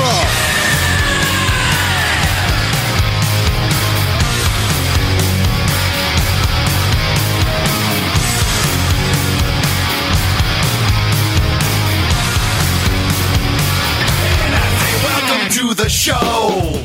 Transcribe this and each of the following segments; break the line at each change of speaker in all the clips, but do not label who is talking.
roll.
Welcome to the show.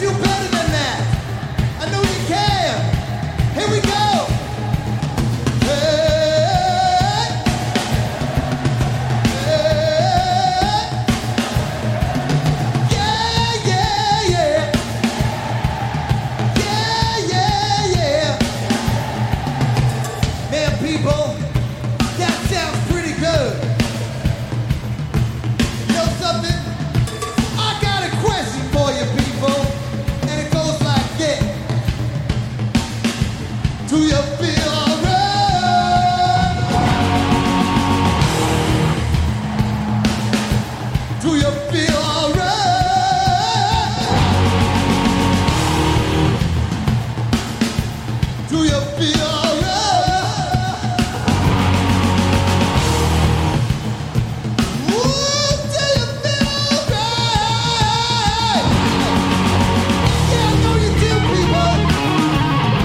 do better than that. I know you can. Here we go. Hey. Hey. Yeah, yeah, yeah. Yeah, yeah, yeah. Man, people, that sounds pretty good. You know something? I got a question for you, people, and it goes like this. Do you feel alright? Do you feel alright? Do you feel alright? Ooh, do you feel alright? Yeah, I know you do, people.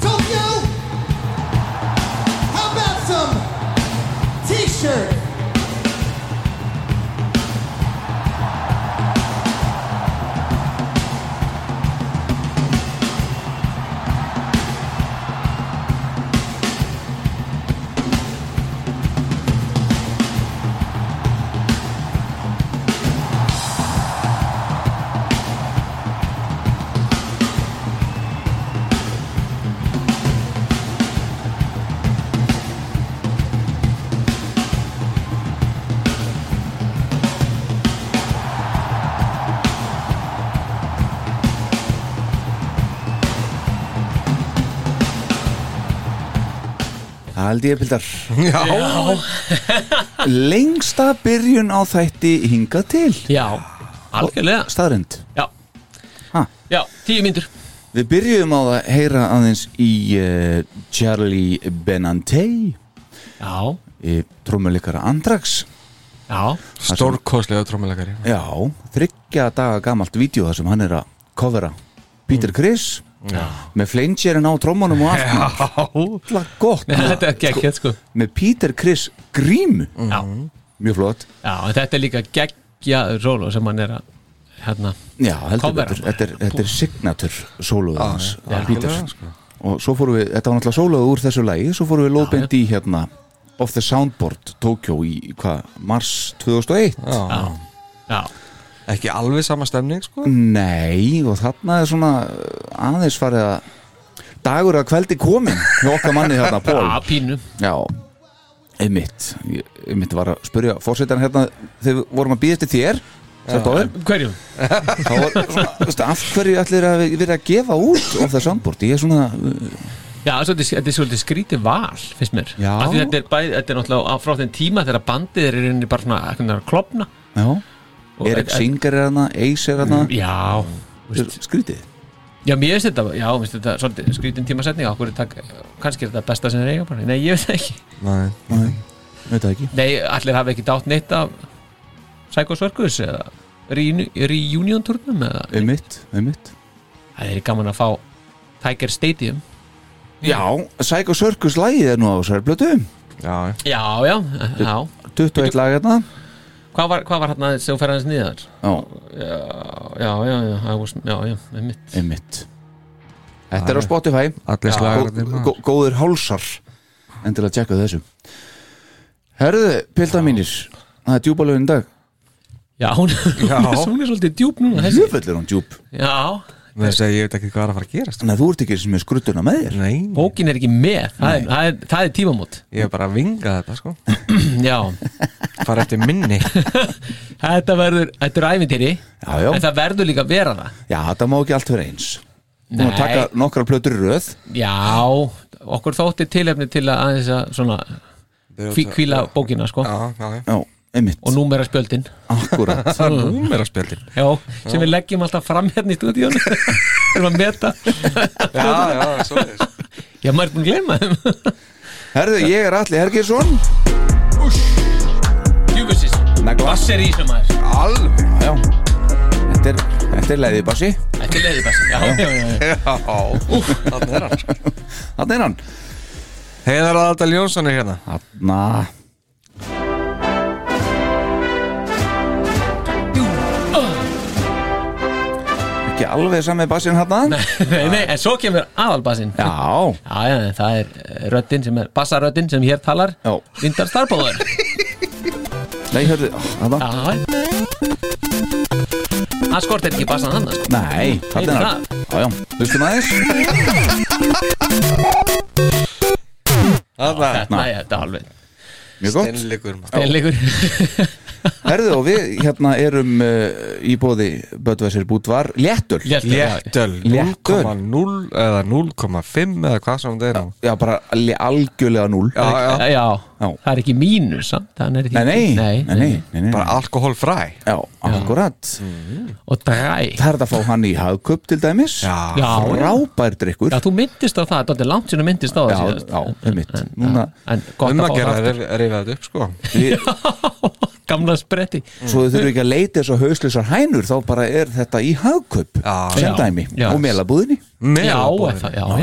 Tokyo, how about some t-shirt?
Haldi ég bildar
Já,
Lengsta byrjun á þætti hingað til
já, algjörlega
Staðrind
Já,
Ha.
já tíu myndur
Við byrjuðum á að heyra aðeins í uh, Charlie eh, Benante
Já,
Trommuleikara Andrax
já,
Stórkostlega trómulegari
Já, þryggja daga gamalt vídeo þar sem hann er að covera Peter Criss með flengerinn á trommunum og allt Alla gott
þetta er geggjætt sko Mhm.
með Peter Criss grímu
Já,
mjög flott
já, en þetta er líka geggja rólu sem hann er að hérna,
Já, heldur
Cover.
betur, þetta er, þetta er signature sóluðu hans,
já. sko.
Peter og svo fórum við, þetta var náttúrulega sóluðu úr þessu lægi svo fórum við lóðbind í hérna Off the Soundboard, Tokyo í hvað, mars 2001
Já.
já,
Ekki alveg sama stemning sko
Nei, og þarna er svona aðeins farið að dagur að kveldi komin hjá okkar manni hérna,
að
Pól
pínu
Já, einmitt Ég- einmitt var að spurja fórsetan hérna þegar við vorum að býða eftir þér Sætt á þér
Hverjum?
þá var svona, veist, af hverju allir að vera að gefa út of það sambort, ég er svona uh,
Já, svolítið, þetta er svolítið skrítið val, finnst mér
Já.
Af því Þetta er, bæ, þetta er náttúrulega á frá þeim tíma þegar bandið er í rauninni bara svona einhvern veginn að klopna
já, Mm.
Og-
Erik Singer er hana Ace er hana,
Já, þú veist,
skrítið
já, mér finnst þetta, já, mér finnst þetta svolítið skrítin tímasetning á hverju takk, kannski er þetta besta sem er eiga bara, nei, ég veit það ekki
Nei
Nei, veit það ekki
Nei, allir hafa ekki dátt neitt af Psycho Circus eða Reun- Reunion turnum eða
einmitt, einmitt
Það er gaman að fá Tiger Stadium
Já, Psycho Circus lagið er nú á þessari blötu
Já,
Já, já, já
21 lag hérna
Hvað var, hvað var hérna sem fer hans niður?
Já,
Já, já, já, I was, já, já, með mitt
einmitt Þetta er á Spotify
allir slagarnir
Gó- gó- Góðir hálsar Endilega tjekka þessu Herðu, pilda mínir Það er djúpa lögin í dag
Já, hún, já. hún er svolítið djúp núna þessi
Jöfell er hún djúp
Já,
Þess að ég veit ekki hvað er að fara að gerast
Þannig að þú ert ekki sem er skruttuna með þér
Nei,
bókin er ekki með Það, er, það, er, það er tímamót
ég er bara að vinga þetta sko
Já,
Fara eftir minni
þetta verður, þetta er ævintýri
Já, já.
En það verður líka að vera það
Já, þetta má ekki allt vera eins Hún er að
Nei.
taka nokkra plötur í röð
Já, okkur þótti tilefni til að aðeins að svona kví, kvíla bókina sko
Já, já, já
Já, einmitt,
og númera spjöldin Mm.
akkurat
Það er númeraspjöldin
já, sem við leggjum alltaf fram hérna í stúdíónu erum að meta
Já, já, svo er
já, maður er búin að gleyma þeim
Herðu, ég er Alli Hergjesson
Júkussis,
Negla.
bass er í sem maður
Alveg
Já, þetta er, þetta er leiði bassi
Þetta er leiði bass, já, já, já, já.
Já, þannig er hann sko.
Þannig er hann
Heiðar Adal Jónsson er hérna
Þarna Ekki alveg sami bassin hann
Nei, nei, en svo kemur aðalbassin já.
Já,
já, en það er eh, röddin sem er bassaröddin sem hér talar
Já.
Vindar Starbóður
nei, hörðu, þarna
Það skortir ekki bassan hann sko.
Nei, þarna er hann Já, já, hlustum aðeins
Þarna
Þetta nei, þetta er alveg
Mjög gott
Steinleikur maður
Steinleikur
Herðu og við hérna erum uh, í bóði Böðvæsir Bútvar Léttul
Léttöl
Léttöl.
0,0 eða 0,5 eða hvað sem það er nú
Já, bara le- algjörlega núl
Já,
Já,
já,
já. já,
Já.
það er ekki mínus samt, þannig er
Nei,
ekki-
nei,
nei, nei.
nei, nei.
bara alkoholfræ
Já, akkurat
Og dræ
Það er þetta að fá hann í hagkup til dæmis
Já,
Já,
Rábær drikkur
já, þú myndist á það, þetta er langt sér að myndist á það
Já,
síðast.
já, einmitt.
En- en-
Núna-
En gott
um
að
að
fá
gera
það
að rifja þetta upp sko
Við,
aftur. Gamla spretti
Svo þau þurfum ekki að leita þess að hauslisar hænur Þá bara er þetta í hagkup
Já.
Sem
Já.
dæmi
Já.
Og melabúðinni Eh,
Já, er
Melabóðin.
það, já, já, já,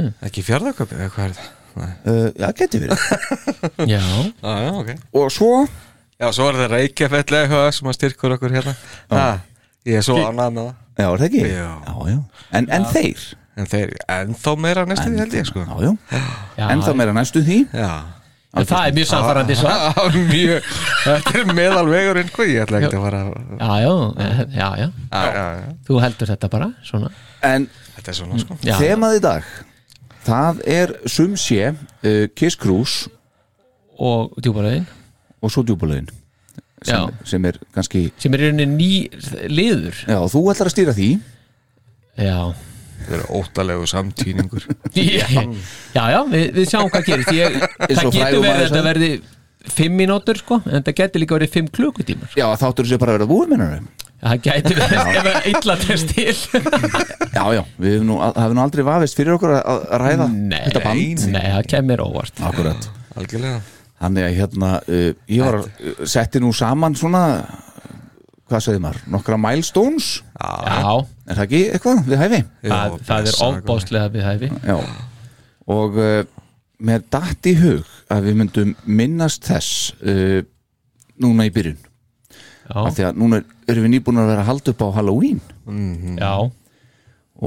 já.
Ekki fjörðaköpi eða hvað er það? Nei.
uh, Já, geti verið
Já,
Já, já, ok
Og svo
Já, svo er það Reykjafell eða eitthvað sem að styrkur okkur hérna ha, Ég er svo ánægð með það
Já, er það ekki?
Já.
já En, en þeir
En þeir ennþá meira næstu því held ég sko
Já, já,
já
En þá meira næstu því
Já
En það er mjög samfarrandi svo Já,
Það er mjög Þetta er meðalvegurinn sko Ég ætla ekki að fara að-
já, eh, já, já
Já, já, já
Þú heldur þetta bara, svona
En
Þetta er svona sko
Já,
þemað í dag Það er sumsé uh, Kiss Cruise
og djúparöðin
og svo djúbulögin
Já,
sem er kannski
sem er í rauninni ný liður
Já, þú ætlar að stýra því
Já,
Þetta er óttalegu samtýningur
já, já, við, við sjáum hvað gerist ég,
Eins
Það
og
getur
frægur
verið að
maður
þetta
sagði.
verði fimm mínútur sko, en það getur líka verið fimm klukkutímar
Já, þáttur þessi bara að vera búið mennur
Það getur verið ef það illa test til
Já, já, við hefum nú, hafum nú aldrei vafist fyrir okkur að- að ræða
Nei,
þetta band
nei, það kemur óvart
Akkurat
Algjörlega
Þannig að hérna, uh, ég var uh, setti nú saman svona hvað segir maður, nokkra milestones
Já,
er það ekki eitthvað við hæfi?
það, það er óbáslega við hæfi
Já og uh, mér datt í hug að við myndum minnast þess uh, núna í byrjun af
Já,
því að núna erum við nýbúin að vera að halda upp á Halloween
já,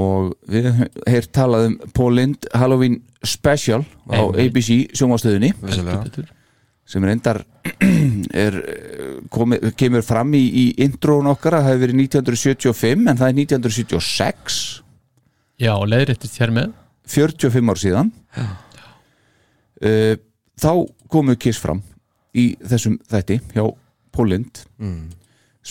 og við hefur talað um Pólind Halloween Special á ABC sjónvastöðunni
Vissulega
sem reyndar er, eh, komi, kemur fram í, í introun okkar að það hefur verið 1975 en það er 1976
já, leiðréttist hér með
45 ár síðan uh, þá komu Kiss fram í þessum þætti hjá Pólind mm.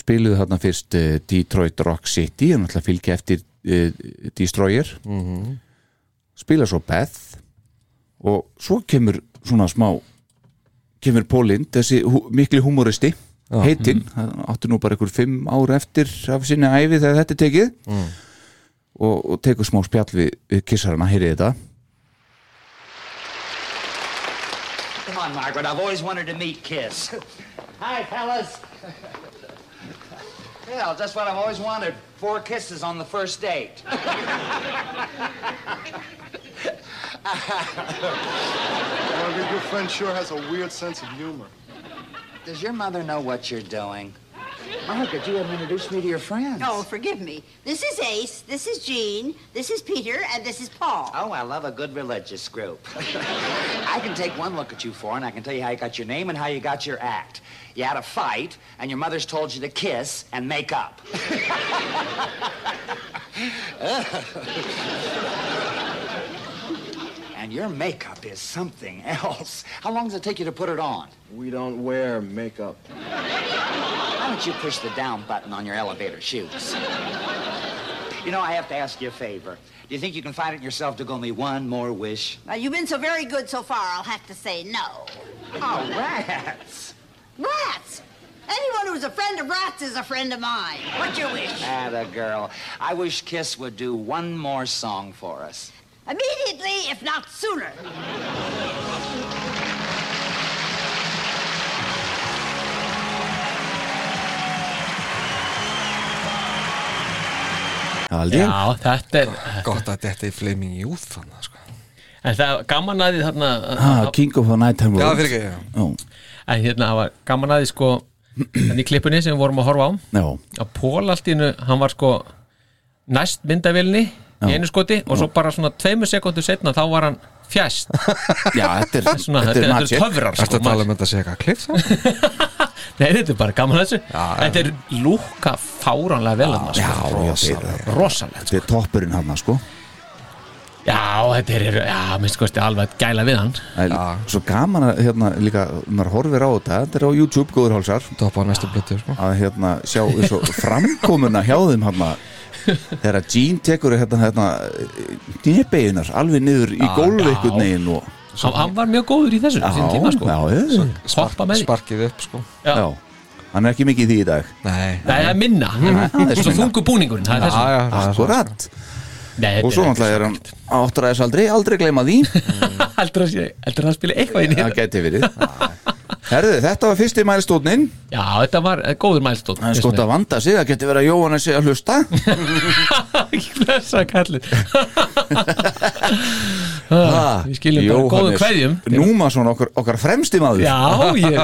spiluðu þarna fyrst uh, Detroit Rock City en alltaf fylgja eftir uh, Destroyer mm. spila svo Beth og svo kemur svona smá kemur Pólind, þessi hú, mikli humoristi heitinn, hann átti nú bara einhver fimm ár eftir af sinni æfi þegar þetta er tekið og, og tekur smá spjall við, við kissarana, heyrið þetta
Come on, Margaret. I've always wanted to meet Kiss. Hi, fellas. Well, just what I've always wanted. Four kisses on the first date.
Margaret, your friend sure has a weird sense of humor.
Does your mother know what you're doing? Margaret, you haven't introduced me to your friends.
Oh, forgive me. This is Ace, this is Jean, this is Peter, and this is Paul.
Oh, I love a good religious group. I can take one look at you four and I can tell you how you got your name and how you got your act. You had a fight, and your mother's told you to kiss and make up. and your makeup is something else. How long does it take you to put it on?
We don't wear makeup.
Why don't you push the down button on your elevator shoes? You know, I have to ask you a favor. Do you think you can find it in yourself to go me one more wish?
Now, you've been so very good so far, I'll have to say no.
Oh, rats!
Rats! Anyone who's a friend of rats is a friend of mine. What's your wish?
Atta girl. I wish Kiss would do one more song for us.
Immediately, if not sooner.
Aldrei.
Já, þetta er
Gott að þetta er Flaming Youth fann það sko
En það var gaman að því þarna
Ah, King of the Nighttime
Já,
World
fyrir ekki, já.
En hérna, það var gaman að því sko Þannig í klippunni sem við vorum að horfa á
Já,
Að Pól allt í hennu, hann var sko Næst myndavélni Í einu skoti og svo bara svona tveimur sekundu setna Þá var hann fjæst
já þetta er,
Svona, þetta er- þetta er töfrar
Ertu
sko
að tala
maður-
um þetta að segja eitthvað kliff það?
Nei, þetta er bara gaman að þessu
já.
Þetta er lúka fáránlega vel hann
Já,
sko.
já, þetta er-
Rosalegt
þetta er toppurinn hann sko
Já, þetta er, já, minnst kosti alveg að gæla við hann
Það er Svo gaman að hérna líka maður horfir á þetta, þetta er á YouTube góður hálsar
Topa á næstu blötu sko
að hérna sjá svo framkomuna hjá þeim hérna þegar að Gene tekur hérna, hérna nýbeginar alveg niður í
Já,
gólfi
já.
einhvern veginn og
hann, hann var mjög góður í þessu já, sín tíma sko
já, já,
hoppa með því
Sparkið upp sko
já.
já, hann er ekki mikið í því í dag
Nei
Nei, það er minna
aðeins
og svo
minna.
þungu búningurinn það er þessu.
Já, já, það er svo-
akkurat,
Nei,
og svo náttúrulega er hann áttræðis aldrei, aldrei gleyma því
heldur að, sé- heldur að spila eitthvað inn í
það
þetta
geti verið herðu, þetta var fyrsti mælstónin
já, þetta var eh, góður mælstótt
hann er skott að vanda sig, það geti verið að Jóhann sé að hlusta
blessa kallið Ah, við skiljum bara góðum kveðjum
Númason okkar, okkar fremsti maður
já, ég,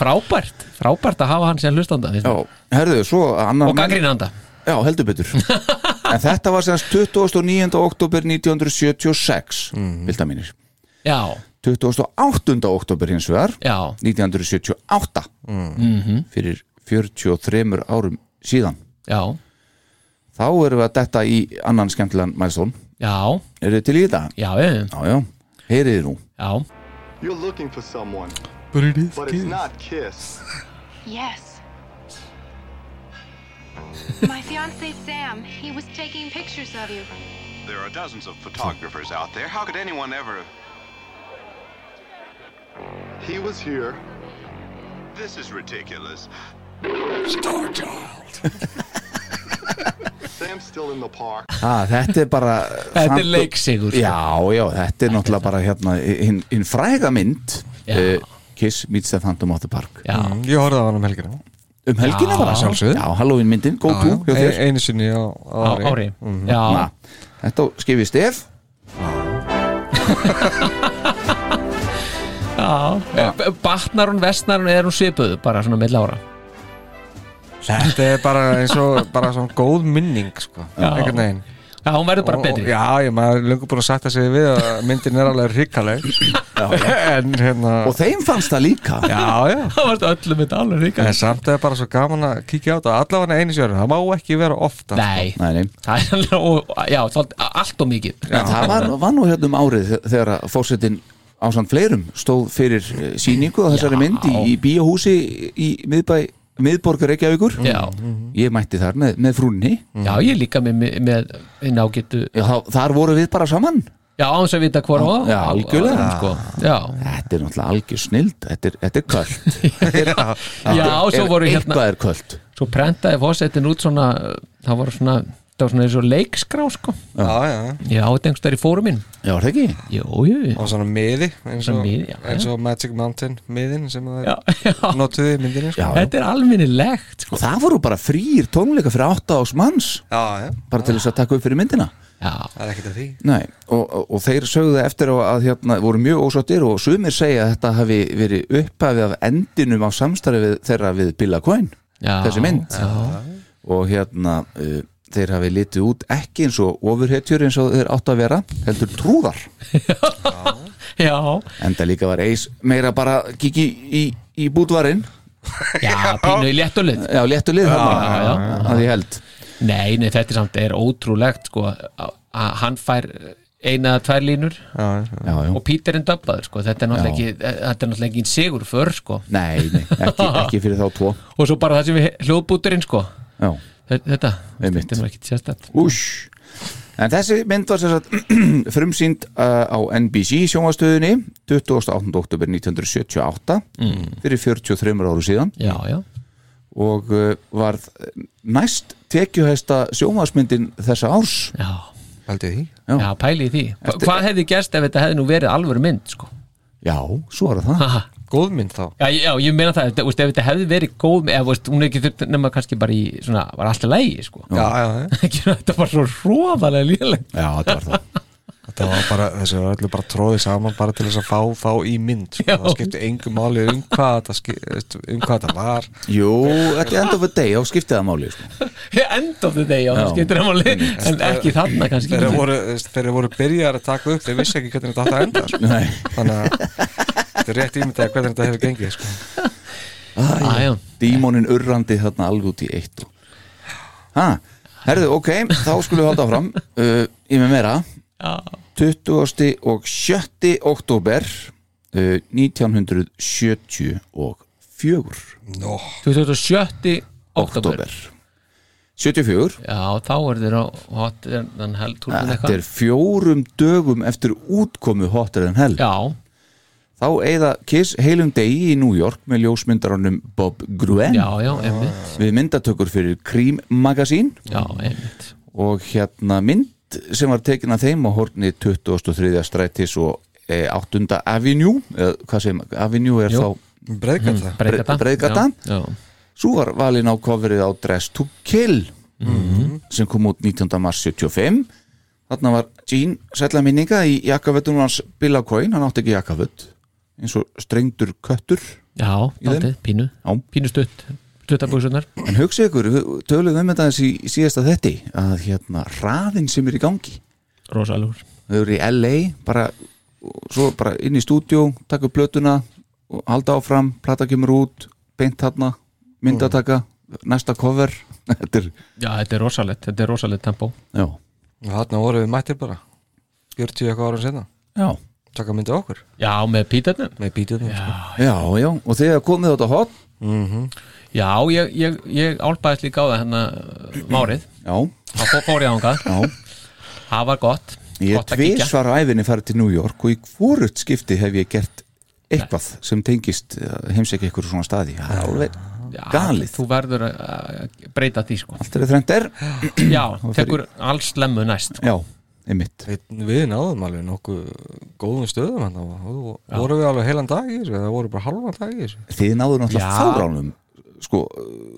frábært frábært að hafa hann sem hlustanda finnst
Já,
mér.
herðu, svo annar
og gangrínanda
Já, heldur betur En þetta var semast 29. oktober 1976 mm. Vilda mínir
já,
28. oktober hins vegar
já,
1978
Mhm.
Fyrir 43 árum síðan
já
Þá erum við að detta í annan skemmtilegan mælstón
já,
Eru þið til í þetta?
já, eh,
Já, já, heyriði nú
já
You're looking for someone,
But it is
but it's not Kiss.
Yes. My fiance Sam, he was taking pictures of you.
There are dozens of photographers out there. How could anyone ever?
He was here.
This is ridiculous.
Sam's still in the park.
ah, Þetta er bara
Þetta er leiksigur, sko.
Já, já, þetta er náttúrulega bara hérna hinn hin fræga mynd
Já.
eh, Kiss meets the Phantom of the Park
já,
Mm, Ég horfði á hann um helgina
Um helgina
Já.
bara
Sjálfsögðu.
Já, Halloween myndin, go to hjá
E-
þér
Einu sinni á á
á
ári
ári já,
Mhm. Na, þetta skifir stef
já. Eh, batnar hún, vestnar hún, er hún svipuð bara svona mill ára
Þetta er bara eins og bara svona góð minning sko einhvern veginn
Já, hún verður bara
Og-
betri
Já, ég maður er löngu búin að sætta sig við að myndin er alveg ríkaleg En hérna
og þeim fannst það líka
Já, já
Það varst öllum þetta alveg ríka
En samt er bara svo gaman að kíkja á þetta Allavega einu sjörun, það má ekki vera ofta
Nei,
Nei, nei.
það er alveg og- Já, það er allt og mikið
En það var, var nú hérna um árið þe- þegar að fórsetin ásand fleirum stóð fyrir eh, sýningu á þessari
Já.
mynd í, í bíóhúsi í miðbæ, miðborgar Reykjavíkur
Já,
ég mætti þar með, með frúnni
já ég er líka með, með, með hinn ágetu
Já, þá, þar voru við bara saman
Já, án þess að vita hvora á
Já, algjörlega.
á- á- sko. Já,
þetta er náttúrulega algjör snild þetta er, þetta er kvöld
já og svo voru hérna
eitthvað er kvöld
Svo prentaði fósettin út svona Það voru svona, það var svona eins og leikskrá sko.
Já, já
Já, þetta engst þær í fóruminn
já, er það ekki?
Jú, jú
Og svona miði eins og,
Svona miði, já, já.
eins og Magic Mountain miðin sem
Já,
það
já
notuði í myndinni sko.
Já.
Þetta er alminnilegt sko.
og það voru bara frýr tónleika fyrir 8 ás manns
já, já,
bara til þess að taka upp fyrir myndina
Já,
það er ekkert að því
Nei, og, og, og þeir sögðu eftir á að hérna voru mjög ósáttir og sumir segja að þetta hafi verið upphafið af endinum á samstarfið þeirra við Billa Coyne,
Já,
þessi mynd
já.
og hérna uh, þeir hafi litið út ekki eins og ofurhetjur eins og þeir áttu að vera heldur trúðar,
já,
en það líka var eis meira bara kiki í, í, í búdvarinn,
já pínu í léttulið
já, léttu lið
já, já.
þarna, að ég held
Nei, nei, þetta er samt er ótrúlegt sko, að að hann fær eina eða tvær línur
já, já.
já, já.
og Pítur en döblaður sko. þetta er náttúrulega ekki, þetta er náttúrulega ekki sigur för sko.
Nei, nei, ekki, ekki fyrir þá tvo
og svo bara það sem við hljóðbúturinn sko.
Já,
Þetta,
Einmitt.
þetta var ekki sérstætt
Úsh. En þessi mynd var sem sagt frumsýnd uh, á NBC sjónvastöðinni 28. oktober 1978
Mm.
fyrir 43 áru síðan
Já, já
og uh, varð eh, næst tekjuhæsta sjónvasmyndin þessa árs
Já,
Haldið því?
Já.
já pæli í því Hva, Hvað hefði gerst ef þetta hefði nú verið alvöru mynd sko?
Já, svo er það
Haha.
Góð mynd þá
já, já, ég meina það, þetta, úst, ef þetta hefði verið góð eða úst, hún er ekki þurft nema kannski bara í svona, var alltaf lægi sko.
Já, já, já.
Ekki, þetta var svo róðalega lélegt
Já, þetta var það
Þetta var bara, þessi var allir bara tróðið saman bara til þess að fá, fá í mynd sko.
Já.
Það skipti engu máli um hvað þetta skipti, um hvað þetta var
Jú, þetta er enda fyrir deg á skiptiða máli sko.
end of the day, já, það
Já.
skiptir hann máli en ekki þarna kannski
Þeir voru, þeir voru byrjar að taka upp, þeir vissi ekki hvernig þetta átti að enda sko.
Nei,
Þannig að þetta er rétt ímyndað hvernig þetta hefur gengið sko.
ah, já.
dímonin urrandi þarna alveg út í eitt og... Ha, herðu, ok, þá skulum við halda áfram uh, Í með meira
Já.
20. og 7. oktober uh, 1974
Nó,
27. oktober
Oktober 74
Já, þá er þeir á hot en held túlkun
Þetta
eitthvað
er fjórum dögum eftir útkomu hotar en hell
Já,
Þá eigða Kiss heilum degi í New York með ljósmyndaranum Bob Gruen
já, já, einmitt
við myndatökur fyrir Cream Magazine
Já, einmitt
og hérna mynd sem var tekin af þeim á horni 23. strætis og eh, 8. Avenue eða hvað segir maður, Avenue er
Jú.
þá
breyðgat það
Breiðgata
Breiðgata.
Já, já.
svo var valin á coverið á Dress to Kill
Mhm.
sem kom út 19. mars 75 þarna var Gene sætla minninga í jakkafötunum hans Bill O'Coin, hann átti ekki jakkaföt eins og strengdur köttur
já
þeim?
dálítið, pínu
Já.
Pínu stutt, stuttabúsunar
en hugsa ykkur, við töluðum um þetta þessi í síðasta þetti að hérna raðin sem er í gangi
Rosalúr
þau eru í LA bara, og svo bara inn í stúdíó taka upp plötuna og halda áfram plata kemur út, beint þarna myndataka, næsta cover þetta er,
Já, þetta er rosalett, þetta er rosalett tempó
já,
Þarna voru við mættir bara 40 eitthvað árum senna
já
Takka myndið okkur
Já, með pítarnum
með sko. bítið
já, já, og þegar komið þetta hot
Já, ég, ég, ég álpaðist líka á það hennar márið
já,
Þá fó- fór ég ánga
já,
Það var gott
ég er
Gott að kíkja.
tvisvar á æfinni farið til New York og í hvort skipti hef ég gert eitthvað sem tengist eh, heimsækja ykkur svona staði, það er alveg
Já,
galið,
Þú verður að- að breyta því sko
allt er að þrennt er
Já,
fer
tekur alls lemmu næst sko.
já, einmitt
Við náðum alveg nokkuð góðum stöðum hann og voru við alveg heilan dag í þessu eða voru bara halvan dag í þessu
þið náður náttúrulega
Já.
fáránum sko,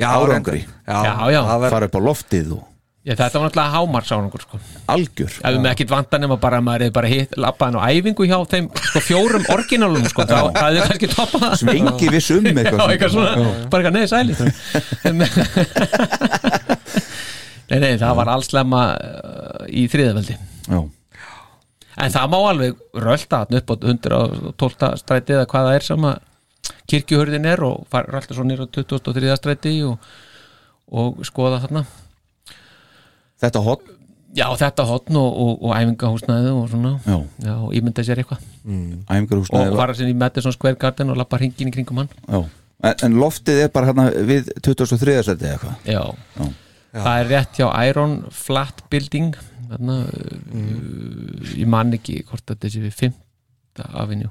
árangri
Já, já.
það var-
fara upp á loftið og
Já, þetta var náttúrulega hámarsárangur sko.
algjör
ef við með ekkert vanda nema bara að maður er bara hitt labbaðan á æfingu hjá þeim sko, fjórum orginálum sko, þá það hefði kannski toppað það.
sem engi viss um
Já,
eitthvað
eitthvað svona, bara eitthvað neði sæli Nei, nei, það var allslema uh, í þriðaveldi
Já.
En það má alveg rölda hann upp á 112. stræti eða hvað það er sem að kirkjuhörðin er og far- rölda svo nýr á 23. stræti og, og skoða þarna
þetta hot
Já, þetta hotn og, og, og æfingahúsnæði og svona
Já.
Já, og ímynda sér eitthvað og
æfingarhúsnaði var-
fara sinni í Madison Square Garden og lappa hringin í kringum hann
Já. en, en loftið er bara hérna við 23. seti eða eitthvað
já.
Já.
það er rétt hjá Iron Flat Building þarna, uh, ég man ekki hvort þetta sé við 5. afinjú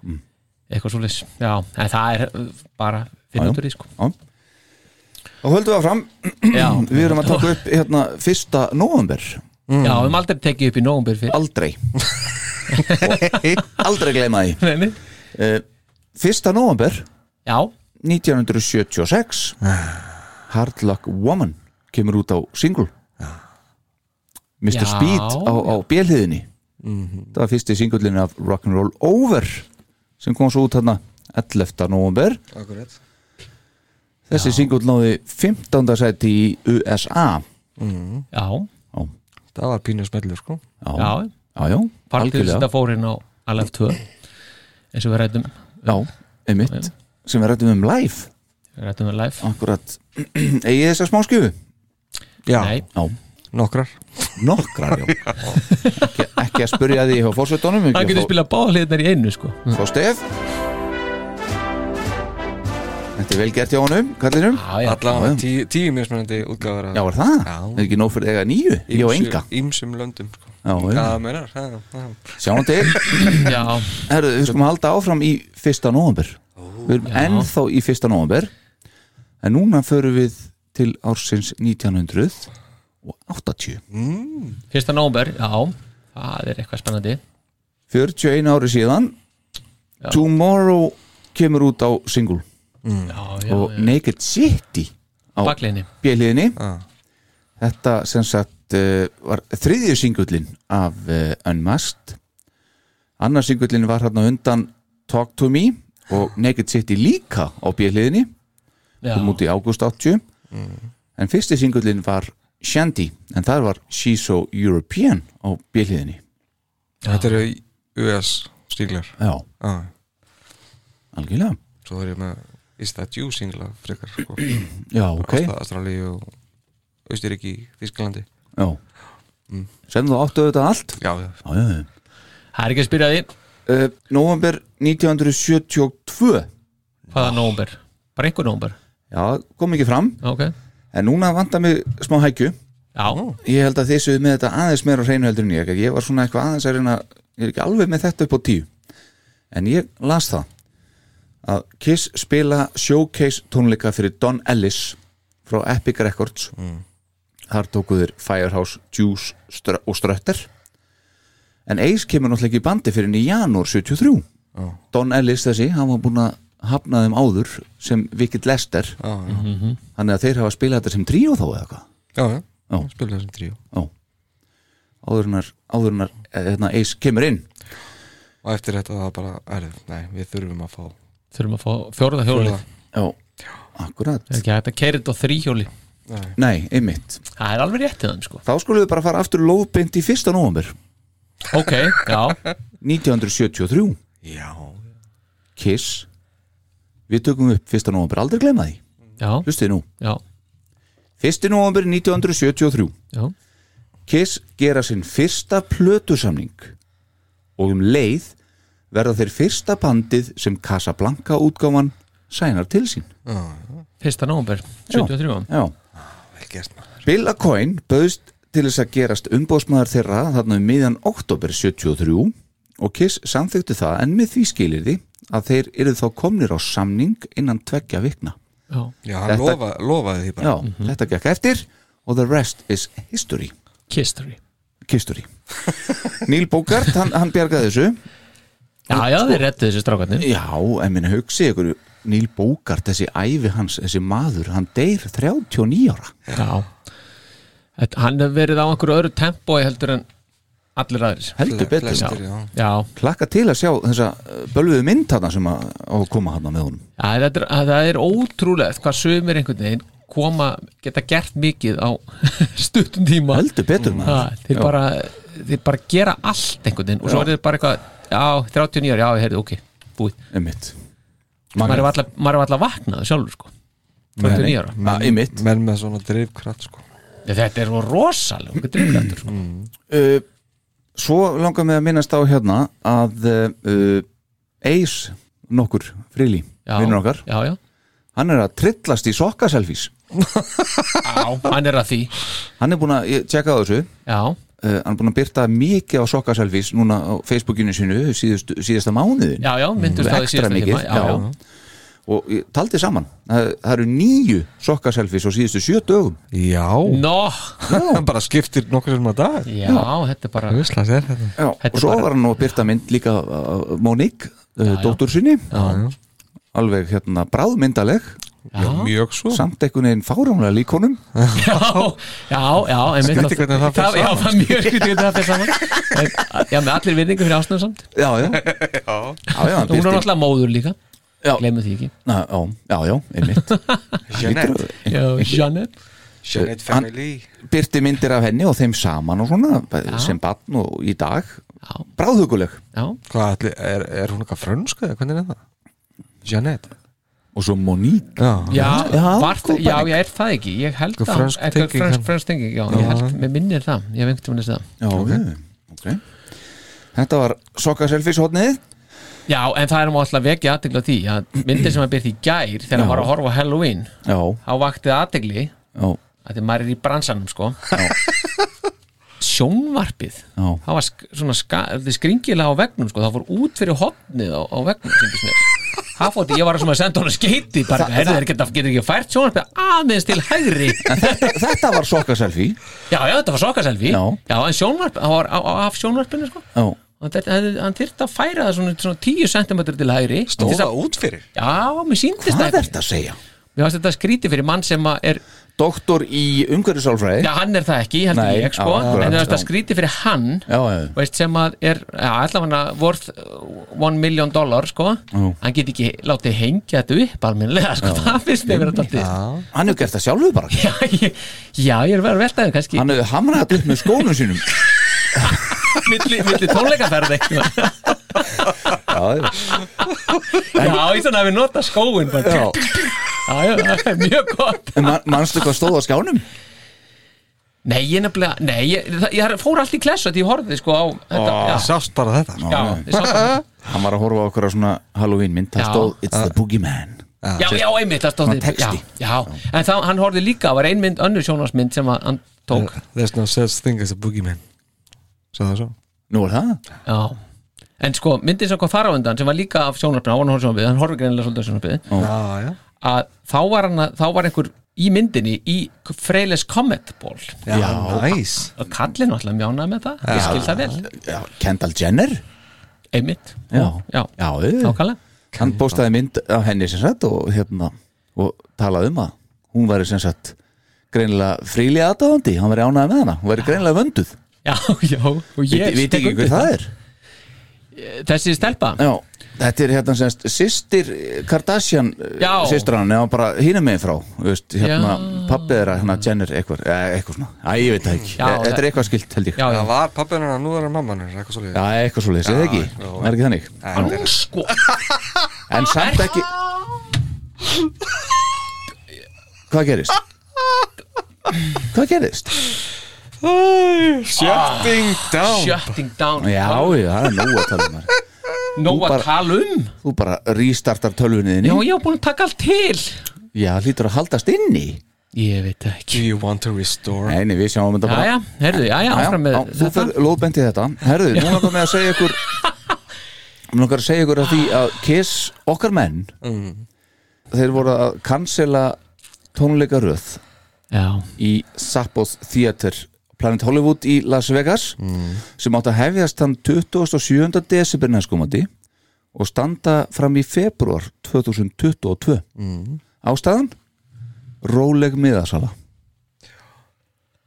eitthvað svo já, en það er uh, bara
Já, já.
finnundur í sko
og höldum við áfram,
já.
við erum að taka upp hérna fyrsta november,
já, við erum aldrei tekið upp í nógumbur fyrir
aldrei Og aldrei gleyma því
Nei, nei.
Eh, fyrsta november
já,
1976 Hard Luck Woman kemur út á single Mr.
Já. Mhm.
Speed á, á bjelhiðinni það var fyrsti singullinni af Rock'n'Roll Over sem kom svo út hérna 11. november
Akkurat.
þessi singull náði 15. sæti í USA
já,
já,
Það var pínu smellur sko
já,
já
já, já
partur
algjörlega.
þetta fór inn á Alef 2 eins og við rættum
já, einmitt, sem við rættum um live
rættum við live
akkurat, eigið þess að smá skjöfu
Já,
Nei,
já,
nokkrar
nokkrar já. ekki, ekki að spurja því hjá fórsveitunum
það getur spilað báðliðnar í einu sko
Frá Stef Þetta er vel gert hjá honum, kallinum
Allavega tíu, tíu mismunandi útgáður
Já, er það? Er ekki nóg fyrir að eiga nýju? Ég og enga
Ímsum löndum sko.
Já, já.
Það meinar já, já.
Sjáum til
Já
Herðu, við skulum halda áfram í fyrsta nóvember Við erum
Já.
ennþá í fyrsta nóvember En núna förum við til ársins 1900 og 80
mm. Fyrsta nómber, já Það er eitthvað spennandi
41 ári síðan Tomorrow kemur út á single
já, já,
og Naked City á
Bakliðinni.
bjöliðinni þetta sem sagt uh, var þriðju singullin af uh, Unmasked annar singullin var hérna undan Talk to Me og Naked City líka á bjöliðinni
Já.
kom út í ágúst 80 Mm. en fyrsti singullin var Shandy en þar var She's So European á bjöliðinni
Þetta eru US stílar
Já.
ah.
Algjörlega
Svo er ég með Is That You singla frekar sko.
Já, ok.
Ástralíu og Austuríki, Þísklandi
Já mm. Sem þú áttu auðvitað allt
Já, já,
já, já.
Það er ekki að spyrja því
uh, Nóvember 1972
Hvaða nómber? Bara einhver nómber
Já, kom ekki fram
Ok
En núna vantar mig smá hækju
Já
Ég held að þið séu með þetta aðeins meira á hreinu heldur en ég Ég var svona eitthvað aðeins að reyna Ég er ekki alveg með þetta upp á tíu En ég las það Að Kiss spila showcase tónleika fyrir Don Ellis Frá Epic Records
Mm.
Þar tókuður Firehouse, Juice str og Strötter En Ace kemur náttúrulega ekki í bandi fyrir henni í janúar 73
Já.
Don Ellis þessi, hann var búin að hafna þeim áður sem Wicked Lester
já, já.
-hmm. Þannig að þeir hafa spilað þetta sem tríó þá eða hvað
já, já.
Já.
Spilum þessum tríu
Já Áðurinnar, áðurinnar, hérna Ace kemur inn
Og eftir þetta það bara, er, nei, við þurfum að fá
Þurfum að fá fjóruða hjólið
Fjórða.
Já, akkurat
Það er ekki hægt að keira þetta á þrýhjóli
Nei, einmitt
Það er alveg réttið þeim sko
Þá skulum við bara fara aftur lóðbind í fyrsta nóvambur
Ok, já
1973
Já
Kiss Við tökum upp fyrsta nóvambur, aldrei glema því
Já,
Hlustið nú
já,
Fyrsti nóvambur 1973
já
Kiss gera sinn fyrsta plötusamning og um leið verða þeir fyrsta bandið sem Casablanca útgáfan sænar til sín
Fyrsta nómber, 73
Já,
Vel gert maður
Bill Acoin bauðst til þess að gerast umbóðsmaður þeirra þarna um miðjan oktober 73 og Kiss samþyktu það en með því skilir því að þeir eru þá komnir á samning innan tveggja vikna
Já,
Já, hann
Þetta-
lofa, lofaði því bara
Já, Mhm. þetta gekk eftir og the rest is history
Kistory
History Neil Bogart, hann, hann bjargaði þessu
Já, já, þið réttu þessi strákarnir
Já, en minna hugsi ykkur Neil Bogart, þessi ævi hans, þessi maður hann deyr 39 ára
Já Þetta- Hann hefur verið á einhverju öðru tempói heldur en allir aðris
heldur betur
Flestir, já.
Já,
Klakka til að sjá þessa eh, bölvuðu mynd þarna sem að, á að koma þarna með honum
já það, er, að það er ótrúlegt hvað sömur einhvern veginn koma, geta gert mikið á stuttum tíma
heldur betur maður
ha, þeir,
Já.
bara, þeir bara gera allt einhvern veginn og svo
Já.
er þeir bara eitthvað Já, 39 ári, já, ég heyrði, ok, búið
einmitt
Maður er varla- maður er alltaf vaknað sjálfur sko 39 ára
Nei, nei. Ja, einmitt
Menn með svona drifkratt, sko
Nei, Þetta er svo rosalega drifgrættur sko.
uh, svo langar mig að minnast á hérna að uh, Ace nokkur frili,
Já.
vinnur okkar
Já, já,
hann er að trillast í sokkaselfís
já, hann er að því
hann er búin að, ég tjekka á þessu
Já,
Uh, hann er búin að byrta mikið á sokkaselfís núna á Facebookinu sinu síðust, síðasta mánuðin
já, já, myndust á því
ekstra
síðasta
mikið
tíma Já, já,
og ég taldi saman það, það eru nýju sokkaselfís á síðustu sjö dögum
Já
Nó,
Hann bara skiptir nokkur sem að dag
já, þetta er bara
Vissla sér þetta
Já, og
Þetta
svo
bara-
var hann nú að byrta mynd líka uh, Monique, uh,
já.
dóttur sinni alveg hérna bráðmyndaleg
Já, mjög svo
samt einhvern veginn fáránlega líkonum
Já, já, já einmitt
Skrítið hvernig það fer
Já, það er mjög skrítið hvernig það fyrir saman En, Já, með allir vinningu fyrir ásnum samt
já, já, já, já, hann
Hún er
birti-
náttúrulega móður líka
Já.
Gleimu því ekki
Na, já, já, já, einmitt
Jeanette
Já, Janet
Jeanette
Hann-
Family
byrti myndir af henni og þeim saman og svona sem barn og í dag
Já.
bráðhuguleg
Já,
Hvað, ætli- er, er hún eitthvað frönsk eða hvernig er það? Jeanette
og svo Monique
Já,
já,
Já,
var,
góð
já,
pæling.
ég er það ekki Ég held
Einhver
að
frönsk
einhver
tenging
frönsk-
hann.
Frönsk tenging, já, ég held, mér minnir það Ég hef einhvern tímann þess að
já, ok, okay. þetta var sokkaselfís hótnið
Já, en það er nú alltaf vekja aðtegla því að myndir sem að byrði í gær þegar
Já.
hann var að horfa á Halloween
Já,
þá vaktið aðtegli
já,
að því maður er í bransanum sko sjónvarpið
já
það var sk svona ska- þetta er skringilega á vegnum sko, það fór út fyrir hopnið á, á vegnum sýndist mér. það fótti, ég var svona að senda honum skeiti bara,
Þa-
herðu,
það-
þeir geta, getur ekki fært sjónvarpið aðeins til hægri
Þetta, þetta var sokkaselfie
já, já, þetta var sokaselfi
Já.
en sjónvarpið, það var á, á, af sjónvarpinu sko
Já,
og þetta, hann- hann þyrfti að færa það svona, svona 10 cm til hægri Til þess
Stóða
að-
út fyrir
já, mér síndist
hvað er
það
þetta að segja?
mér varst þetta skríti fyrir mann sem að er
Doktor í umhverfisálfræði
já, hann er það ekki, heldur
Nei,
ég sko,
akkurat,
en mér
já.
varst þetta skríti fyrir hann
Já, já,
veist, sem að er ja, allavega worth uh, one million dollar sko.
Jú.
hann get ekki látið hengja þetta upp almennilega, sko. það finnst mér vera dálítið.
Já,
hann hefur gert það sjálfur bara
já, ég, já, ég er verið að velta þau kannski
Hann hefur hamrað þetta upp með skónum sínum Já,
milli, milli tónleikaferð eitthvað
já,
já, ég þannig að við nota skóin bara.
já.
já, já, það er mjög gott
En man, manstu hvað stóð á skjánum?
nei, ég nefnilega, nei, ég, það, ég fór allt í klessu því ég horfði sko á þetta, já,
sást bara þetta sko.
já, ég sá það.
Hann var að horfa á okkur á svona Halloween mynd Það
Já.
stóð It's the Boogeyman
já, já, einmitt það stóð
Svona
því- já,
texti.
já, en það, hann horfði líka, það var ein mynd önnur sjónvarsmynd sem að hann tók
There's no such thing as a boogeyman Sæða það svo
Nú er það
Já, en sko myndin sem kom þar á undan sem var líka af sjónarpna, hann horfði sjónarpið hann horfði greinilega svolítið sjónarpið
Já, já
að þá var, hann, að- þá var einhver í myndinni í Freyles Comet Ball
Já, nice
og kallinn var alltaf mjánað með það, ég skil það vel
já, Kendall Jenner
einmitt,
Já,
já,
já eh.
nákvæmlega
Hann postaði mynd á henni sem sagt og, hérna, og talaði um að hún væri sem sagt greinilega fríli aðdáðandi, hann væri ánæði með hana hún væri greinilega vönduð,
Já, já, og
Viti-
ég
viti
tek
ekki
undir
hver það er
það. Þessi stelpa,
Já, þetta er hérna semst sýstir Kardashian
Já.
sýstir hann, eða bara hínum megin frá þú veist, hérna,
Já.
pappið þeirra, hérna Jenner eitthvað, eh, eitthvað svona, æ, ég veit það ekki
Já,
Eh, þetta
það-
er eitthvað skilt held ég
já, já
Það var pappinu hennar, nú er hann mamman hennar, eitthvað svolítið
Já, eitthvað svo leiðis, eða ekki, það er ekki þannig
Hann er-
Sko,
En samt ekki Hvað gerist? Hvað gerist?
Æ, Shutting down
shutting down
Já, já, það er nóg að tala um það
Nó
þú
að
bara-
tala um
Þú bara restartar tölvunni
Já,
þinni
ég var búin að taka allt til
Já, hlýtur að haldast inni
Ég veit það
Do
ekki
you want to restore?
Nei, nei, við sjáum þetta bara
Jæja, herðu, jæja,
Já, já,
áfram með
já, Þú
þetta
fyrir lóðbendið þetta Herðu, nú langar með að segja ykkur Nú langar að segja ykkur að því að Kiss, okkar menn
Mm.
Þeir voru að cancela tónleikaröð
Já,
í Sappos Theater Planet Hollywood í Las Vegas sem átt að hefjast þann 27. desibir næskumandi og standa fram í februar 2022 ástæðan róleg miðasala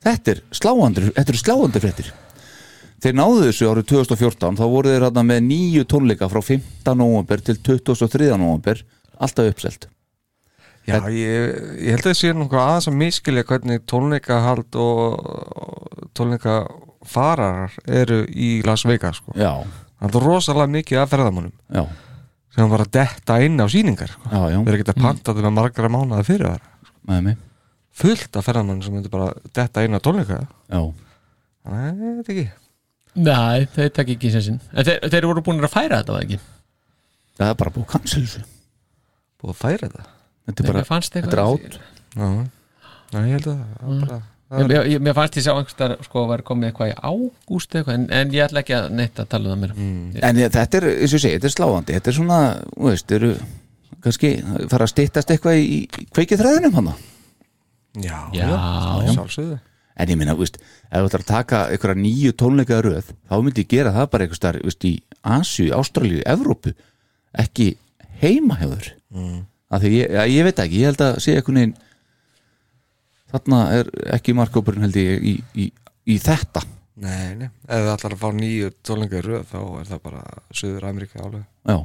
þetta er sláandur þetta er sláandur fréttir þeir náðu þessu árið 2014 þá voru þeir hérna með nýju tónleika frá 15. november til 23. november alltaf uppselt
Já, ég, ég held að það sé nokkuð aðeins að miskilja hvernig tónleikahald og og tónleikafarar eru í Las Vegas sko.
já,
Það er rosalega mikið af ferðamönnum
já,
sem var að detta inn á síningar sko.
já, já,
Þeir eru ekki að panta þetta með margra mánuða fyrir það
með mig
Fullt af ferðamönnum sem myndir bara detta inn á tónleika
já,
Nei, ég veit ekki
Nei, þeir takk ekki sensinn En þeir, þeir voru búin að færa þetta, var það ekki?
það er bara búið að cancela þessu
Búið að færa þetta
þetta er bara,
mér fannst
þetta er átt
Já, Nei, ég held að það er bara
Ég, ég, ég- mér fannst ég sá einhverstaðar sko var komið eitthvað í ágúst eitthvað en, en ég ætla ekki að neitt að tala um það mér
en ég- þetta er, eins og ég segi, þetta er sláandi þetta er svona, þú veist, eru kannski fara að styttast eitthvað í í kveikithræðinum hann
Já,
Já, já.
sjálfsögðu
en ég minna, veist, ef þú ætlar að taka einhverja nýju tónleika röð, þá myndi ég gera það bara einhvers staðar, veist, í Asju, Ástralíu Evrópu, ekki heimahjóður mm. að því ég, að ég veit ekki, ég held að segja einhvern veginn þarna er ekki markópurinn held ég í, í, í þetta
Nei, nei, ef það ætlar að fá nýju tónleika í röð þá er það bara Suður Ameríka álega
Já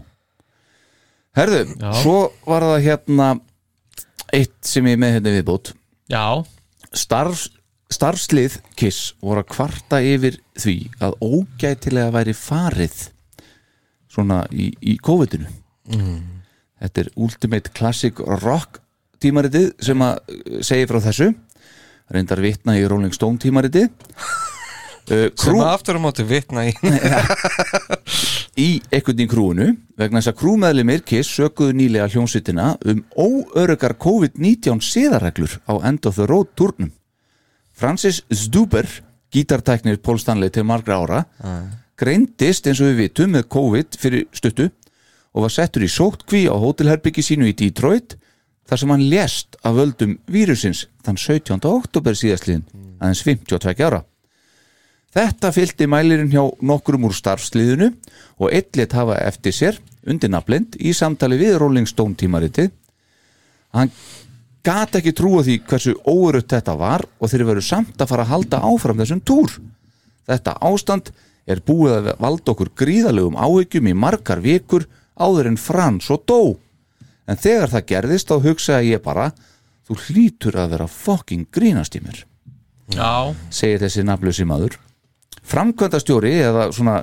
Herðu,
Já.
svo var það hérna eitt sem ég er með hérna í viðbót
Já,
Starf, starfslið Kiss voru að kvarta yfir því að ógætilega væri farið svona í, í COVID-inu Þetta er Ultimate Classic Rock tímaritið sem að uh, segir frá þessu reyndar vitna í Rolling Stone tímaritið uh,
Sem
crew-
að aftur á móti vitna í
í einhvern í krúinu vegna þess að krúmeðlimir Kiss sökuðu nýlega hljómsveitina um óörugar COVID-19 siðareglur á End of the Road turnum. Francis Stuber, gítartæknir Paul Stanley til margra ára, greindist eins og við vitum með COVID fyrir stuttu og var settur í sótkví á hótelherbyggi sínu í Detroit þar sem hann lést af völdum vírusins þann 17. oktober síðastliðin aðeins 52 ára. Þetta fylgdi mælirinn hjá nokkrum úr starfsliðinu og eitt hafa eftir sér undir nafnlind í samtali við Rolling Stone tímariti. Hann gata ekki trúa því hversu óerutt þetta var og þeir veru samt að fara að halda áfram þessum túr. Þetta ástand er búið að valda okkur gríðalegum áhyggjum í margar vikur áður en frans og dó. En þegar það gerðist þá hugsaði ég bara þú hlýtur að vera fucking grínast í mér
Já,
segir þessi nafnlösi maður framkvæmdastjóri eða svona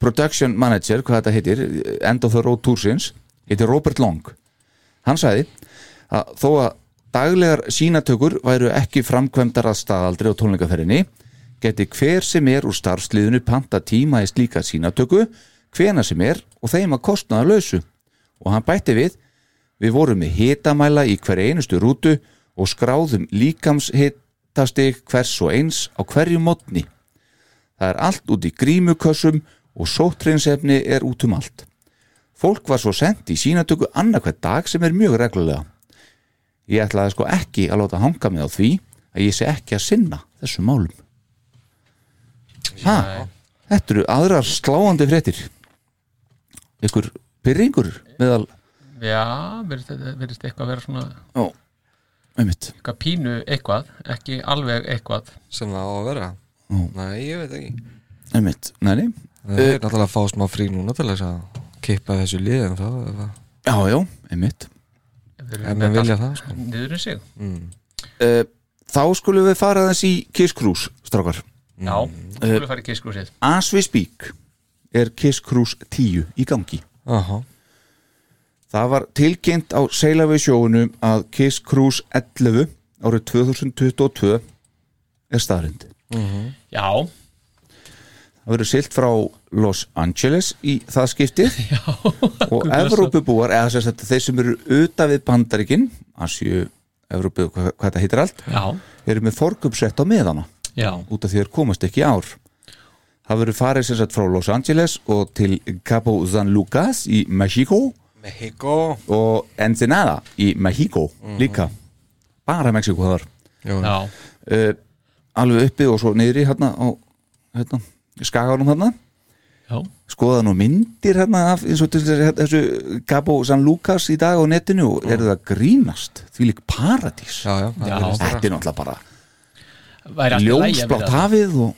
production manager, hvað þetta heitir End of the Road Toursins heitir Robert Long hann sagði að þó að daglegar sínatökur væru ekki framkvæmdar að staðaldri á tónleikaferðinni geti hver sem er úr starfsliðinu panta tíma í slíka sínatöku hvena sem er og þeim að kostnaða lausu og hann bætti við við vorum með hitamæla í hver einustu rútu og skráðum líkamshitastig hvers og eins á hverju mótni það er allt út í grímukössum og sóttreinsefni er út um allt fólk var svo sendt í sínatöku annarkvæð dag sem er mjög reglulega ég ætlaði sko ekki að láta hanga mig á því að ég sé ekki að sinna þessum málum ha, þetta eru aðrar sláandi fréttir ykkur pyrringur meðal
já virðist, þetta- virðist eitthvað vera svona
Já, einmitt
eitthvað pínu eitthvað, ekki alveg eitthvað
sem það á að vera Nei, ég veit ekki
Einmitt, næni
Það er náttúrulega að fá smá frí núna til þess að kippa þessu liðin þá ef að-
Já, já, einmitt
ef menn vilja það sko.
niður um sig
uh, Þá skulum við fara þess í Kiss Cruise, strákar
Já, skulum fara í Kiss Cruise-ið.
As we speak er Kiss Cruise 10 í gangi
Aha.
Það var tilkynnt á Seilavi sjóunum að Kiss Cruise 11 árið 2022 er staðrind
Já,
Það verður silt frá Los Angeles í það skiptið og Evrópubúar, eða sem sagt, þeir sem eru utan við Bandaríkin, Asju, Evrópu, hvað, hvað þetta heitir allt,
Já.
eru með forgupsett á meðana
Já.
út af því þeir komast ekki í ár. Það verður farið sem sagt frá Los Angeles og til Cabo San Lucas í Mexico
Mexico
og Ensenada í Mexico
Mhm.
líka, bara Mexiko þar.
Jú.
já,
uh, alveg uppi og svo niðri hérna á hérna, skaganum hérna
Já.
skoða nú myndir hérna af eins og til þess- þessu Gabo San Lucas í dag á netinu og eru það að grínast því lík paradís
já, já,
Já.
þetta er náttúrulega bara
væri allt í lagi að
ljómsblátt
vera-
hafið og,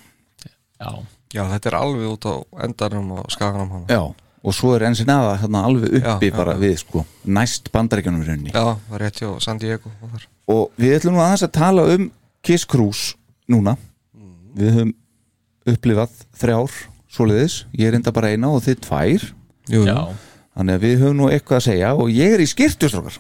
Já,
já, þetta er alveg út á endanum og skaganum hana
já, og svo er ensin aða hérna alveg uppi
Já, já,
bara við sko næst bandaríkjanum í rauninni
Já, það er rétt hjá San Diego og þar.
og við ætlum nú aðeins að tala um Kiss Cruise núna
Mm.
við höfum upplifað þrjár svoleiðis, ég er enda bara eina og þið tvær
Jú,
já,
Þannig að við höfum nú eitthvað að segja og ég er í skirtustrókar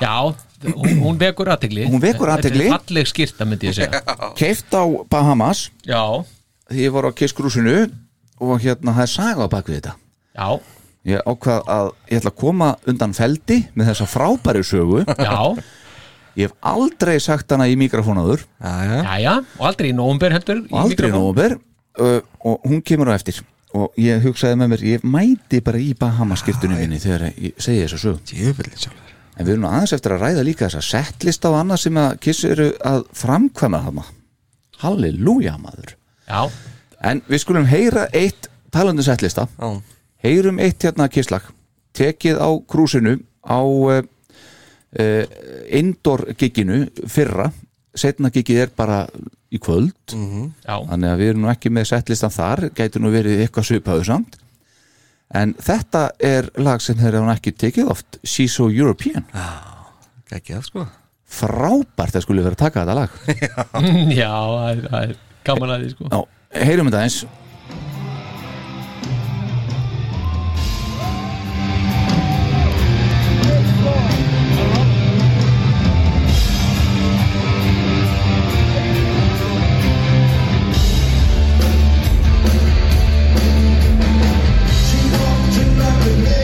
já hún, hún vekur aðtegli
Hún vekur athygli.
Þetta er falleg skýrta myndi ég segja
Keift á Bahamas
Já,
því ég var á Kiskrúsinu og hérna það er saga á bak við þetta
já,
Ég ákvað að ég ætla að koma undan feldi með þessa frábæri sögu
já,
Ég hef aldrei sagt hana í mikrofónaður
Já, já.
já, já og aldrei í nóumber heldur í
og aldrei
mikrofón.
nómber Uh, og hún kemur á eftir og ég hugsaði með mér, ég mæti bara í Bahamas skirtunum minni þegar ég segi þessa sögu
Djöfullin sjálfur.
En við erum nú aðeins eftir að ræða líka þessa settlist á annað sem að kiss eru að framkvæma þarna. Halleluja maður.
Já,
En við skulum heyra eitt talandi settlista.
Já,
Heyrum eitt hérna kisslag. Tekið á krúsinu á uh, uh, indoor giginu fyrra. Setna gigið er bara í kvöld.
já,
Þannig að við erum nú ekki með settlistan þar. Gæti nú verið eitthvað svipaðu samt. En þetta er lag sem þeir hafa nú ekki tekið oft. She's so European.
ekki að sko.
frábært að skulle vera að taka þetta lag
já, það er- það er gaman að því sko
Já, heyrum þetta eins
She walked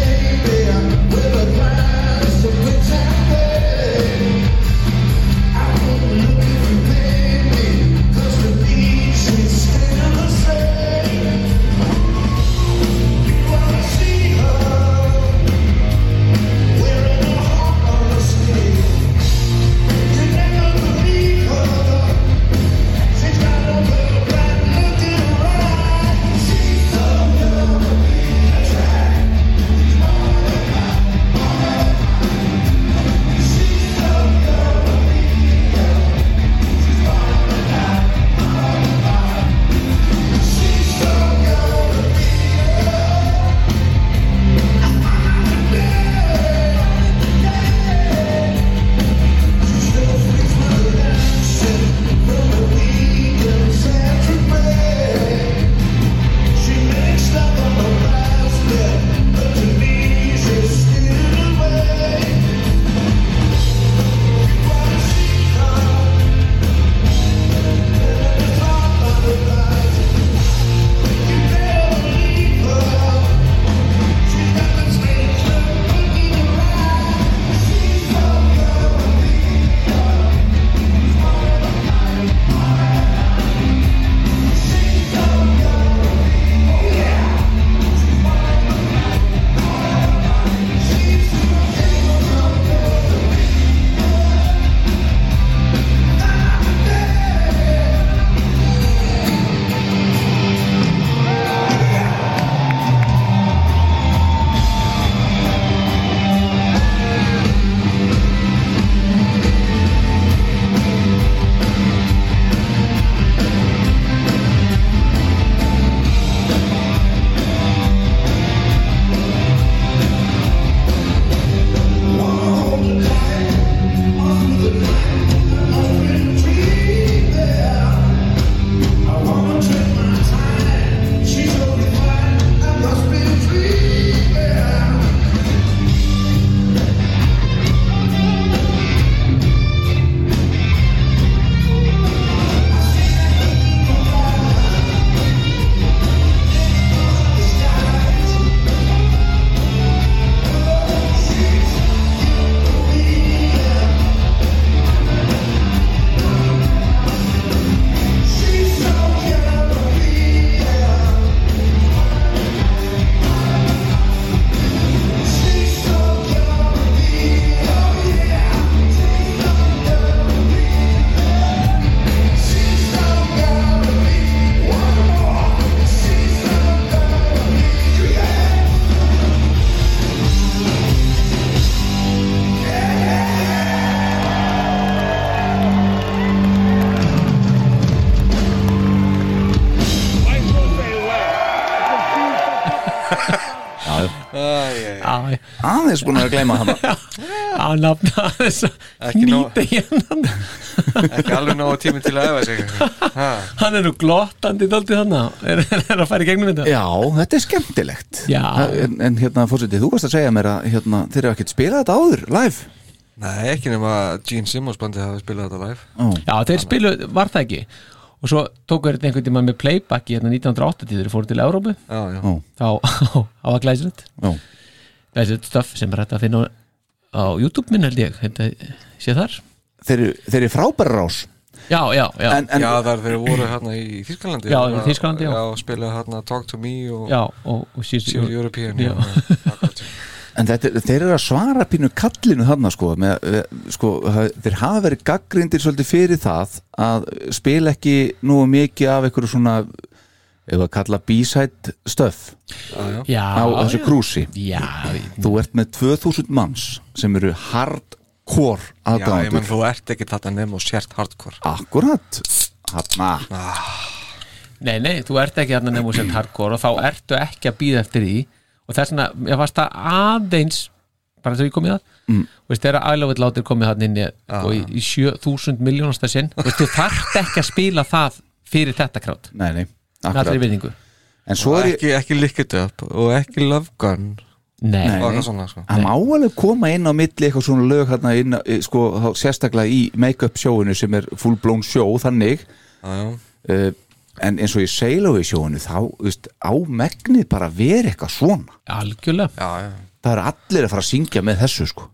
já.
aðeins búin að gleyma það
að nafna þess að
Ekki nóg-
nýta hérna
ekki alveg nóg tími til að efa sig ha.
hann er nú glottandi daldið hann er, er að fara í gegnum þetta
Já, þetta er skemmtilegt
Já.
en, en hérna fórsetið, þú varst að segja mér að hérna, þeir eru ekkert spilað þetta áður, live
Nei, ekki nema Gene Simmons bandið hafi spilað þetta live
Ó.
já, þeir spilu, var það ekki og svo tóku þeir þetta einhvern tímann með playback í hérna 1980 þegar þeir fóru til Európu
Já, já,
Ó.
þá á að glæsilegt
Já.
glæsilegt stöf sem er hægt að finna á, á YouTube minn held ég þetta sé þar
Þeir, eru- þeir eru frábæra rás
já, já, já,
en, en,
já þar þeir voru hérna í Þýskalandi
Já, í Þýskalandi, já.
Já, spilaði hérna Talk to Me og
já og, og síðan
Sýr European
Já.
já, akkurat.
en þetta, er- þeir eru að svara pínu kallinu þarna sko, með, eh, sko það- þeir hafa verið gaggrindir svolítið fyrir það að spila ekki nú mikið af einhverju svona ef að kalla B-side stöf
já,
á
Ah,
þessu
já.
krúsi
já,
þú ert með 2000 manns sem eru hardcore
já ég menn
aðdándur
þú ert ekki þetta nefn og sért hardcore
akkurat Hanna.
nei, nei, þú ert ekki hérna nefnum sem hardcore og þá ertu ekki að býða eftir því og þess vegna, ég fannst það aðeins bara þegar ég kom í það mm. veist, þegar aðlöfitt látir komið þarna inn í,
Ah.
og í, í 7000 miljónasta sinn veist, þú þarft ekki að spila það fyrir þetta krátt,
nei, nei,
með allri
akkurat
vinningu
en svo er ég
ekki, ekki Lick It Up og ekki Love Gun
nei,
og
Nei.
eitthvað svona sko.
hann má alveg koma inn á milli eitthvað svona lög hérna inn, á- eh, sko, þá sérstaklega í make-up sjóinu sem er full blown sjó þannig
Já, já.
uh, en eins og í sailaway sjóinu þá þú veist, á megnið bara verið eitthvað svona
algjörlega
já, já
það eru allir að fara að syngja með þessu sko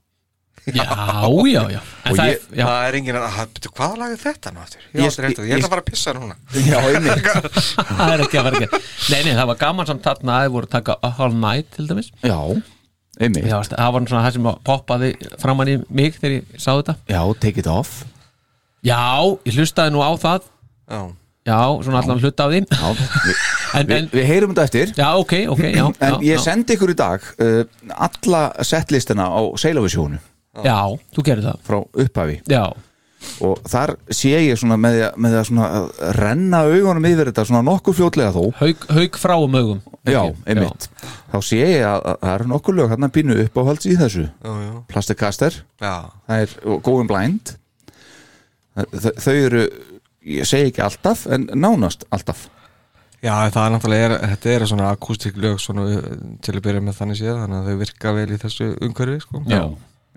já, já, já, en
Og
það
ég-
er já,
Það er engin að, betur, hvaða lag er þetta nú aftur? Ég,
Ég-
ég, ég, ég
ég-
ætla að fara að pissa núna
já, einmitt
það er ekki að vera ekki nei, nei, það var gaman samt þarna að þið voru að taka A All Night til dæmis
já, einmitt
Já,
já,
veist, það var nú svona það sem poppaði framann í mig þegar ég sá þetta
take it off
Já, ég hlustaði nú á það
Já,
Já, svona allan hluta af þín
já, við,
en,
við,
en,
við heyrum þetta eftir
Já, ok, ok, já
En
já,
ég sendi ykkur í dag uh, alla setlistina á Seilavisjónu
já, já, þú gerir það
frá upphafi
Já,
og þar sé ég svona með, því að- með því að svona að renna augunum yfir þetta svona nokkuð fljótlega þó
haug, haug frá um augum
Já,
Ekki?
einmitt Þá sé ég að, að það eru nokkuð lög hérna pínu uppáhalds í þessu
já, já,
Plastikaster,
já.
það er og Going Blind Þ Þau eru, ég segi ekki alltaf en nánast alltaf
Já, það er náttúrulega, er, þetta eru svona akústík lög svona, uh, til að byrja með þannig séð þannig að þau virka vel í þessu umhverfi sko.
Já,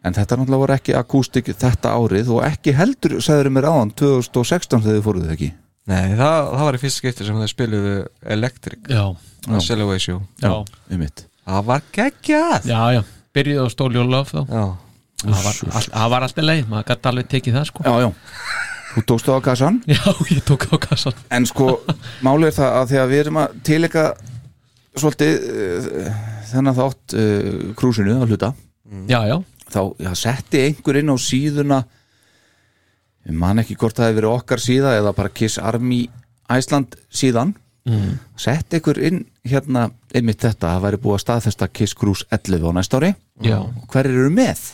En þetta náttúrulega voru ekki akústik þetta árið og ekki heldur, sagður mér áðan 2016 þegar þið fóruðu ekki
Nei, það, það var í fyrsta skipti sem þau spiluðu Electric,
já,
að Cellaway Show
já,
Einmitt
Það var geggjað
já, já. Byrjuðu á stóli og lof þá
Já,
Það var, all, það var alltaf leið, maður gæti alveg tekið það sko
Já, já Þú tókst það á kassan
Já, ég tók á kassan
En sko, málið er það að því að við erum að tilika svolítið uh, þennan þátt uh, krúsinu að hluta
Já, já,
þá já, setti einhver inn á síðuna ég man ekki hvort það hefur verið okkar síða eða bara Kiss Army Æsland síðan mm. setti einhver inn hérna einmitt þetta, það væri búið að staðfesta Kiss Cruise 11 á næsta ári
Já.
og hverjir eru með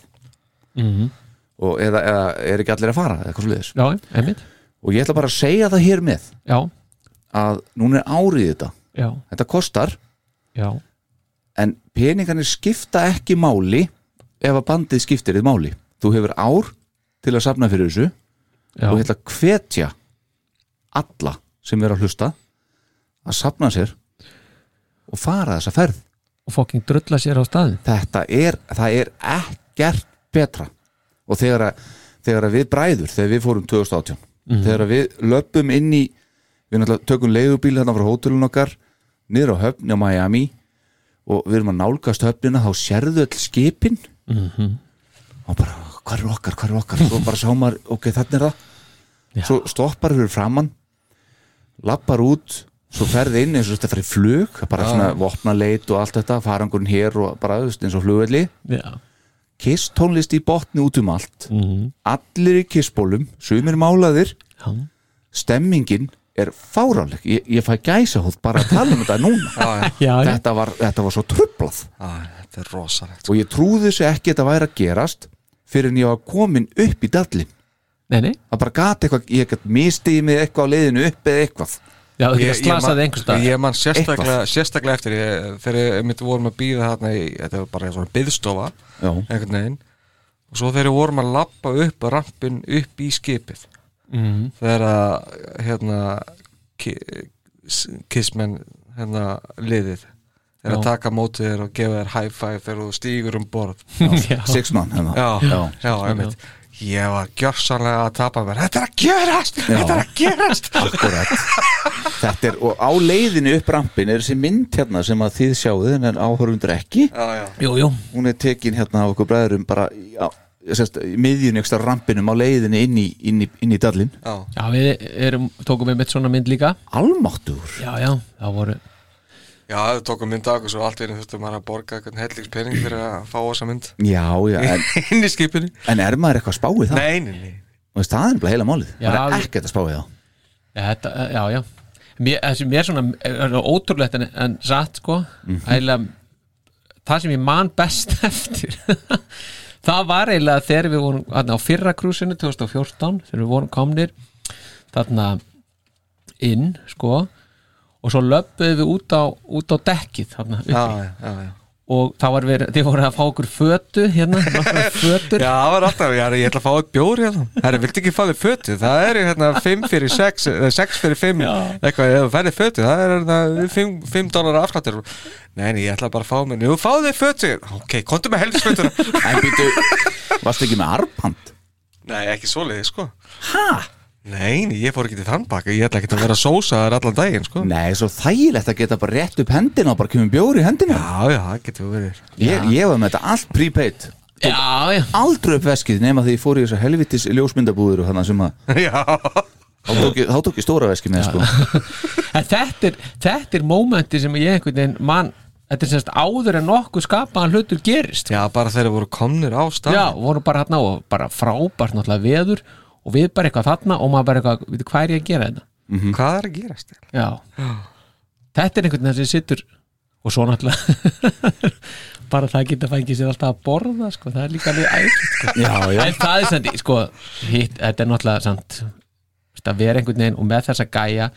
og eða, eða er ekki allir að fara eða eitthvað sliðis
já, einmitt
og ég ætla bara að segja það hér með
Já,
að núna er árið í þetta
já,
þetta kostar
já,
en peningarnir skipta ekki máli ef að bandið skiptir þið máli þú hefur ár til að safna fyrir þessu
já
og ég ætla að hvetja alla sem er að hlusta að safna sér og fara þessa ferð
Og fokking drulla sér á staðin
þetta er, það er ekkert betra og þegar að, þegar að við bræður þegar við fórum 2018 þegar að við löpum inn í við náttúrulega tökum leiðubíl þarna frá hótelun okkar niður á höfni á Miami og við erum að nálgast höfnina þá sérðu öll skipin og bara hvað er okkar, hvað er okkar svo bara sá maður, ok, þarna er það svo stoppar fyrir framann lappar út svo ferði inn eins og þetta fyrir flug það er bara svona vopna leit og allt þetta farangurinn hér og bara þú veist, eins og flugvelli
Já,
Kiss tónlist í botni út um allt allir í kissbólum sumir málaðir
já,
stemmingin er fáráleg ég, ég fæ gæsa hótt bara að tala um þetta núna
já, já,
já, já.
þetta var, þetta var svo trublað
já þetta er rosalegt sko.
og ég trúði þessu ekki að þetta væri að gerast fyrir en ég var komin upp í dallin
Nei, nei,
það bara gati eitthvað, ég gæti mistiði mig eitthvað á leiðinu upp eða eitthvað
Já, þú
Ég-
getur
ég man-
slasaði einhvers staðar.
Ég man sérstaklega,
Eitthvað.
sérstaklega eftir ég, þegar ég mitt vorum að býða þarna í, þetta var bara svona byðstofa
Já.
einhvern veginn og svo þegar við vorum að lappa upp rampin upp í skipið
Mhm.
þegar að hérna ki- s- kissmenn hérna liðið er að
Já.
taka mótið þér og gefa þér high five þegar þú stígur um borð
Já. Six man, hérna.
já,
Já.
já, já, einmitt ég var gjörsanlega að tapa mér þetta er að gerast, þetta er að gerast
Akkurat Þetta er, og á leiðinu upp rampin er þessi mynd hérna sem að þið sjáðu en en áhörfundur ekki
Já, já.
Jú, jú.
Hún er tekin hérna á okkur bræðurum bara í- á, sérst, í miðjun ekstra rampinum á leiðinu inn í, inn í, inn í dallin
Já.
Já, við erum, tókum við mitt svona mynd líka
Almáttur
Já, já, það voru
já, við tókum mynd af okkur svo allt verið þurftum maður að borga einhvern hellingspenning fyrir að fá þessa mynd
Já, já, en,
inn í skipinu
en er maður eitthvað að spá í það?
Nei, nei, nei
Og veist, það er bara heila málið,
Já,
maður er
við-
ekkert að spá í það
Já, þetta, já, já mér, þessi, mér svona, er það ótrúlegt en, en satt sko mm
Mhm.
það sem ég man best eftir það var eiginlega þegar við vorum þarna, á fyrra krúsinu 2014 þegar við vorum komnir þarna inn sko og svo löppuðum við út á, út á dekkið þarna uppi
Já, já, já.
og þá var verið, þið voru að fá okkur fötu hérna, nokkrar fötur
Já, það var alltaf, ég, ég ætla að fá eitt bjór hérna Herra, viltu ekki fá þig fötu? Það er hérna 5 fyrir 6, 6 fyrir 5 eitthvað, ef þú færði fötu, það er hérna 5, 5 dólar afslættur Nei, nei, ég ætla bara að fá mér, jú, fá þig fötu Ok, komdu með helgisfötuna
En býtu, varstu ekki með armband?
Nei, ekki svoleiði, sko Hæ? Nei, nei, ég fór ekki til þann baka, ég ætla ekki að vera sósaðar allan daginn, sko
Nei, svo þægilegt að geta bara rétt upp hendina og bara kemur bjóri í hendina
Já, já, það getur verið
Ég, ég var með þetta allt prepaid Tók
já, já.
Aldrei upp veskið nema því ég fór í þessar helvitis ljósmyndabúður og þannig sem að
Já
Þá tók ég, þá tók ég stóra veskið með sko
en þetta er, þetta er mómenti sem ég einhvern veginn mann þetta er semst áður en nokkuð skapaðan hlutur gerist
Já, bara þegar voru komnir á stað
Já, voru bara hérna og bara frábært náttúrulega veður og við bara eitthvað þarna og maður bara eitthvað, veitu hvað er ég að gera þetta?
Hvað er að gerast þér?
Já, þetta er einhvern veginn sem sittur og svo náttúrulega bara það geta fængið sér alltaf að borða sko, það er líka alveg ætlið sko.
Já, já.
En það er samt, sko, hitt, þetta er náttúrulega samt, veist, að vera einhvern veginn og með þessa gæja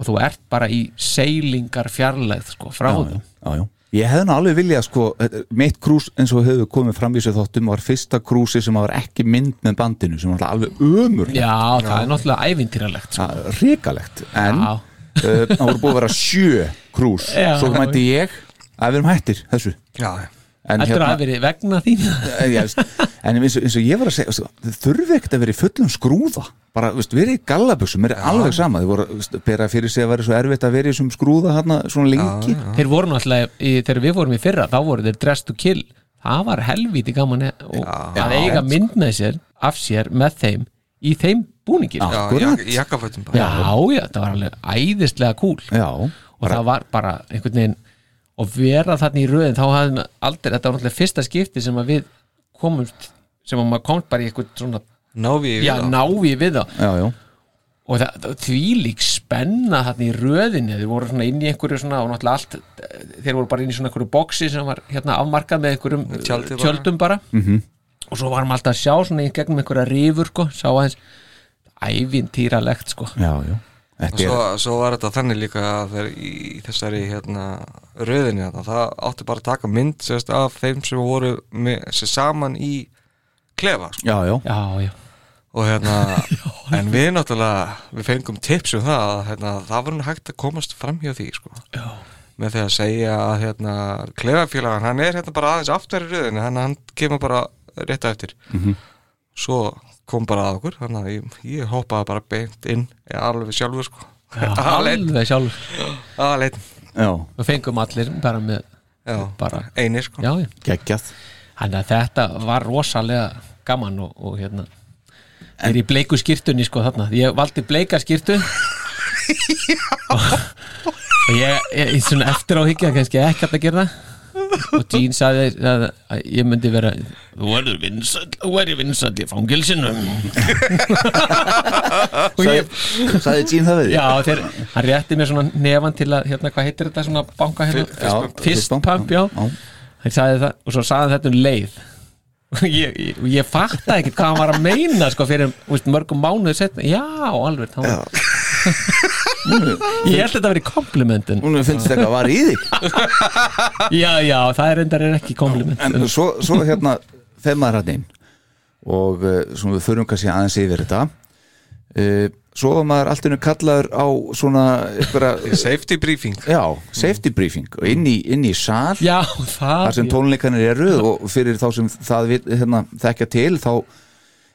og þú ert bara í seilingar fjarlægð sko, frá
Já,
þeim
já, já. Ég hefði nú alveg viljað sko eh, mitt krús eins og hefur komið fram í sér þóttum var fyrsta krúsi sem var ekki mynd með bandinu sem var alveg ömur
Já, það er náttúrulega ævintýralegt sko.
Ríkalegt En
Já.
uh, það voru búið að vera sjö krús
Já.
Svo mætti ég að við erum hættir þessu
Já,
En hérna-
Þetta er að verið vegna þín
Eh, ég veist, en eins og, eins og ég var að segja veist, þau þurfi ekkert að vera í fullum skrúða bara, veist, verið í gallabuxum, mér er alveg sama þau voru veist, að bera fyrir sig að vera svo erfitt að vera í þessum skrúða hérna svona lengi
þeir voru náttúrulega, í, þegar við vorum í fyrra þá voru þeir dress to kill það var helvíti gaman e- og að
Já.
eiga mynd með sér af sér með þeim í þeim búningir
Já,
já,
jak- jakkafötum bara
já, það var alveg æðislega cool
já,
og það var bara einhvern veginn og vera þarna í röðin þá hafði maður aldrei, þetta var náttúrulega fyrsta skipti sem að við komumst sem að maður komst bara í einhvern svona
Návi
já, návi við þá
já, já,
og það, það þvílík spenna þarna í röðinni, þeir voru svona inn í einhverju svona og náttúrulega allt, þeir voru bara inn í svona einhverju boksi sem var hérna afmarkað með einhverjum
Tjaldi bara.
tjöldum bara
Mhm.
og svo varum alltaf að sjá svona í gegnum einhverja rifur sko, sá aðeins ævintýralegt sko
já, já.
Og
Þetta
svo,
er,
svo var þetta þannig líka að þeir í þessari hérna, röðinni þarna, það átti bara að taka mynd sérst, af þeim sem voru með, sem saman í klefa sko.
já, já,
Já, já,
og hérna, en við náttúrulega við fengum tips um það að hérna, það var nú hægt að komast fram hjá því sko.
Já.
með því að segja að hérna, klefafélagan, hann er hérna bara aðeins aftur í röðinni, hann, hann kemur bara rétt á eftir svo kom bara að okkur, þannig að ég, ég hoppaði bara beint inn, ég alveg sjálfur sko.
já
Aleinn.
alveg sjálf
Aðeins
já,
og fengum allir bara með
Já,
bara,
einir sko
já, já
geggjað
þannig að þetta var rosalega gaman og, og hérna þeir í bleiku skýrtunni sko þarna ég valdi bleika skýrtu og ég, ég, ég svona eftir á higgja kannski ekki hægt að gera það og Jean sagði að, að ég myndi vera þú verður vinsall, þú verður vinsall í fangilsinu og ég
Sagði sagði Jean það við
já,
þig?
þeir, hann rétti mér svona nefan til að hérna, hvað heitir þetta svona banka hérna
Já,
fistpump, já hann sagði það, og svo sagði hann þetta um leið og ég, ég, og ég fatta ekkert hvað hann var að meina sko fyrir þú veist, mörgum mánuðu setna, já, alveg hann var, Ég held að þetta verið komplimentin
Hún finnst þetta að var í þig
Já, já, það er endar er ekki kompliment
En svo, svo hérna þegar maður hann inn og uh, svona við förum kannski aðeins yfir þetta uh, svo var maður allt innu kallaður á svona einhverja,
safety briefing
já, safety briefing og inn í, inn í sal
Já, það
þar sem tónleikanir eru og fyrir þá sem það við, hérna, þekkja til þá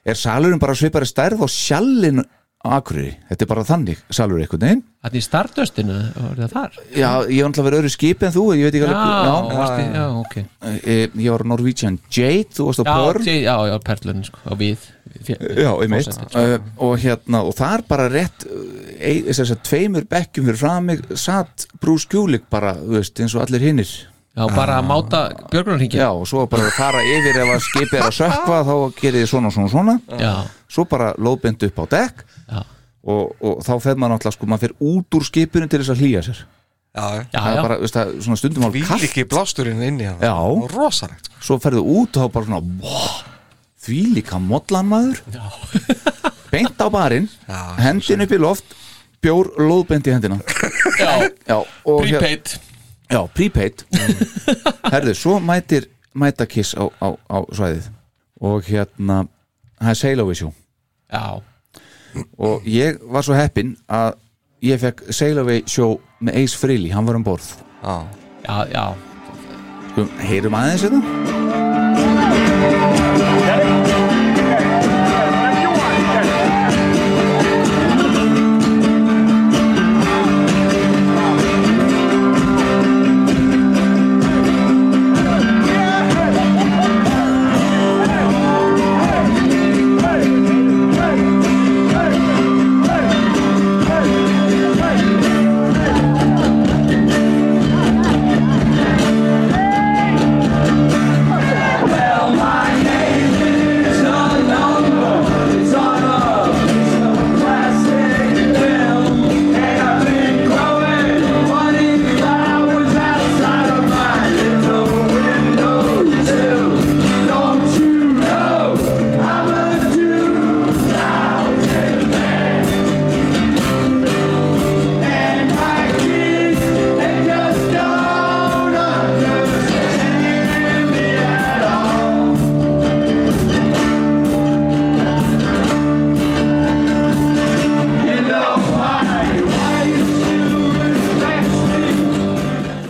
er salurinn bara svipari stærð og sjallinn akkurri, þetta er bara þannig salur einhvern veginn
Þannig í startdöstinu, var það þar?
já, ég var alltaf að vera öðru skipi en þú ég veit ekki
Já,
alveg
varstu, já, ok
Eh, ég var Norwegian Jade, þú varst á
Já,
Pearl
Jay- já, já, Perlun, sko, og við fjö-
Já, einmitt
fórsetið, sko.
uh, og hérna, og þar bara rétt uh, þess að tveimur bekkjum fyrir fram mig satt Bruce Kulik bara, þú veist, eins og allir hinnir
Já, bara að máta Björgrunarhingi
Já, og svo bara að fara yfir ef að skipið er að sökva þá gerir þið svona, svona, svona
Já,
svo bara lóðbind upp á dekk
já,
og, og þá fer maður náttúrulega, sko, maður fer út úr skipinu til þess að hlýja sér
Já,
já,
það
já.
er bara, veist, það, svona stundum
Víl
alveg kallt
ekki blásturinn inn í hann
Já.
Rosalegt sko.
svo ferðu út og þá bara svona wow, því líka modlan maður beint á barinn
Já,
hendin upp í loft bjór lóðbeint í hendina
já
já, og hérna- hér-
Prepaid
já, prepaid herðu, svo mætir mæta kiss á, á, á svæðið og hérna það er Sail Away Show
Já,
og ég var svo heppinn að ég fekk Sail Away Show með Ace Frehley, hann var um borð
Já,
já, já
sko, heyrum aðeins hérna. þetta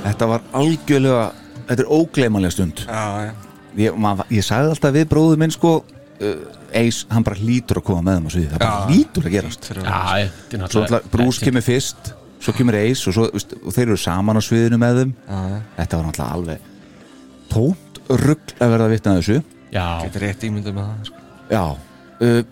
þetta var algjörlega, þetta er ógleymanlega stund
já, já
ég, maður, ég sagði alltaf við bróðu minn sko uh, Ace, hann bara lítur að koma með þeim á sviði það bara lítur að gerast
Fyrir að-
Já, þetta er
svo alltaf Bruce kemur fyrst svo kemur Ace og, svo, veist, og þeir eru saman á sviðinu með þeim
já.
þetta var alltaf alveg tómt rugl að verða vitnað þessu
Já,
Getur rétt ímyndum með það sko.
já, uh,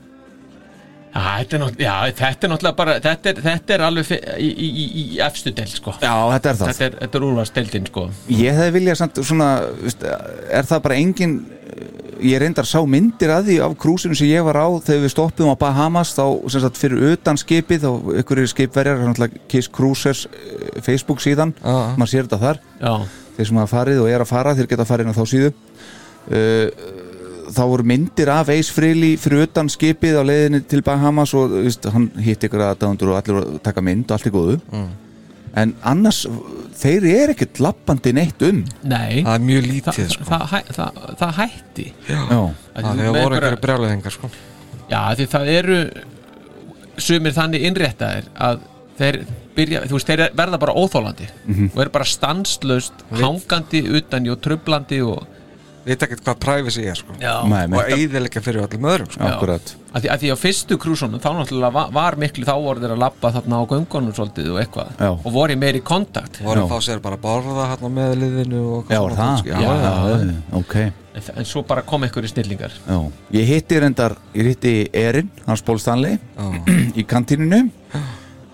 Já, þetta er náttúrulega, já, þetta er náttúrulega bara, þetta er, þetta er alveg fi- í, í, í, í efstu deild, sko.
já, þetta er það
Þetta er, þetta er úrvarsdeildin, sko.
ég hefði viljað samt svona veist, er það bara engin uh, ég reyndar sá myndir að því af krúsinu sem ég var á þegar við stoppum á Bahamas þá sem sagt fyrir utan skipið þá ykkur er skipverjar, hann ætla Kiss Cruisers eh, Facebook síðan,
Já.
maður sér þetta þar
Já,
þeir sem hafa farið og er að fara, þeir geta farið inn á þá síðu uh, þá voru myndir af Ace Frehley fyrir utan skipið á leiðinni til Bahamas og veist, hann hitt ykkur aðdæðundur og allir voru að taka mynd og allt er góðu en annars, þeir eru ekkert lappandi neitt um
nei.
Það er mjög
það,
lítið sko.
það, það, það, það hætti.
Já,
Að því með
Það hefur voru
einhverja-
einhverja brjálæðingar sko.
Já, af því það eru sumir þannig innréttaðir að þeir byrja, þú veist, þeir verða bara óþólandi
Mhm.
og eru bara stanslaust hangandi utan í og trublandi og
Vita ekkert hvað privacy er sko.
já,
Nei, nei.
Og eigðilega fyrir öllum öðrum sko.
akkurat
að því, að því á fyrstu krúsunum þá náttúrulega var, var miklu þá voru þeir að labba þarna á göngunum svolítið og eitthvað
Já.
og voru í meiri kontakt
Voru
Já.
að fá sér bara að borða hérna með liðinu
Já,
og eitthvað
er
svona
það?
fólk, sko. Já, já, já.
ok
en, þa- en svo bara kom einhverju snillingar
já. Ég hitti reyndar, ég hitti Erin, hans Ból Stanley í kantíninu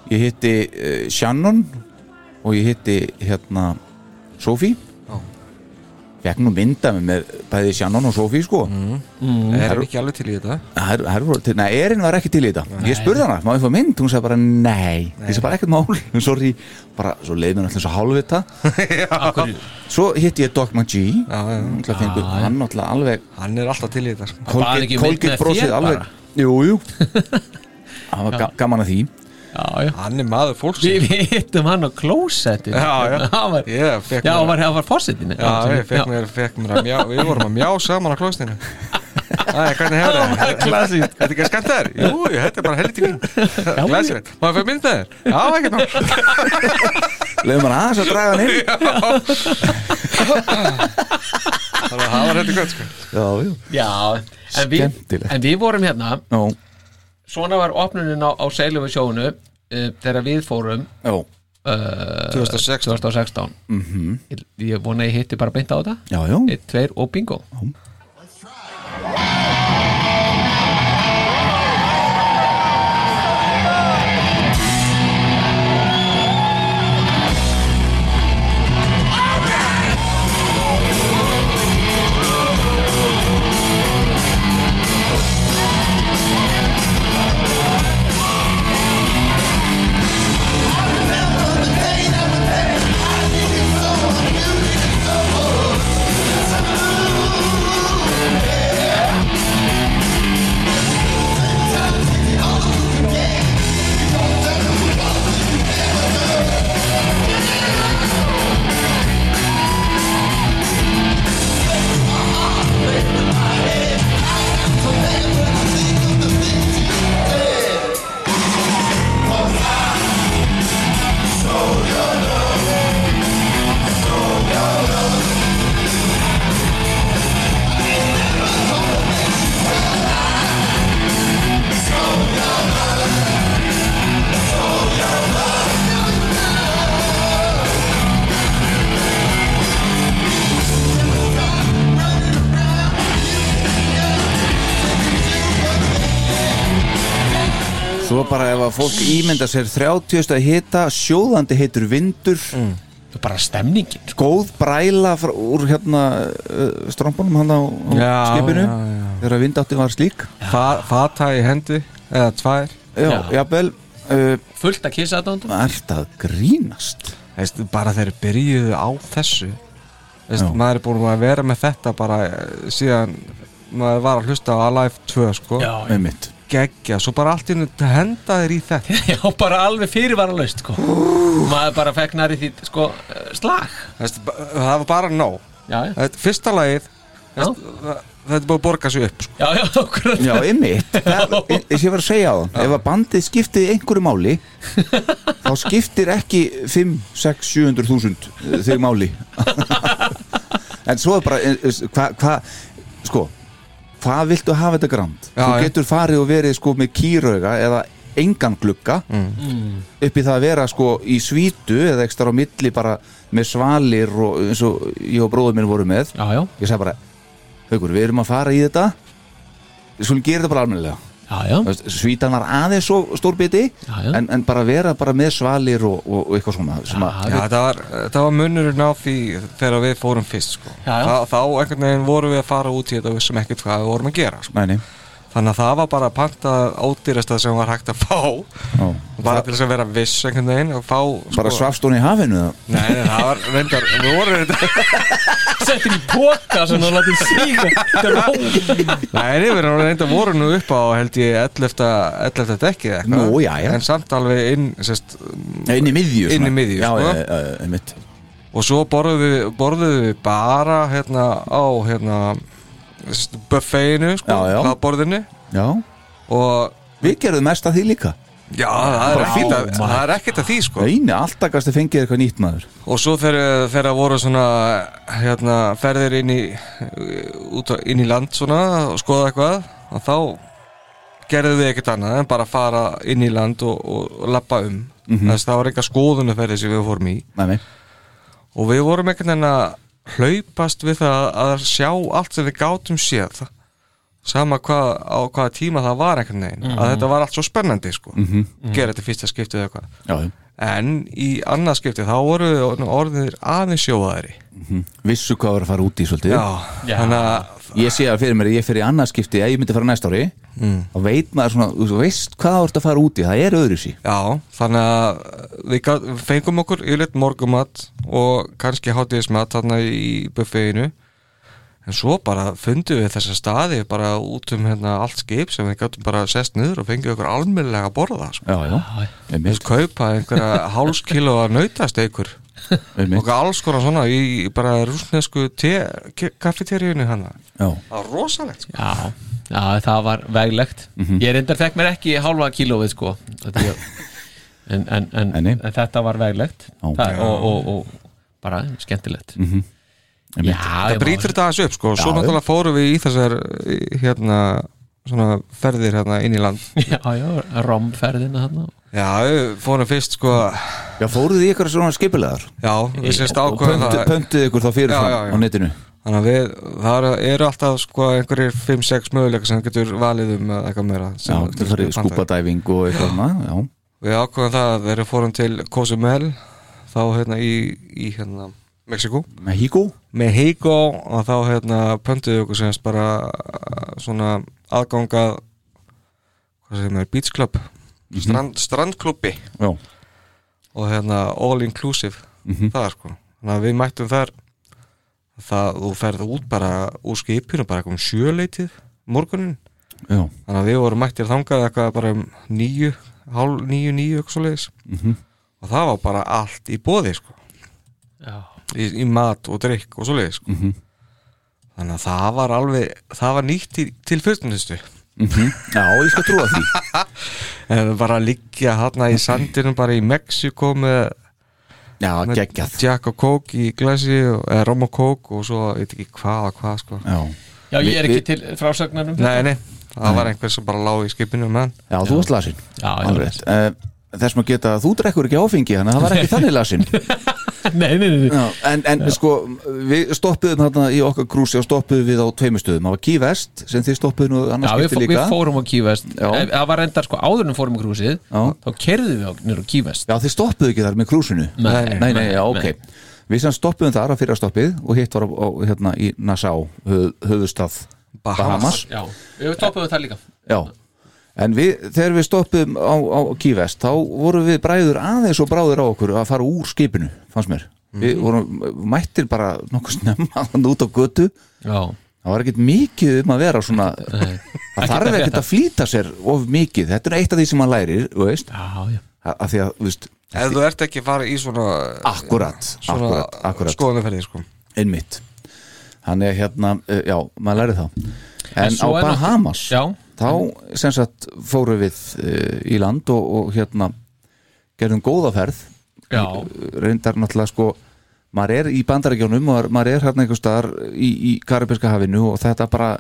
Ég hitti uh, Shannon og ég hitti hérna Sophie
Já.
Fekk nú mynda með, með bæði Shannon og Sophie sko mm.
Erum ekki alveg til í þetta
her, her, til, Nei, Erin var ekki til í þetta Ég spurði hana, má ég fá mynd? Hún sagði bara nei, ég sagði bara ekkert mál Sorry, bara svo leið mér alltaf svo hálfvita
Af hverju?
Svo hitti ég Dogma G
Já, já.
Náttúrulega fengur hann náttúrulega alveg
Hann er alltaf til í þetta sko.
Bara ekki mynd með
Kolgit
þér
brosið
bara.
alveg Jú, jú Það var ga gaman að því
já, já.
hann er maður fólks
Við vi hittum hann á klósettinu
Já, já.
Hann var,
Ég fekk
já,
mér-
hann var, hann var fórsetinu
Já, ég fekk mér, fekk mér að mjá Við vorum að mjá saman á klostinu Æ, hvernig hefur það? Klassíkt Þetta er ekki að skemmt þær? Jú, jú, þetta er bara helviti mín Klassíkt Má ég fæ mynd þær? Já, ekki mál
Leðum hann aðeins að draga hann inn
Þannig að það var helviti gott, sko
Já, já
Já, en við,
Skemmtilegt.
en við vorum hérna
Já,
Svona var opnunin á, á seilum við sjónu uh, Þegar við fórum
já,
2006
2016
Mhm.
ég, ég vona að ég hitti bara beint á þetta
já, já
Eitt, tveir og bingo
Svo bara ef að fólk ímynda sér 30. hita, sjóðandi heitur vindur
Mm.
Það er bara stemningin sko.
góð bræla frá, úr hérna uh, strampunum hann á, á
Já,
skipinu
já, já.
þegar vindátti var slík
Fa- Fata í hendi Eða tvær
Já,
Já.
jafnvel uh,
Fullt að kissa þetta
Ert að grínast
Veistu, bara þeir byrjuðu á þessu Veistu,
Já.
maður er búin að vera með þetta bara eh, síðan maður var að hlusta á Alive 2 sko,
Já,
einmitt
geggja, svo bara allt í hennu henda þeir í þetta
já, bara alveg fyrirvaralaust sko. Maður bara fekk nari því sko, eh, slag
Veistu, ba- það var bara nóg
Já, já,
þetta, fyrsta lagið
já,
þetta er búið að borga sig upp sko.
já, já, okkur
Já, einmitt Það, ég, ég var að segja á það Ef að bandið skiptið einhverju máli þá skiptir ekki 5, 6, 700 þúsund eh, þig máli En svo er bara eh, eh, hvað, hva, sko hvað viltu hafa þetta grand?
Já,
Þú
já.
getur farið og verið sko með kýrauga eða engan glugga
Mm.
upp í það að vera sko í svítu eða ekstra á milli bara með svalir og eins og ég og bróður minn voru með
Já, já,
ég sagði bara Haukur, við erum að fara í þetta við skulum gera þetta bara almennilega
já, já,
Þú veist, svítan var aðeins svo stór biti
Já, já.
en, en bara vera bara með svalir og, og, og eitthvað svona sem að,
Já, það var, það var munurinn á því þegar við fórum fyrst sko.
Já, já.
Þá, þá einhvern veginn vorum við að fara út í þetta og vissum ekkert hvað við vorum að gera sko.
næni,
þannig að það var bara panta ódýrasta sem var hægt að fá
já,
bara til þess að vera viss einhvern veginn og fá sko.
bara svafst hún í hafinu eða?
Nei, nei, það var reyndar, við vorum reyndar
settir í póka sem þú látið síga Þetta er ógeð.
Nei, nei, við erum reyndar voru nú upp á held ég 11. 11. dekkið eitthvað
Nú, já, já.
En samt alveg inn, sérst
Nei, inn í miðju
Inn í miðju,
já,
sko.
já, já, já, einmitt.
Og svo borðuðum við, borðuðum við bara hérna á hérna sérst, buffeinu, sko
Já, já.
Hlaðborðinu
já,
Og
við gerðum mest að því líka
já, það er,
Bara
ekkert að,
fínt.
það er ekkert að því, sko
eini, alltaf gæst að fengið eitthvað nýtt maður
Og svo þegar þegar voru svona hérna, ferðir inn í út, á- inn í land svona og skoða eitthvað og þá gerðu við ekkert annað en bara fara inn í land og, og, og lappa um þess að það var eitthvað skoðunaferði sem við fórum í
næmi,
og við vorum ekkert en að hlaupast við það að sjá allt sem við gátum séð sama hvað, á hvaða tíma það var einhvern veginn að þetta var allt svo spennandi sko gera þetta í fyrsta skiptið eða eitthvað
já, já.
en í annað skiptið þá voru orðnir- orðnir aðeins sjóðaðri
Mhm. vissu hvað var að fara út í svolítið
Já.
þannig að
ég sé það fyrir mér, ég fyrir annarskipti ef ég myndi fara næst ári
Mm.
og veit maður svona, þú veist hvað þú ert að fara út í það er öðru sí
Já, þannig að við gat, við fengum okkur yfirleitt morgumat og kannski hátíðismat þarna í buffeinu en en svo bara fundum við þessa staði bara út um hérna allt skip sem við gáttum bara sest niður og fengið okkur almennilega að borða sko.
já, já,
Þess, kaupa einhverja hálfs kíló að nautastekur og alls konar svona í bara rúsnesku kaffeteríunni hana
já.
það var rosalegt sko.
Já, já það var veglegt
Mhm.
Ég reyndar fekk mér ekki hálfa kílóið sko Þetta ég- en, en, en, en, þetta var veglegt
Já.
það, og, og, og bara skemmtilegt
Mhm.
Já,
það
ég
brýtur þetta aðeins upp sko
Já,
svo
já.
náttúrulega fórum við í þessar hérna svona ferðir hérna inn í land
Já, já, romferðina þarna
já, við fórum fyrst sko
já, fóruð þið ykkur svona skipilegar
já, við sérst
og
ákvæðum
pöntu, pöntuð ykkur þá fyrir
Já, já, já.
á netinu
þannig að við, það eru alltaf sko einhverjir 5-6 möguleika sem getur valið um eða eitthvað meira
já,
sem-
það er skúpadæfing og eitthvað svona, já,
Við ákveðum það að þegar við fórum til Cozumel þá hérna í, í hérna Mexiko
Mexico
Mexico og þá hérna pöntuðu okkur semst bara uh, svona aðganga hvað sem er beach club
Mhm.
strand, strandklubbi
Já.
og hérna all inclusive
Mhm.
það er sko þannig að við mættum þar það, þú ferð út bara úr skipinu bara eitthvað um sjöleitið morgunin
Já.
þannig að við vorum mættir þangað eitthvað bara um níu, hálf níu, níu eitthvað svo
Mhm.
og það var bara allt í bóði sko
Já.
í, í mat og drikk og svo sko
Mhm.
þannig að það var alveg það var nýtt til, til fyrstunistu
Mhm. já, ég skal trúa því
en bara að liggja hérna í sandinum bara í Mexiko með
já,
með
geggjað
Jack og Coke í glasi og- eða Rom og Coke og svo, ég veit ekki hvað og hvað sko
já,
Já, ég er
Vi-
ekki til um frásögnanum
nei, nei, það
Nei.
var einhver sem bara lág í skipinu með hann
já, þú varst lasin
Já, já,
alveg rétt. Eh, þess maður geta, þú drekkur ekki áfengi þannig að það var ekki þannig lasin
nei, nei, nei, nei.
Já, en, en sko, við stoppuðum hérna í okkar krúsi og stoppuðum við á tveimur stöðum það var Key West sem þið stoppuðum og
Já,
annars
við, fó,
skipti líka
við fórum á Kívest
Já.
Það var reyndar sko áðurinnum fórum á krúsið
Já.
þá kerðum við á, nýr á Kívest
já, þið stoppuðu ekki þar með krúsinu
Nei,
nei, nei, já, ok Við sem stoppuðum þar að fyrra stoppið og hitt var á, á, hérna, í Nassau, höf, höfustaf Bahamas.
Já, við toppuðum það líka
Já, en við, þegar við stoppuðum á, á Kívest þá vorum við bræður aðeins og bráður á okkur að fara úr skipinu, fannst mér Við vorum mættir bara nokkuð snemma þarna út á götu
Já,
Það var ekkert mikið um að vera svona
nei.
Það þarf ekkert að flýta sér of mikið Þetta er eitt af því sem maður lærir, þú veist
já, já.
að, að því að, þú veist,
ef þú ert ekki að fara í svona
akkurat,
svona
Ah, akkurat, akkurat
skoðanferði sko
einmitt hann er hérna, uh, já, maður læri það en, á
svo er náttúrulega-
Bahamas
Já.
þá sem sagt fóru við uh, í land og, og hérna gerðum góða ferð
Já.
reyndar náttúrulega sko maður er í bandarækjónum og maður er hérna einhver staðar í, í Karibiska hafinu og þetta bara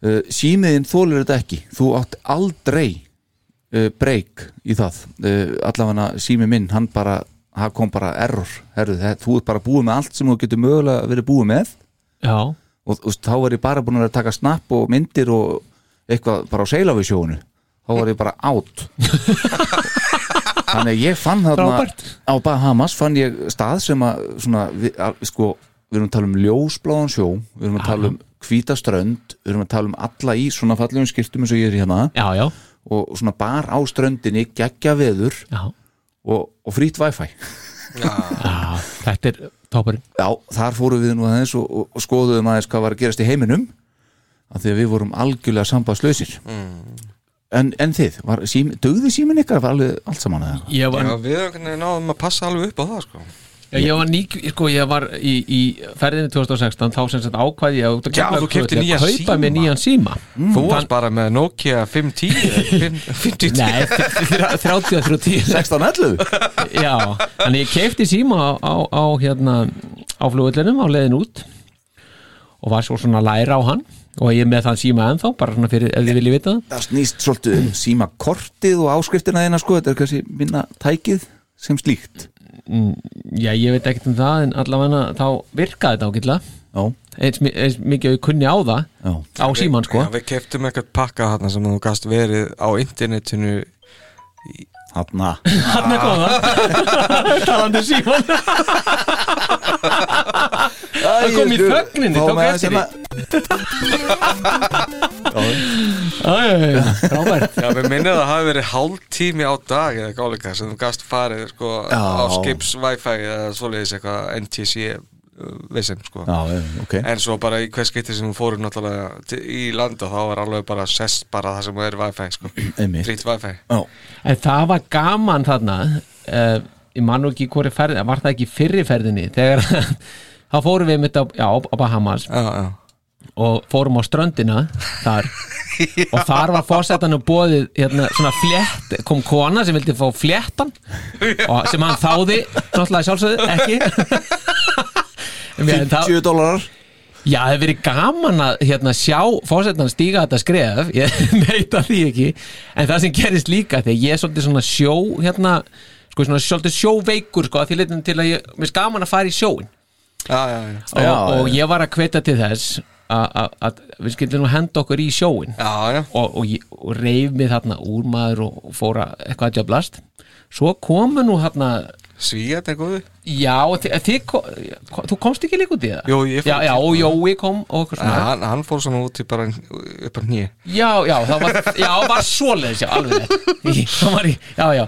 uh, símiðin þólur þetta ekki þú átt aldrei uh, breyk í það uh, allavega sími minn, hann bara hann kom bara error, herðu þetta þú ert bara búið með allt sem þú getur mögulega verið búið með
já,
og þú veist, þá var ég bara búin að vera að taka snapp og myndir og eitthvað bara á seila við sjónu þá var ég bara átt þannig að ég fann þarna
Frábært.
á Bahamas fann ég stað sem að svona, við, að, sko, við erum að tala um ljósbláðan sjó við erum að tala um hvítaströnd við erum að tala um alla í svona fallegum skiltum eins og ég er hérna
já, já,
og svona bar á ströndinni, geggja veður
já.
og, og frýtt wifi
já Þetta er toppurinn
Já, þar fórum við nú aðeins og, og, og skoðuðum aðeins hvað var að gerast í heiminum af því að við vorum algjörlega sambandslausir
Mm.
en, en þið, var sím, dögði símin ykkar var alveg allt saman að
Ég var,
já, við einhvern veginn náðum að passa alveg upp á það sko
Já, ég var nýk, sko, ég var í, í ferðinu 2016, þá sem sagt ákvæði ég að
Já, þú keyptir nýjan
að kaupa
síma.
mér nýjan síma
Mm.
þú varst bara með Nokia 510 510
Nei, 30 og 30
11
Já, þannig ég keipti síma á, á, á hérna á flugullinum á leiðin út og var svo svona að læra á hann og ég er með þann síma ennþá, bara svona fyrir ef þið viljið vita það
Það snýst svolítið um símakortið og áskriftina þeina sko, þetta er kannski minna tækið sem slíkt
Já, ég veit ekkert um það en allavega þá virkaði þetta ágætlega
Já,
eins, mi- eins mikið að ég kunni á það
já,
á síman sko
Já, við keftum eitthvað pakka þarna sem þú gast verið á internetinu
þarna
Hann er góða Talandi síman
Það
kom í þögninni, tók eftir því.
hérna-
Rábert
Já, við minnið að það hafi verið hálftími á dag eða gáleika sem þú gast farið sko,
Já.
á skips wifi eða svoleiðis eitthvað NTC vissinn sko.
Já, já, ok.
en svo bara í hvers getið sem hún fórum náttúrulega til- í landa þá var alveg bara sest bara það sem er wifi sko.
Einmitt.
Trýtt wifi
En það var gaman þarna uh, Ég man nú ekki hvori ferði Var það ekki fyrri ferðinni Þegar þá fórum við mitt á, já, á Bahamas
já, já.
Og fórum á ströndina Þar Og þar var fórsetan og bóðið hérna, svona flétt, kom kona sem vildi fá fléttan og sem hann þáði náttúrulega sjálfsögðu ekki En það-
50 dólarar
Já, það hefur verið gaman að hérna, sjá fósettan stíga þetta skref ég neita því ekki en það sem gerist líka þegar ég er svolítið svona sjó hérna, sko svona svolítið sjóveikur sko, að því leitum til að ég, mér er gaman að fara í sjóin
já, já, já.
og, og ég var að hvetja til þess a- a- að við skildum nú henda okkur í sjóin
já, já.
og, og, ég- og reyf mig þarna úr maður og, og fóra eitthvað að djöblast svo komu nú þarna
Svíat er góði
já, þi, þi, þú komst ekki líka út í það
Jó, ég fór
já, já, og Jói kom og okkur
ja,
svona
hann, hann fór svona út í bara upp að nýja
Já, já, það var, já, var svoleiðis, já, alveg rétt Í- Það var í, já, já,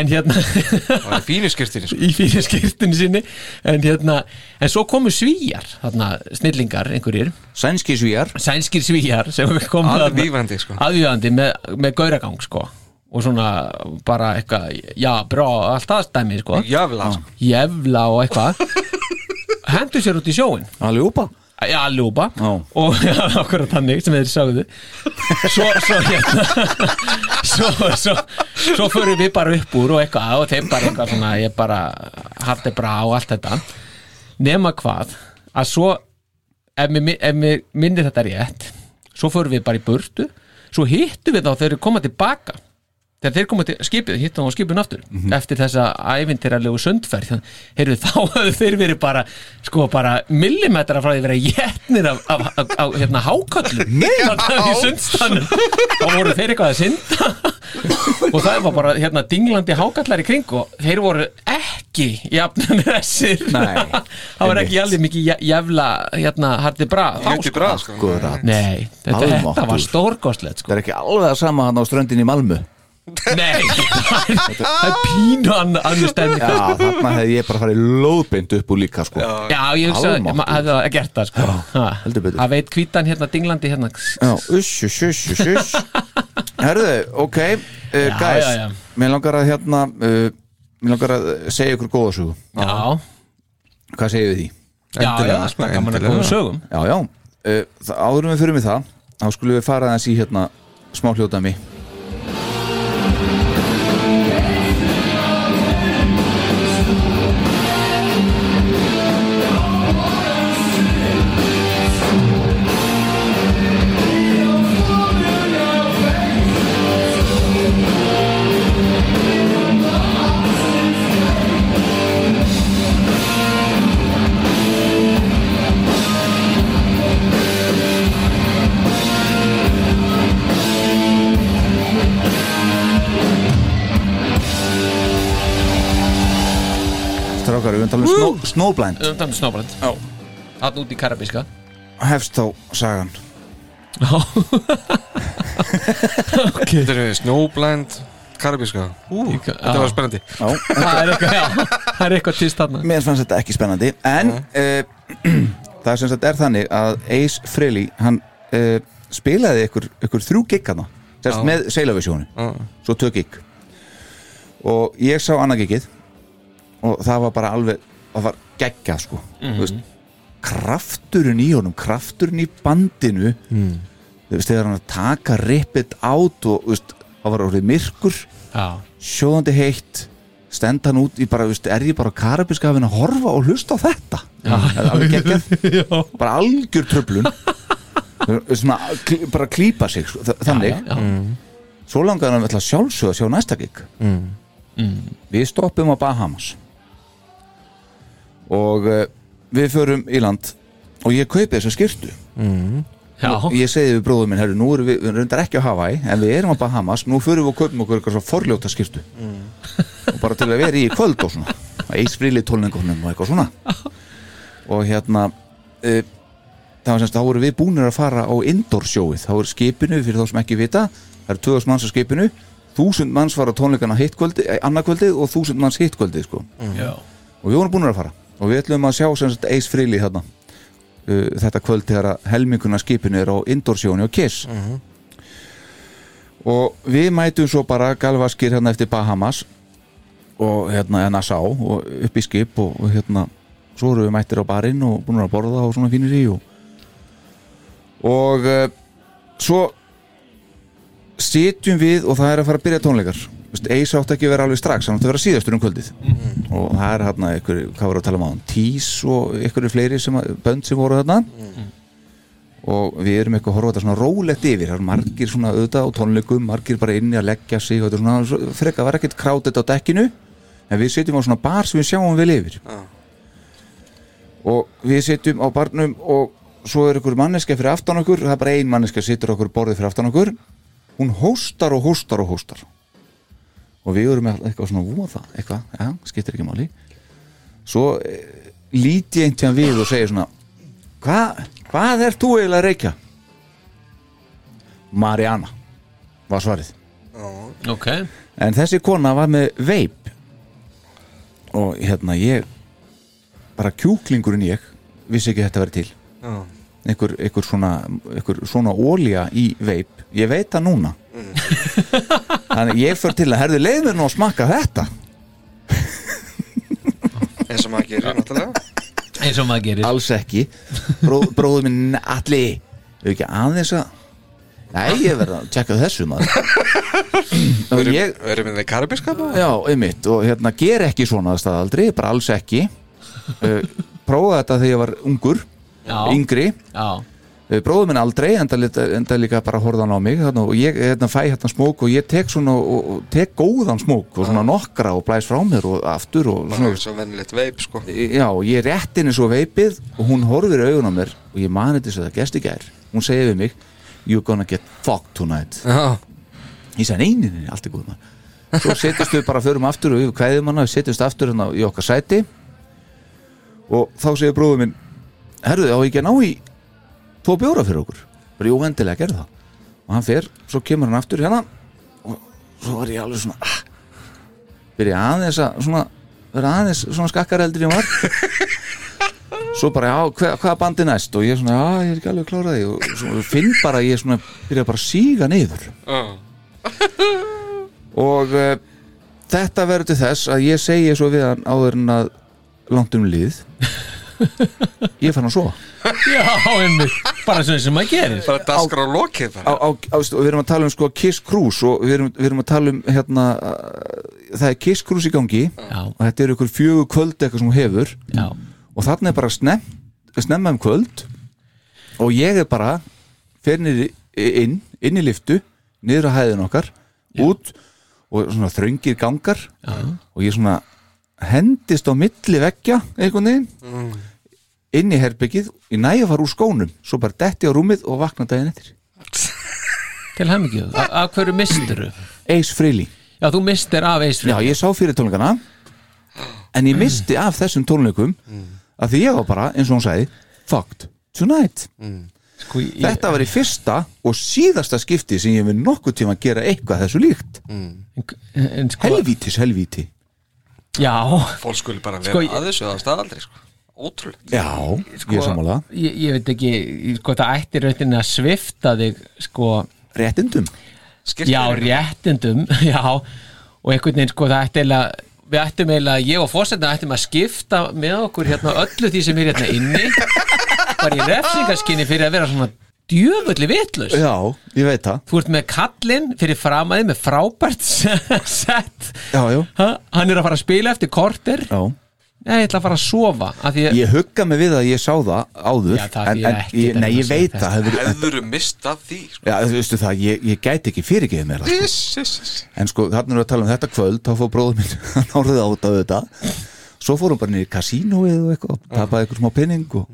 en hérna
var í fínu skirtinni sko.
Í fyrir skirtinu sinni En hérna, en svo komu svíjar Þarna, snillingar, einhverjir
Sænski svíjar
Sænskir svíjar sem komu þarna-
Aðvífandi, sko.
Aðvífandi með, með gauragang, sko Og svona bara eitthvað Já, brá, allt það stæmi, sko
Jöfla sko.
Jefla og eitthvað Hendu sér út í sjóin
Aljúpa
Já, ljúpa
Já.
og já, okkur að þannig sem þeir sagðu svo, svo hérna svo, svo, svo förum við bara upp úr og eitthvað og þeim bara eitthvað svona ég bara harti bra og allt þetta nema hvað að svo ef mér, mi- ef mér minnir þetta rétt svo förum við bara í burtu svo hittum við þá þegar þeir koma tilbaka þegar þeir koma til skipið, hittum á skipin aftur eftir þessa æfintirarlegu sundferð þannig, heyrðu, þá hafðu þeir verið bara sko bara millimetra frá því að vera jætnir af, af, af, af hérna háköllum þannig í sundstanum og voru þeir eitthvað að synda og það var bara hérna dinglandi hákallar í kring og þeir voru ekki jafnum þessir
Nei,
það var ekki
einmitt.
alveg mikið jæ- jævla hérna hardi bra þá,
Jötti bra sko.
Akkurat
Nei, þetta,
Almáttugur.
þetta var stórkostlegt sko.
Það er ekki alveg að sama hann á ströndin í Malmö
Nei, það er- það er pínu ann- annars stæmi
Já, þarna hefði ég bara farið lóðbeint upp úr líka sko Já,
Já, ég hugsa að
Almáttugur.
maður hefði að gert það sko. Ha.
heldur betur.
Að veit hvítan hérna dinglandi hérna
uss, uss, uss, uss, uss Herðu, ok, uh,
Já,
guys
já, já.
Mér langar að hérna uh, Mér langar að segja ykkur góða sögu
Já,
Hvað segir við því?
já, já,
Endilega, sko,
það gaman að
endilega.
góða sögum
Já, já, uh, það- áðurum við fyrir mig það Þá skulum við fara aðeins í hérna smá hljóðdæmi Strákar, við erum talað um snó, Snowblind
Umdæmi snóbrand
Já.
Þarna út í karabíska
Hefst þá sagan
Já,
Þetta er eh, Snowblind Karabíska sko. Þetta var spennandi
Já,
það er eitthvað, já, það er eitthvað týst þarna
mér fannst þetta ekki spennandi En uh, það er sem sagt er þannig að Ace Frehley, hann uh, spilaði ykkur, ykkur þrjú gig hana sérst
Já.
með Seilavisjónu,
Já.
svo tök gig og ég sá annað gigið og það var bara alveg það var geggjað sko mm veist, krafturinn í honum, krafturinn í bandinu mm. veist, þegar hann að taka rippið át og þú veist, það var orðið myrkur
Já,
sjóðandi heitt stend hann út í bara, veist, er ég bara á karabiska hafinn að horfa og hlusta á þetta Það er alveg geggjað. bara algjör tröflun svona, kl- bara klípa sig sko, þa- þannig
já, Mm. já.
svo langaði hann alltaf sjálfsög að sjá næsta gig mm. við stoppum á Bahamas og uh, við förum í land og ég kaupi þessa skyrtu
já.
ég segi við bróðum minn, herru, nú erum við, við reyndar ekki á Hawaii en við erum á Bahamas, nú förum við og kaupum okkur eitthvað svo forljóta skýrtu og bara til að vera í í kvöld og svona eisfríli tólningunum og eitthvað svona og hérna e, það var semst, þá voru við búinir að fara á indoor sjóið, þá voru skipinu fyrir þá sem ekki vita, það eru 2000 manns á skipinu þúsund eh, manns var á tónleikana hitt kvöldi, annarkvöldi og þúsund manns hitt kvöldi sko.
Já.
og við vorum búinir að fara og og við ætlum að sjá sem sagt Ace Frehley þarna uh, þetta kvöld þegar að helminguna skipinu er á Indorsjóni og Kiss og við mætum svo bara galvaskir hérna eftir Bahamas og hérna NSA og upp í skip og, og hérna svo eru við mættir á barinn og búin að borða og svona fínir í og, og uh, svo sitjum við og það er að fara að byrja tónleikar Þú veist, Ace átti ekki að vera alveg strax hann átti að vera síðastur um kvöldið og það er hérna ykkur, hvað voru að tala um á hann Tís og ykkur fleiri sem að, bönd sem voru þarna og við erum eitthvað að horfa þetta svona rólegt yfir það er margir svona auðvitað á tónleikum margir bara inni að leggja sig og þetta er svona svo- frekar var ekkert krátið á dekkinu en við sitjum á svona bar sem við sjáum vel yfir og við sitjum á barnum og svo er ykkur manneska fyrir aftan okkur það er bara ein manneska sittur okkur borðið fyrir aftan okkur hún hóstar og hóstar og hóstar og við erum með eitthvað svona voða eitthvað, ja, skiptir ekki máli svo eh, lít ég einhvern við og segir svona Hva, hvað er þú eiginlega að reykja? Mariana var svarið
ok,
en þessi kona var með veip og hérna ég bara kjúklingurinn ég vissi ekki að þetta verið til einhver, einhver svona, einhver svona ólja í veip, ég veit það núna þannig ég fyrir til að herðu leið mér nú að smakka þetta
eins og maður gerir náttúrulega
eins og maður gerir
alls ekki Bró, bróður minn allir hefur ekki aðeins að nei, ég verða að tjekka þessu maður og ég
Við erum við í karabískap
já, einmitt, og hérna ger ekki svona að staðaldri, bara alls ekki uh, prófaði þetta þegar ég var ungur
já,
yngri,
já,
uh, bróður minn aldrei enda, lit- enda líka bara horfði hann á mig þarna, og ég hérna, fæ hérna smók og ég tek svona og, og tek góðan smók og svona nokkra og blæs frá mér og aftur og svona
eins og vennilegt veip sko
já, ég rétt henni svo veipið og hún horfir í augun á mér og ég mani til þess að það gesti gær hún segir við mig, you're gonna get fucked tonight
Já,
ég segi, nei, nei, nei, allt er góð maður svo setjast við bara förum aftur og við kveðum hana við setjast aftur hérna í okkar sæti og þá segir bróður minn herruði, á ekki að ná í tvo bjóra fyrir okkur bara jú, endilega gerði það og hann fer, svo kemur hann aftur hérna og svo var ég alveg svona ah, byrja aðeins að svona, vera aðeins svona skakkareldur ég var svo bara, já, hve, hvaða bandi næst og ég svona, já, ég er ekki alveg kláraði og svo finn bara, að ég svona byrja bara að síga niður og uh, þetta verður til þess að ég segi svo við hann áður en að langt um lið ég fann að svo á,
já, einmitt bara svona sem maður gerir
bara daskar á lokið
á,
bara
á, og við erum að tala um sko Kiss Cruise og við erum, við erum að tala um hérna uh, það er Kiss Cruise í gangi
já,
og þetta eru ykkur fjögur kvöld eitthvað sem hún hefur
já,
og þarna er bara snem, snemma um kvöld og ég er bara fer niður í- inn, inn í liftu niður á hæðin okkar út og svona þröngir gangar Já. og ég svona hendist á milli veggja einhvern veginn inn í herbyggið, ég næja fara úr skónum svo bara detti á rúmið og vakna daginn eftir
til hemmingju af hverju misturu?
Ace Frehley
Já, þú mistir af
Já,
eisfrið
ég sá fyrir tónleikana en ég misti af þessum tónleikum mm. að því ég var bara, eins og hún sagði fucked tonight
sko, ég-
Þetta var í fyrsta og síðasta skipti sem ég vil nokkuð tíma að gera eitthvað þessu líkt
Mm. en, sko,
Helvítis helvíti
Já,
Fólk skulle bara vera
Sko, ég-
að þessu að staðaldri sko Ótrúlegt
Já, ég er sammála
ég, ég veit ekki, ég- sko, það ætti rauninni að svifta þig sko,
Réttindum
Skiptir
já,
þér-
réttindum já, og einhvern veginn, sko, það ætti eiginlega við ættum eiginlega, ég og fórsetina ættum að skipta með okkur hérna öllu því sem er hérna inni bara í refsingaskinni fyrir að vera svona djöfulli vitlaus
Já, ég veit það
Þú ert með kallinn fyrir framæði með frábært sett
Já, já.
Ha? Hann er að fara að spila eftir korter
Já.
Nei, ég ætla að fara að sofa að ég,
Ég hugga mig við að ég sá það áður
Já, það er
en,
ég
en,
ekki
ég, Nei, ég
dæmis að
veit
segja
það hefur,
Hefðuru mist af því sko.
Já, þú veistu það, ég, ég gæti ekki fyrirgeðið mér það sko.
Iss, iss, iss.
En sko, þarna erum við að tala um þetta kvöld þá fór bróður minn, hann orðið át af þetta Svo fórum bara niður í kasínóið og eitthvað, tapaði eitthvað smá penning og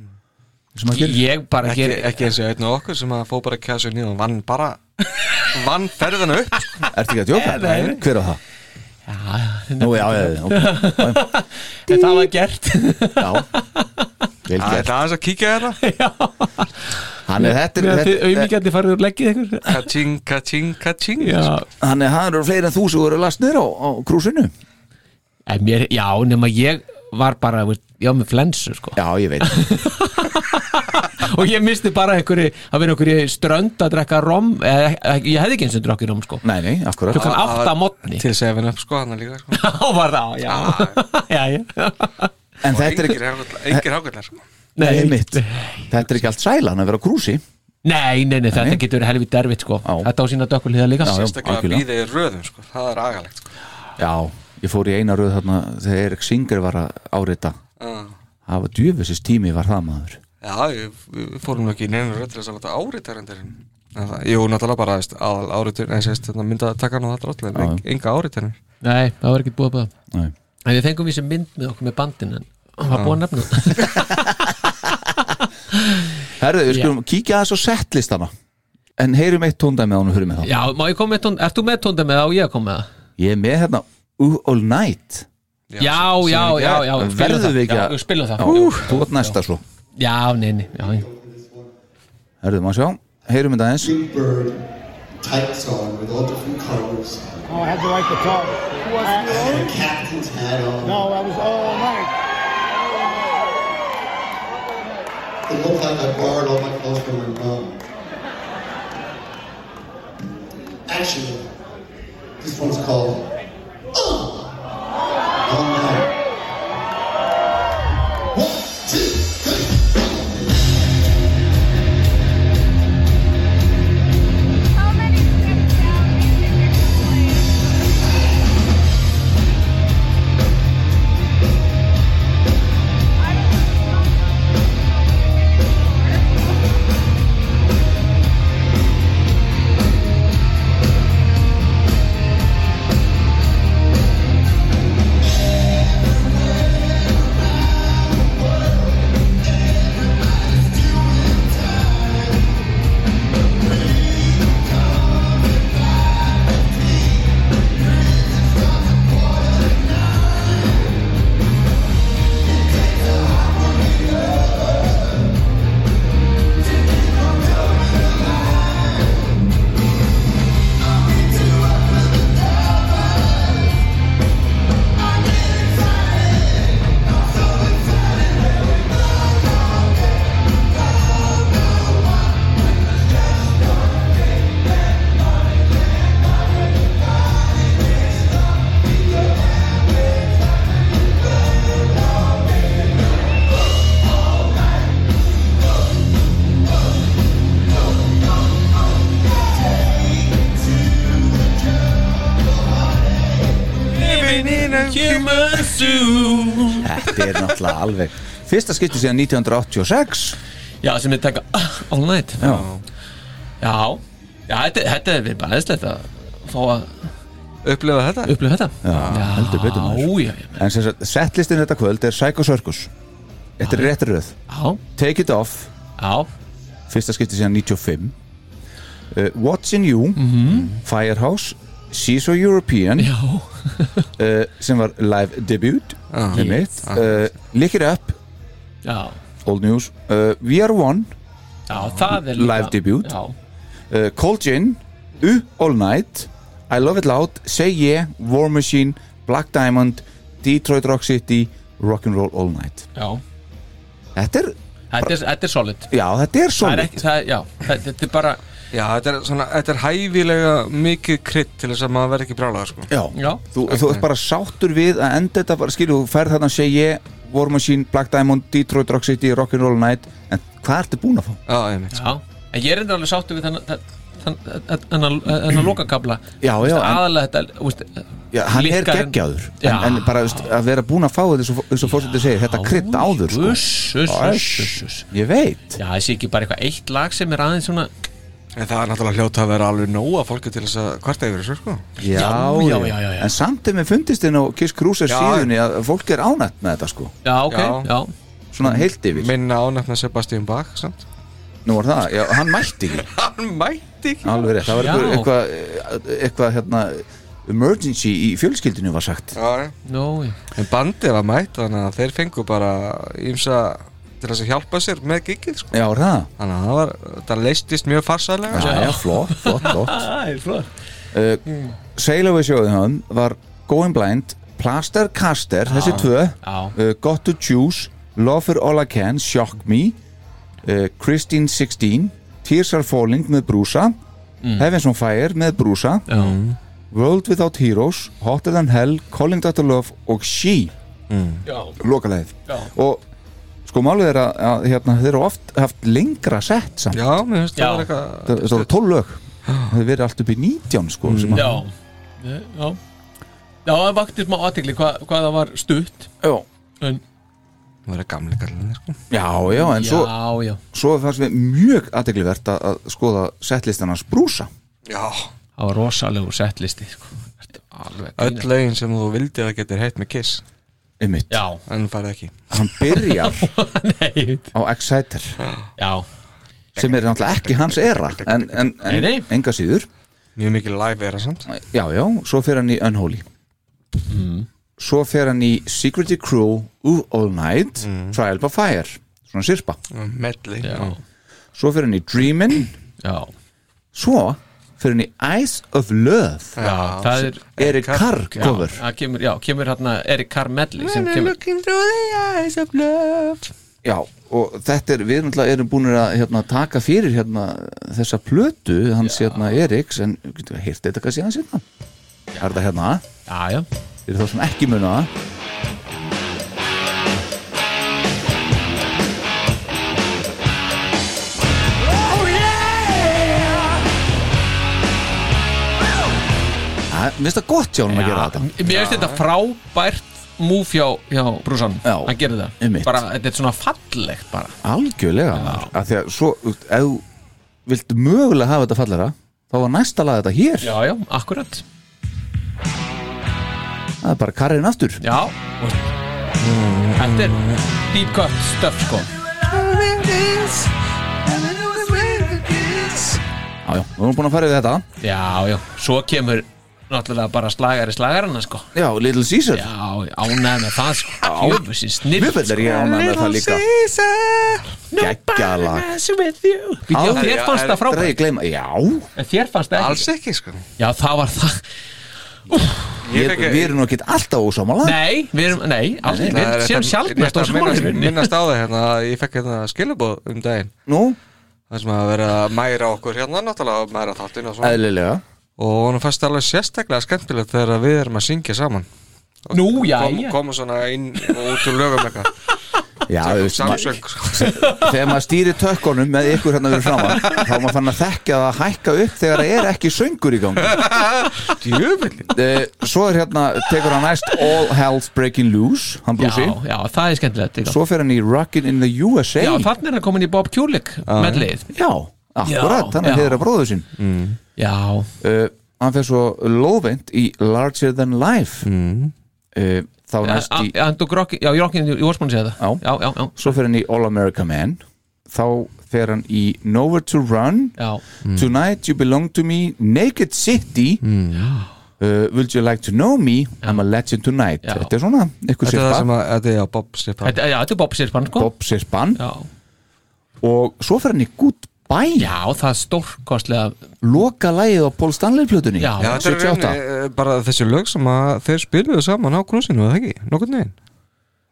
sem að
ég,
gera
bara
ekki,
ger
ekki eins og einn og okkur sem að fó bara kæða sér nýðan vann bara vann ferðina upp sko.
Ertu ekki að djóka?
Eh, Nei, nei.
Hver á það?
já, já,
Nú, já, já, já, já,
En það var gert
já. Vel
Ah,
Það er
gert
aðeins að kíkja hérna. þetta
Hann er þetta
Meðan þið
þetta-
auðmíkjandi farið úr leggið ykkur
Kaching, kaching, kaching
Já,
sko.
Hann er, hann eru fleiri en þú sem eru lastnir á, á krúsinu
en mér, já, nema ég var bara, veist, já, með flensu sko.
Já, ég veit
Og ég misti bara einhverju að vera einhverju strönd að drekka rom eða, Ég hefði ekki eins og drakki rom sko.
Nei, nei, akkurat
Klukkan átta að mótni
Til 7-up sko hann líka sko.
Á var það, já, já, já.
En
Og
þetta er
engir ágætla- engir ágætlar sko.
Nei,
Nei,
einmitt. Þetta er ekki allt sælan að vera á krúsi
nei, nei, nei, þetta getur verið helvið derfitt sko. Þetta á sína dökulíða líka
Já, já.
Sérstaklega að
algjörlega.
býða í röðum sko. Það er agalegt sko.
Já, ég fór í eina röð þarna þegar Erik Singer var að árita
Já.
Það var djöfisins tími var það maður
Já, ég- við fórum nú ekki í neina röð til þess að láta árita reyndarinn Jú, náttúrulega bara veist, aðal áritur Nei, sérst, þetta mynda að taka hann á þetta allir En en- enga áritarinn
Nei, það var ekki búið að búið
Nei.
En við fengum vísið mynd með okkur með bandin En hann var
Já.
búið að nefna það.
Herðu, við skulum kíkja aðeins á settlistana En heyrum eitt tóndæmi án og hörum með það
Já, má ég koma með tón Ert þú með tónda með það og ég að koma með það?
Ég er með hérna Ooh All Night
Já, já, já, já, já spilum
Verðum
það.
við ekki
Já,
að
við spilum það
Já, Þú ert næsta sko. svo
Já, nei, nei, já, já
Herðu, maður sjá Heyrum þetta aðeins
Type song with all different colors.
Oh, I had the right to talk. I-
And a captain's hat on.
No, I was all night.
It looked like I borrowed all my clothes from my mom. Actually, this one's called Ugh! All Night. One, two,
Human Zoo
Þetta er náttúrulega alveg Fyrsta skipti síðan 1986
Já, sem við taka ah, all night
Já,
Já, já þetta, þetta er við bara eðslegt að fá að
Upplifa þetta?
upplifa þetta
já, heldur betur maður
Já, já, já,
En sem sagt, settlistin þetta kvöld er Psycho Circus Þetta er rétt röð
já,
Take It Off
já.
Fyrsta skipti síðan 95 uh, Watching You Mm. Firehouse She's so European
Já.
uh, sem var live debut
Já.
sem mitt uh, Lick It Up
Já,
Old News uh, We Are One
já, það er líka
Live debut.
Já,
uh, Cold Gin U All Night I Love It Loud Say Yeah War Machine Black Diamond Detroit Rock City Rock'n'Roll All Night
já
Þetta er,
Þetta er, þetta er solid
já þetta er
Það er
solid
ekki, það, er- já, það- þetta er bara
Já, þetta er, svona, þetta er hæfilega mikið krydd til þess að maður verði ekki brálaður sko.
Já,
Já,
þú, þú ert bara sáttur við að enda þetta bara, skilju, þú færð þarna Say Yeah, War Machine, Black Diamond, Detroit Rock City, Rock'n'Roll Night en hvað ertu búin að fá?
Já, einmitt
já En ég er endur alveg sáttu við þann þannig að lokakabla
Mm. Já, já, en-
aðalega þetta úst,
Já, hann er
Lykkarinn-
geggjaður en,
Já.
en bara veist, að vera búin að fá þetta eins og- eins og fórsetið segir, þetta krydd áður sko.
uss, uss, uss, uss, uss.
Ég veit
Já, það sé ekki bara eitthvað eitt lag sem er aðeins svona
En það er náttúrulega hljóta að vera alveg nóga fólki til þess að kvarta yfir þessu sko.
Já,
já, já, já, já.
En samt er mér fundist inn á Kiss Cruiser
Já.
síðunni að fólk er ánætt með þetta sko
Já, ok,
Já.
já, Mm.
Svona heilt yfir
Minna ánæfna Sebastian Bach samt.
Nú var það, já, hann mætti ekki
Hann mætti ekki
Alveg rétt, það var
Já.
einhver- eitthvað eitthvað hérna emergency í fjölskyldinu var sagt
Já, já.
no já.
En bandið var mætt þannig að þeir fengu bara ímsa til þess að hjálpa sér með gigið sko.
Já, var það
Þannig að það var, það leistist mjög farsalega
Já, já, flott, flott, flott
Það er flott
uh, Sail Away sjóðum hann var Going Blind, Plaster Caster,
Ah.
þessi tvö uh, Got to Choose, Love for All I Can Shock Me uh, Christine 16 Tears Are Falling með Brúsa
Mm.
Heavens on Fire með Brúsa Mm. World Without Heroes Hotter Than Hell, Calling Dr. Love og She lokalegið
Já.
og sko málið er að, að hérna, þeir eru oft haft lengra sett samt
Já, mér finnst það Já. vera eitthvað-
það, það var 12 lög það hefði verið allt upp í 19 sko sem að-
já já já, það vakti smá aðtikli hvað, hvað það var stutt
já
en,
Það verður gamli kallin sko.
já, já, en svo
já, já.
svo fannst við mjög aðdeglivert að, að skoða settlistan hans brúsa
Já
það var rosalegur settlisti sko. Ertu alveg að
Öll
grínast?
lögin sem þú vildi að getur heitt með kiss
Einmitt.
já,
En farið ekki
hann byrjar
nei
á Exciter
já,
sem er náttúrulega ekki hans era en, en,
Nei, nei.
en enga síður
Mjög mikið live era samt
já, já, svo fer hann í Unholy svo fer hann í Security Crew Ooh All Night Trial by Fire svona sirpa
Medley
já,
svo fer hann í Dreamin
já,
svo fer hann í Eyes of Love
já það er
Erik Carr cover
það kemur, já, kemur hérna Erik Carr Medley sem kemur
Looking through the eyes of love
Já, og þetta er, við náttúrulega erum búin að hérna, taka fyrir hérna, þessa plötu hans hérna Eriks en getum við heyrt þetta kannski hans hérna Það er þetta hérna,
já, já,
fyrir þá sem ekki muna það
Oh,
Það- Mér finnst það gott hjá hann að gera þetta
Ah, mér finnst þetta frábært múf hjá, hjá brúsan
Já,
hann gerir það,
einmitt.
bara, þetta er svona fallegt bara,
Algjörlega maður. af því að svo, ef þú vilt mögulega hafa þetta fallara þá var næsta lag þetta hér
já, já, akkurat
það er bara karrin aftur
já, og þetta er deep cut stuff sko
Já, já, við erum búin að fara yfir þetta
já, já, svo kemur náttúrulega bara slagari slagarana sko
Já, Little Caesar
já, ánæði með það sko jöfusinn snill
Mjög vel er ég ánægð með það líka Gekkja lag
þér fannst það
Aldrei
frábært
gleyma, já
en þér fannst það
Alls
ekki
ekki sko
já, það var það,
ég,
fekk- e-
Við erum nú ekkert alltaf ósámála
nei, við erum nei, aldrei,
Það
við
er
erum sem sjálfnast
þetta-
á
rétt að minnast-
smálinni
Minnast á það hérna að Ég fekk hérna skilabóð um daginn
Nú,
Það sem að vera að mæra okkur hérna Náttúrulega að mæra þáttinn og svona
eðlilega
Og honum fannst alveg sérstaklega skemmtilegt Þegar við erum að syngja saman
nú, já,
Kom,
já
Komum svona inn og út úr lögum eitthvað
Já, þú veist, maður-
Samsöng sko.
þegar maður stýri tökkunum með ykkur hérna verið framan þá er maður fann að þekka það að hækka upp þegar það er ekki söngur í gangi
Djöfullinn.
Eh, Svo er hérna, tekur hann næst All Hell's Breaking Loose, hann
já,
blúsi
já, það er skemmtilegt líka.
Svo fer hann í Rockin' in the USA
já, þannig er hann komin í Bob Kulik með leið
Já, akkurat,
Já,
þannig
já.
að þeirra bróður sinn
já,
uh, Hann fer svo lóðvend í Larger Than Life mm. uh, Þá
Eh,
næst í
Andu Grokki, já, Jokkin, ég var spúin að segja það
Já.
já, já, já,
Svo fer hann í All America Man Þá fer hann í Nowhere to Run
já.
Mm. Tonight You Belong to Me Naked City
Mm.
uh, Would You Like to Know Me I'm a Legend Tonight
Já.
Þetta er svona, ykkur
Þetta er það sem
sirpa
að Þetta er já, Bob Sippa
Þetta, já, þetta er Bob Sirpan, sko
Bob Sirpan
Já.
Og svo fer hann í Goodbye
já, það er stórkostlega
Loka lagið á Paul Stanley plötunni
Já.
Já, þetta er
78.
reyni, bara þessi lög sem að þeir spiluðu saman á grúsinu, eða ekki? Nókvæmt neginn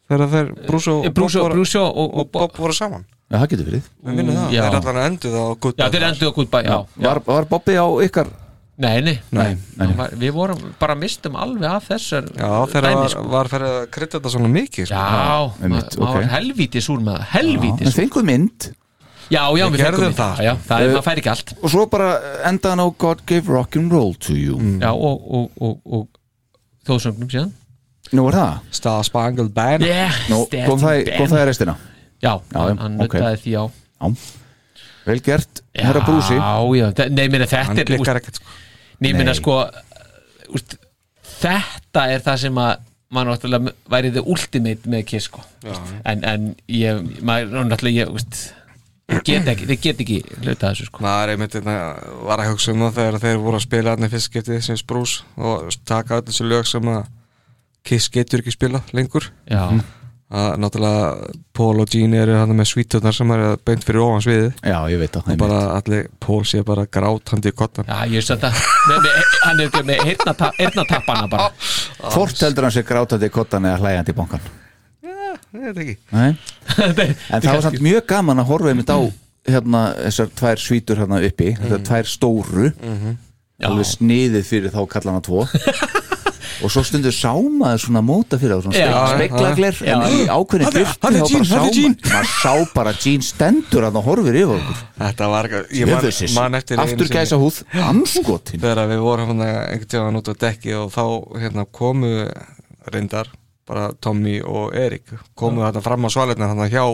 Þegar þeir Brúsó
Brúsjó Brúsjó Eh, og, Mm,
og Bob voru saman
Já, það getur verið
Við vinnum það,
Já.
þeir allan að endu það á gutt
Já, þeir endur okkur bæ, já, já.
Var, var Bobby á ykkar?
Nei, nei,
Nei, nei.
Hann Var, Við vorum, bara mistum alveg af þessar
Já, þeirra
dæmi,
var,
sko.
var fyrir að krydda þetta svona mikið sko.
Já,
einmitt,
maður
ok.
var helvítið súr með það Helvítið
Við
súr
fengum mynd
Já, já,
Við
við fengum
gerðum
í-
það.
Já, já, það er,
Eh,
maður fær ekki allt
og svo bara endaðan á God gave rock'n'roll to you
Mm.
Já, og, og, og, og þóðsöngnum síðan
nú er það,
Star Spangled Band
Yeah,
nú, kom, það í, kom það í restina
Já,
Já, já,
hann
ok.
nuttaði því á
vel gert, herra brúsi
Já, já, þe- nei, minna þetta
Hann
er úst,
blikkar ekkert sko.
Nei, minna
Nei.
sko úst, Þetta er það sem að maður náttúrulega væri þið ultimate með kiss sko úst, en, en ég, maður náttúrulega ég, úst, ég get ekki, þið get ekki hluta þessu sko
Maður einmitt hérna, var að hugsa um það þegar þeir voru að spila hann í fyrst skiptið sem Brús og taka öll þessi lög sem að Kiss getur ekki spila lengur
Já,
að náttúrulega Paul og Gene eru hann með svítunar sem eru beint fyrir ofan sviðið
já, ég veit það,
og
einmitt.
bara allir, Paul sé bara grátandi í kottan
já ég er svolítið að með- með- hann er ekki með heyrnata- heyrnatappana bara
Hvort heldur hann sé grátandi í kottan eða hlæjandi í bankan
Ég veit ekki
Nei. en það var samt mjög gaman að horfa einmitt á
Mm.
hérna, þessar tvær svítur hérna uppi þessar tvær stóru
Mm.
alveg sniðið fyrir þá kallana tvo og svo stundur sámaður svona móta fyrir þá,
Já,
svona
já,
speiklagler
já.
en í ákveðin
Hann er- hann er Jean, hann er Jean.
maður sá bara Jean stendur að það horfir yfir okkur
Þetta var ekki Ég man,
Jöfusins.
man eftir einu
aftur
sinni-
gæsa húð, anskotin
þegar við vorum hann einhvern tíðan út á dekki og þá hérna, komu reyndar bara Tommy og Erik komu þarna fram á svalinna hann hjá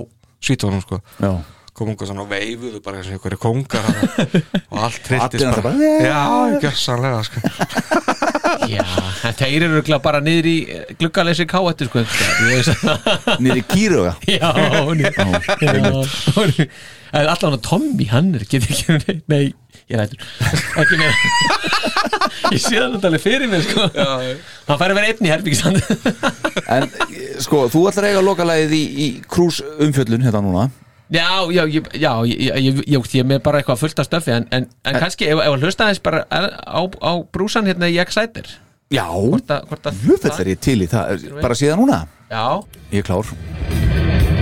svítónum sko
Já.
komu einhver svona og veifuðu bara eins og einhverju kongar þarna og allt
Allir
trilltist
náttúrulega
bara
bara,
já, gjörsanlega sko
Já, en þeir eru örugglega bara niður í eh, gluggalessi káettu sko Ég veist að-
niður í kýruga
Já, hún er já, hún er- En allan að Tommy, hann er getur ekki Nei, nei ég rættur Ekki meira Ég sé það náttúrulega fyrir mér sko Hann fær að vera einn í herbyggisand
en eh, sko, þú ætlar að eiga lokalæðið í, í krús umfjöllun hérna núna
Já, já, ég- já, ég- ég- ég ég- ég er með bara eitthvað fullt af stöfi En, en, en kannski, ef, ef að hlusta aðeins bara á, á, á brúsan hérna í Exciter
já,
Hvort að, hvort að
hlufell er ég til í það bara síðan núna,
Já,
ég er klár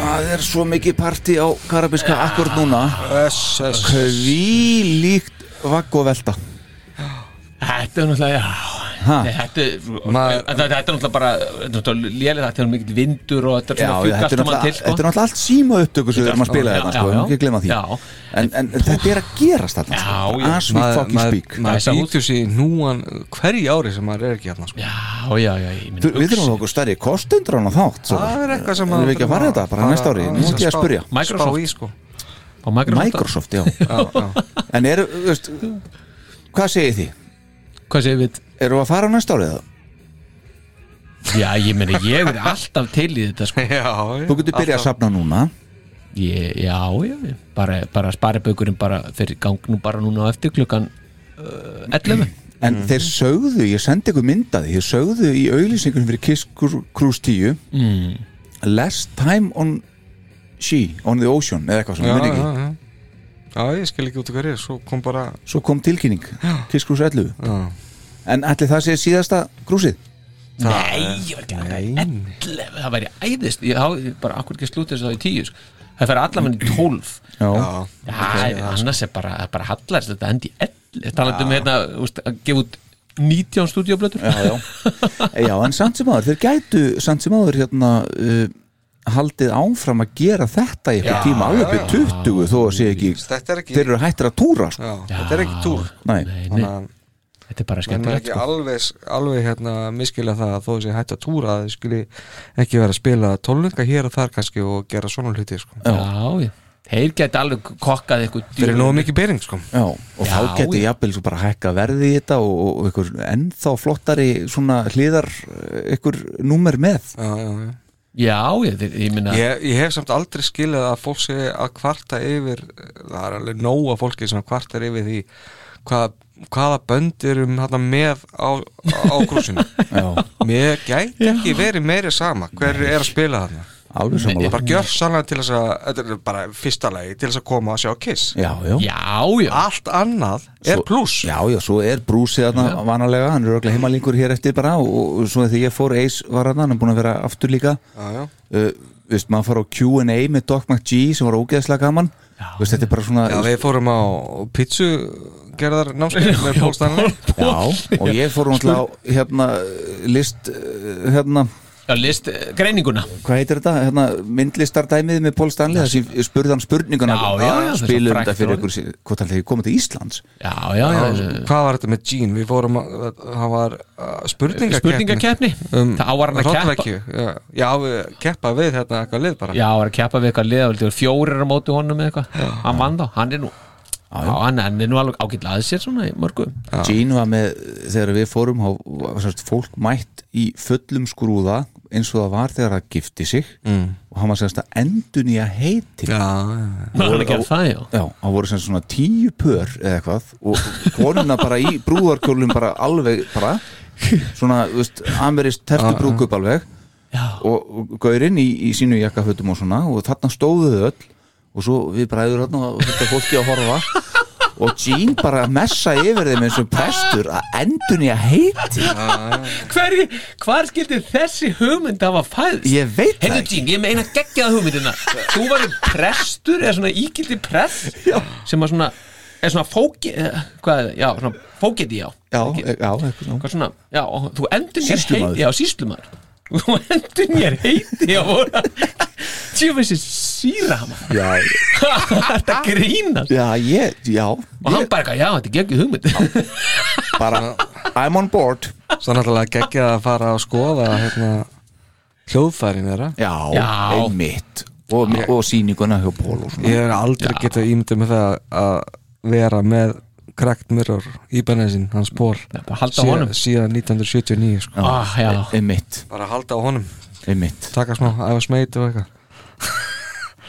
Það er svo mikið parti á karabiska akkur núna
Öss, öss.
Hví líkt vagg og velta
þetta er náttúrulega, já
Ha?
Nei, þetta,
Maður-
Maður, þetta, þetta er náttúrulega bara þetta er náttúrulega lélega þetta er mikill vindur og þetta er
Já,
svona
þetta er
fjúkast um að
náttúrulega
til sko.
þetta er náttúrulega allt síma upptöku sem við erum að spila
Já,
þetta, sko,
já, já.
við erum ekki að glemma því
Já.
en, en þetta er að gerast þarna sko,
Já, já.
as we fucking speak
maður
Gæsa húð.
býtur sér í núan hverju ári sem maður er ekki hérna sko.
já, já, já ég meina,
Þú- Við þurfum okkur stærri kostendur á þátt svo.
það er eitthvað sem
Erum við ekki að fara í þetta bara næsta ári, nú ætti ég að spyrja
Microsoft.
spá í sko
á Microsoft,
Microsoft, já
já, já.
En eru, þú veist, hvað segið þið?
hvað segir við
Eru að fara á næsta árið það?
já, ég meina, ég er alltaf til í þetta sko.
Já,
Þú getur byrjað að safna núna
ég, já, já, já, bara, bara sparibökurinn bara fyrir gang nú bara núna á eftir klukkan uh, 11
En
Mhm.
þeir sögðu, ég sendi ykkur myndaði Þeir sögðu í auglýsingunum fyrir Kiss Cru- Cruise 10 mm.
Mhm.
Last time on she, on the ocean eða eitthvað svona,
já,
muni
já,
ekki
já. Já, ég skil ekki út í hverju, svo kom bara
Svo kom tilkynning, Kiskús 11
Já.
En allir það sé síðasta grúsið
Nei, ég var ekki að taka 11 Það væri æðist Ég hafði bara akkur ekki slútið þess að það í 10 sko. Það færi allavega í 12
Já.
Já, annars er bara, bara hallar þetta endi í 11 Talandi um hérna, úst, að gefa út 19 stúdíoblötur
Já, já. Já, en samt sem áður, þeir gætu samt sem áður hérna uh, haldið áfram að gera þetta í eitthvað
Já,
tíma, alveg upp í 20 þó að sé ekki,
Þetta er ekki-
þeir eru hættir að túra sko.
Já, þetta er ekki túr
Nei.
nei.
að
Þetta er bara
menn er
skemmtilegt
ekki
sko.
alveg, alveg hérna miskilja það að þó þessi hætt að túra að þið skuli ekki vera að spila tólunga hér og þar kannski og gera svona hluti sko.
Já, já Þeir geti alveg kokkað eitthvað
Fyrir nógu mikið bering sko.
Já, og
Já,
þá geti
já.
jafnvel svo bara hækka verðið í þetta og, og, og einhver ennþá flottari svona hliðar eh, einhver númer með
já, já, já.
Já, ég, ég, ég minna
Ég, ég hef samt aldrei skilið að fólk sé að kvarta yfir það er alveg nóg að fólki sem kvartar yfir því hvað, hvaða bönd erum þarna með á, á grúsinu
Já,
Mér gæti ekki verið meiri sama hver er að spila þarna
alveg
Ég
samanlega
bara gjör sannlega til þess að þetta er bara fyrsta lagi til þess að koma að sjá Kiss
Já, já
Já, já
Allt annað er
Svo-
pluss
Já, já, svo er brúsið þarna vanalega, hann er örugglega heimalingur hér eftir bara og, og svo þegar ég fór Ace var hann, hann er búin að vera aftur líka
Já, já.
uh, veist, maður fara á Q&A með Doc McG sem var ógeðslega gaman veist, þetta er bara svona
Já, við fórum á pítsu gerðar námskeið með Pól Stanley
Já, og ég fór hún á hérna, list uh, hérna,
Já, list eh, greininguna
hvað heitir þetta, hérna, myndlistardæmið með Pól Stanley þar sem spurði hann spurninguna
Já, já, já, þessar
spilum
frægt
þetta fyrir
orðið.
ykkur sér- hvort hann þegar komið til Íslands
Já, já, já, já.
Hvað var þetta með Gene? Við fórum að, það var uh, spurningakeppni
Spurningakeppni. Það á var hann að keppa.
Rottrækju, Já, já við keppa við hérna eitthvað lið bara
Já, var að keppa við eitthvað liðavöldi fjórir á móti honum með eitthvað Hann vann þá, hann er nú Já, hann, hann er nú alveg ágætlega að sér svona í mörgum
Gene var með, þegar við fórum þá var sérst fólk mætt í fullum skrúða eins og það var þegar það gifti sig mm. og hann var sérst að endun í að heiti
Já, já,
Hann er að gera það, já
Já, það voru sem sagt svona tíu pör eða eitthvað og konuna bara í brúðarkjólum bara alveg bara svona, þú veist, amerist tertu brúkup alveg
Já.
og, og gaurinn í, í sínu jakkafötum og svona og þarna stóðu þau öll og svo við bræður þarna og þetta fólki að horfa og Jean bara að messa yfir þeim eins og prestur að endun ég heiti
Hverju, hvar skildi þessi hugmynd hafa fæðst?
Ég veit það
Heyrðu
ekki.
Jín, ég meina geggjað hugmyndina Þú varum prestur, eða svona ígildi prest já. sem að svona er svona fóki, eh, hvað er það, já, svona fókiti, já
Já,
Ekki-
e- já, eitthvað svona.
Hvað svona, já, og þú endur mér
Sýslumaður.
heiti Já, síslumar Þú endur mér heiti á voru Tjófessi síra maður.
Já,
Þetta grínast
já, ég, já
Og hann bara, eitthvað, já, þetta er geggjuð hugmynd
bara, I'm on board
svo náttúrulega geggja að fara að skoða hérna hljóðfærin þeirra
Já,
Já.
einmitt og, og sýninguna hjá Pól og svona
Ég er aldrei getað ímyndið með það að vera með Cracked Mirror Íbanesin, hans ból
bara halda á honum.
síðan 1979 sko.
ah, Já,
Einmitt,
bara halda á honum,
einmitt,
taka smá æfa smeit og eitthvað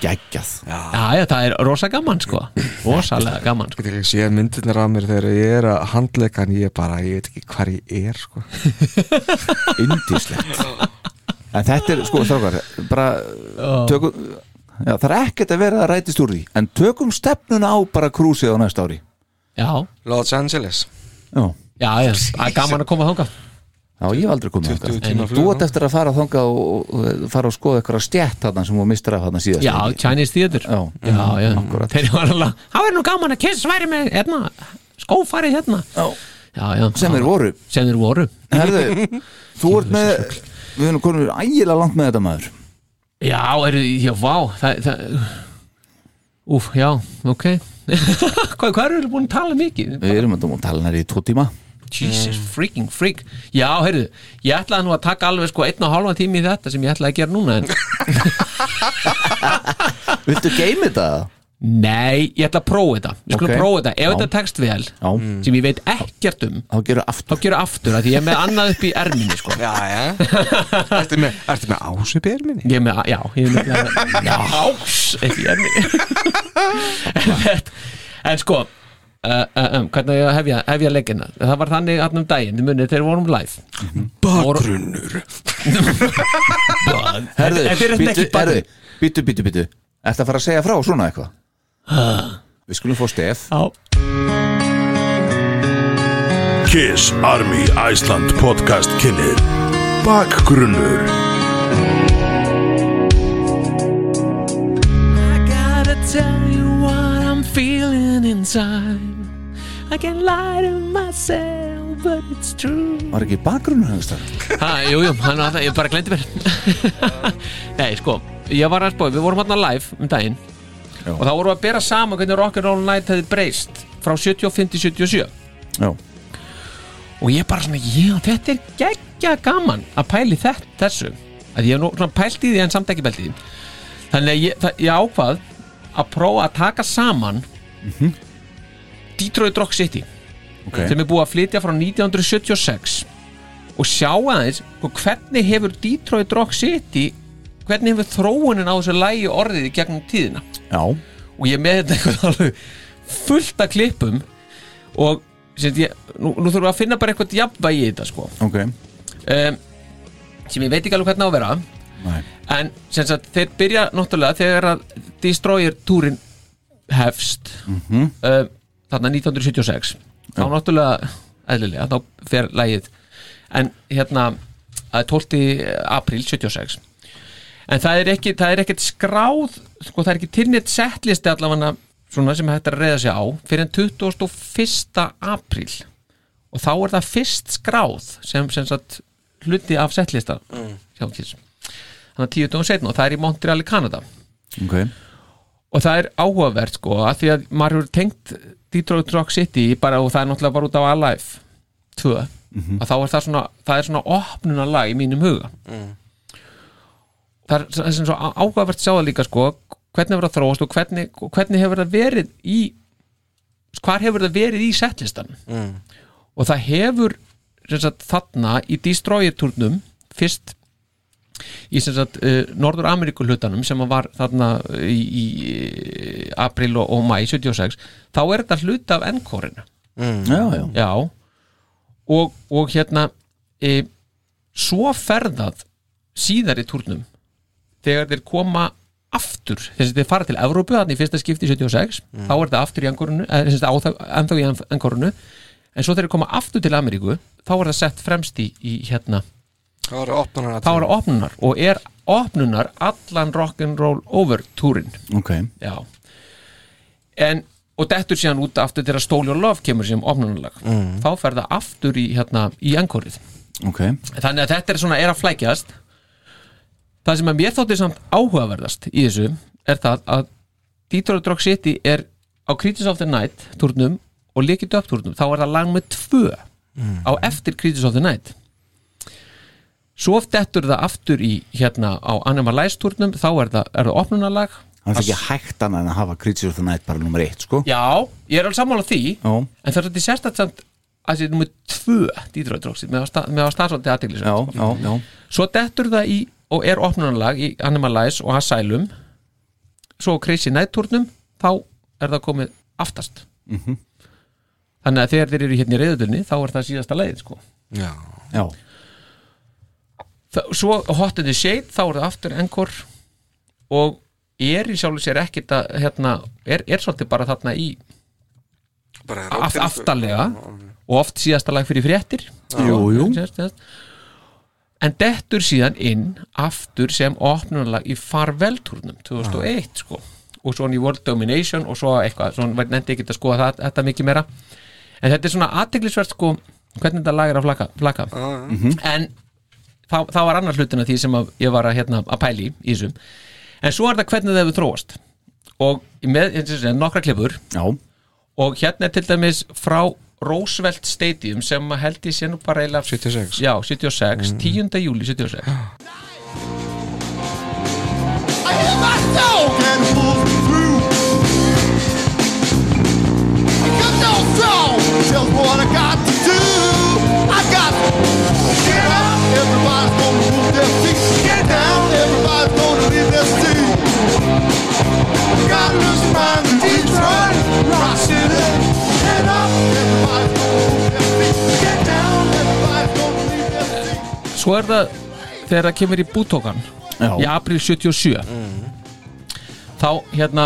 geggjað
Já, já, það er rosa gaman sko Rosalega gaman sko
Ég get ekki séð myndirnar af mér þegar ég er að handleika en ég bara, ég veit ekki hvar ég er sko.
Indislegt En þetta er, sko, þrákar bara, tökum já, það er ekkert að vera að rætist úr því en tökum stefnuna á bara krúsið á næsta ári
Já,
Los Angeles
Já,
já, já, það er gaman að koma þangað
já ég hef aldrei komið
20
þangað
tíma
Þú
flug
átt eftir að fara þangað og, og, og fara og skoða eitthvað stjætt þarna sem þú mistur af þarna síðast
Já, Chinese Theater
Já.
já, já Þeir eru alveg, það er nú gaman að kiss væri með hérna, skófarið hérna
Já.
já, já
Sem þeir voru.
Sem þeir voru
Herðu, þú ert með við erum konum ægilega langt með þetta maður
Já, eru, já, vá það, það, Úf, já, ok Hvað, hvað eru búin að tala mikið?
Við erum að tala nær í tvo tíma
Jesus freaking freak Já, heyrðu, ég ætlaði nú að taka alveg sko einn og hálfa tími í þetta sem ég ætlaði að gera núna en
Viltu geimi þetta?
Nei, ég ætla að prófa þetta Ég skulle
Ok.
prófa þetta, ef
Já.
þetta tekst vel
Já.
sem ég veit ekkert um
Mm. Þá gerur
þá
aftur
gerur aftur að því ég er með annað upp í erminni sko.
Já, já Ertu með, ertu með ásip í erminni?
ég er með, já, ég er með já, ás upp í erminni en, þetta- en sko uh, uh, um, hvernig á ég að hefja, hefja leikina það var þannig hann um daginn, þið munið þeir vorum live
Bakgrunnur
Herðu,
Herðu,
þeir eru ekki
býttu,
bara
býttu, býttu, býttu Ertu að fara að segja frá svona eitthvað? Við skulum fá stef
Já
Kiss Army Æsland podcast kynir Bakgrunnur
I gotta tell you what I'm feeling inside. I can lie to myself, but it's true.
Var ekki bakgrunnar hans þar?
Ha, jú, jú, hann var það, ég bara glendi mér Nei, sko, ég var að spóið, við vorum hann live um daginn
Já.
og þá vorum við að bera saman hvernig Rock'n'Roll Night hefði breyst frá 75 til 77
Já.
og ég bara svona, já, þetta er geggja gaman að pæli þetta, þessu að ég hef nú svona pælt í því en samt ekki pælt í því þannig að ég, það, ég ákvað að prófa að taka saman Detroit Rock City
Ok.
sem er búið að flytja frá 1976 og sjá aðeins sko, hvernig hefur Detroit Rock City hvernig hefur þróunin á þessu lægi orðið í gegnum tíðina
Já.
og ég er með þetta eitthvað alveg fullt af klippum og sem ég, nú, nú þurfum við að finna bara eitthvað jafnvægi í þetta sko
Ok,
um, sem ég veit ekki alveg hvernig á að vera
Nei.
en sem sagt þeir byrja náttúrulega þegar að Destroyer túrin hefst
Mhm.
um, þarna 1976 þá náttúrulega eðlilega þá fer lægið en hérna að 12. apríl 76 en það er ekki það er ekkert skráð sko, það er ekki tilnýtt settlisti allavega svona sem hægt er að reyða sig á fyrir en 21. apríl og þá er það fyrst skráð sem, sem sagt, hluti af settlista
Mm.
hjá Kiss þannig að 10 dögum setna og það er í Montreal í Kanada
ok
og það er áhugavert sko að því að maður hefur tengt Detroit Rock City bara og það er náttúrulega bara út á Alive 2
Mhm.
og þá er það svona það er svona opnuna lag í mínum huga
Mm.
það er, það er sem svo á- áhugavert að sjá það líka sko hvernig hefur það þróast og hvernig, hvernig hefur það verið í hvar hefur það verið í settlistanum
Mm.
og það hefur sem sagt, þarna í Destroyer-turnum fyrst í sem sagt, uh, Norður Ameríku hlutanum sem var þarna í, í eh, april og, og mæ 76 þá er þetta hluta af enkorinu
Mm. Já, já.
og, og hérna e, svo ferðað síðar í turnum þegar þeir koma aftur þess að þeir fara til Evrópu þannig í fyrsta skipti í 76
Mm.
þá er þetta aftur í eh, angorunu ennþá í angorunu en svo þegar þeir koma aftur til Ameríku þá er það sett fremst í, í hérna
Það voru opnunar
þá er það opnunar og er opnunar allan rock'n'roll over túrin
ok
já en, og dettur síðan út aftur þegar Stole Your Love kemur sem opnunarlag
Mm.
þá fer það aftur í, hérna, í enkorið
Ok,
þannig að þetta er svona er að flækjast það sem að mér þótti samt áhugaverðast í þessu er það að Detroit Rock City er á Creatures of the Night turnum og líkitu upp turnum þá er það lag með tvö
Mm.
á eftir Creatures of the Night svo dettur það aftur í hérna á Animalize turnum þá er það, er það opnunarlag
hann er ekki hægt annað en að hafa Creature of the Night bara nummer eitt, sko
já, ég er alveg sammála því
Já,
en það er þetta sérstætt samt að þessi nummer tvö Detroit Rock City með að staðsvöldi aðteglis
já, já, já
svo dettur það í og er opnunarlag í Animalize og Asylum svo á Crazy Night turnum þá er það komið aftast
Mhm.
þannig að þegar þeir eru hérna í reyðutunni þá er það síðasta leiðin sko
Já.
Já.
Þa, svo Hot in the Shade þá er það aftur Encore og er í sjálfu sér ekkit að hérna, er, er svolítið bara þarna í
Bara er
aft,
ódýr-
aftarlega og oft síðasta lag fyrir fréttir
Jú, jú.
Sérst, sérst. en dettur síðan inn aftur sem opnunarlag í farveltúrnum 2001 sko og svona í World Domination og svo eitthvað svona verð nefndi ekki að skoða það, þetta mikið meira en þetta er svona aðteglisvert sko hvernig þetta lag er að flaka, flaka.
Mhm.
en það, það var annar hlutin af því sem að ég var að, hérna, að pæli í í þessum en svo er það hvernig það hefur þróast og með eins og þessi, nokkra klippur
Já.
og hérna er til dæmis frá Roosevelt Stadium sem að held ég sé nú bara eiginlega 76, já,
Mm.
76 10. júli 76
I hear my soul can move through. Because no soul tells me what I got to do. I got to get up. Everybody's gonna move their feet. Get down. Everybody's gonna leave their seat. Gotta lose your mind in Detroit. Rock City. Get up. Everybody's gonna move their feet. Get down. Everybody's gonna leave their seat.
svo er það þegar það kemur í bútókan
Já.
Mm.
í april 77 þá hérna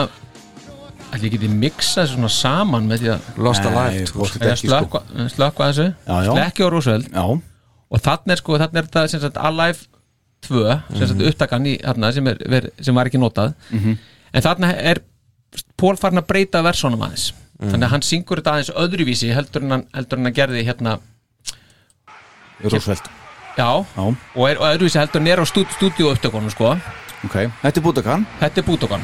Ætli ég geti mixa svona saman með því að
Lost Alive, sko.
Eða slökkva slökkva þessu
Já, já.
Slekki á Rúsveld
já.
Og þannig er sko, þannig er þetta sem sagt Alive 2, sem sagt
Mhm.
upptakan í þarna sem, er, ver, sem var ekki notað Mhm. En þarna er Pól farin að breyta versónum aðeins
Mhm.
Þannig að hann syngur þetta aðeins öðruvísi heldur en hann, heldur en hann gerði hérna
Roosevelt
Já,
Já.
og er og öðruvísi heldur en er á stúd, stúdíu upptökunum sko
Ok, þetta er Budokan
Þetta er Budokan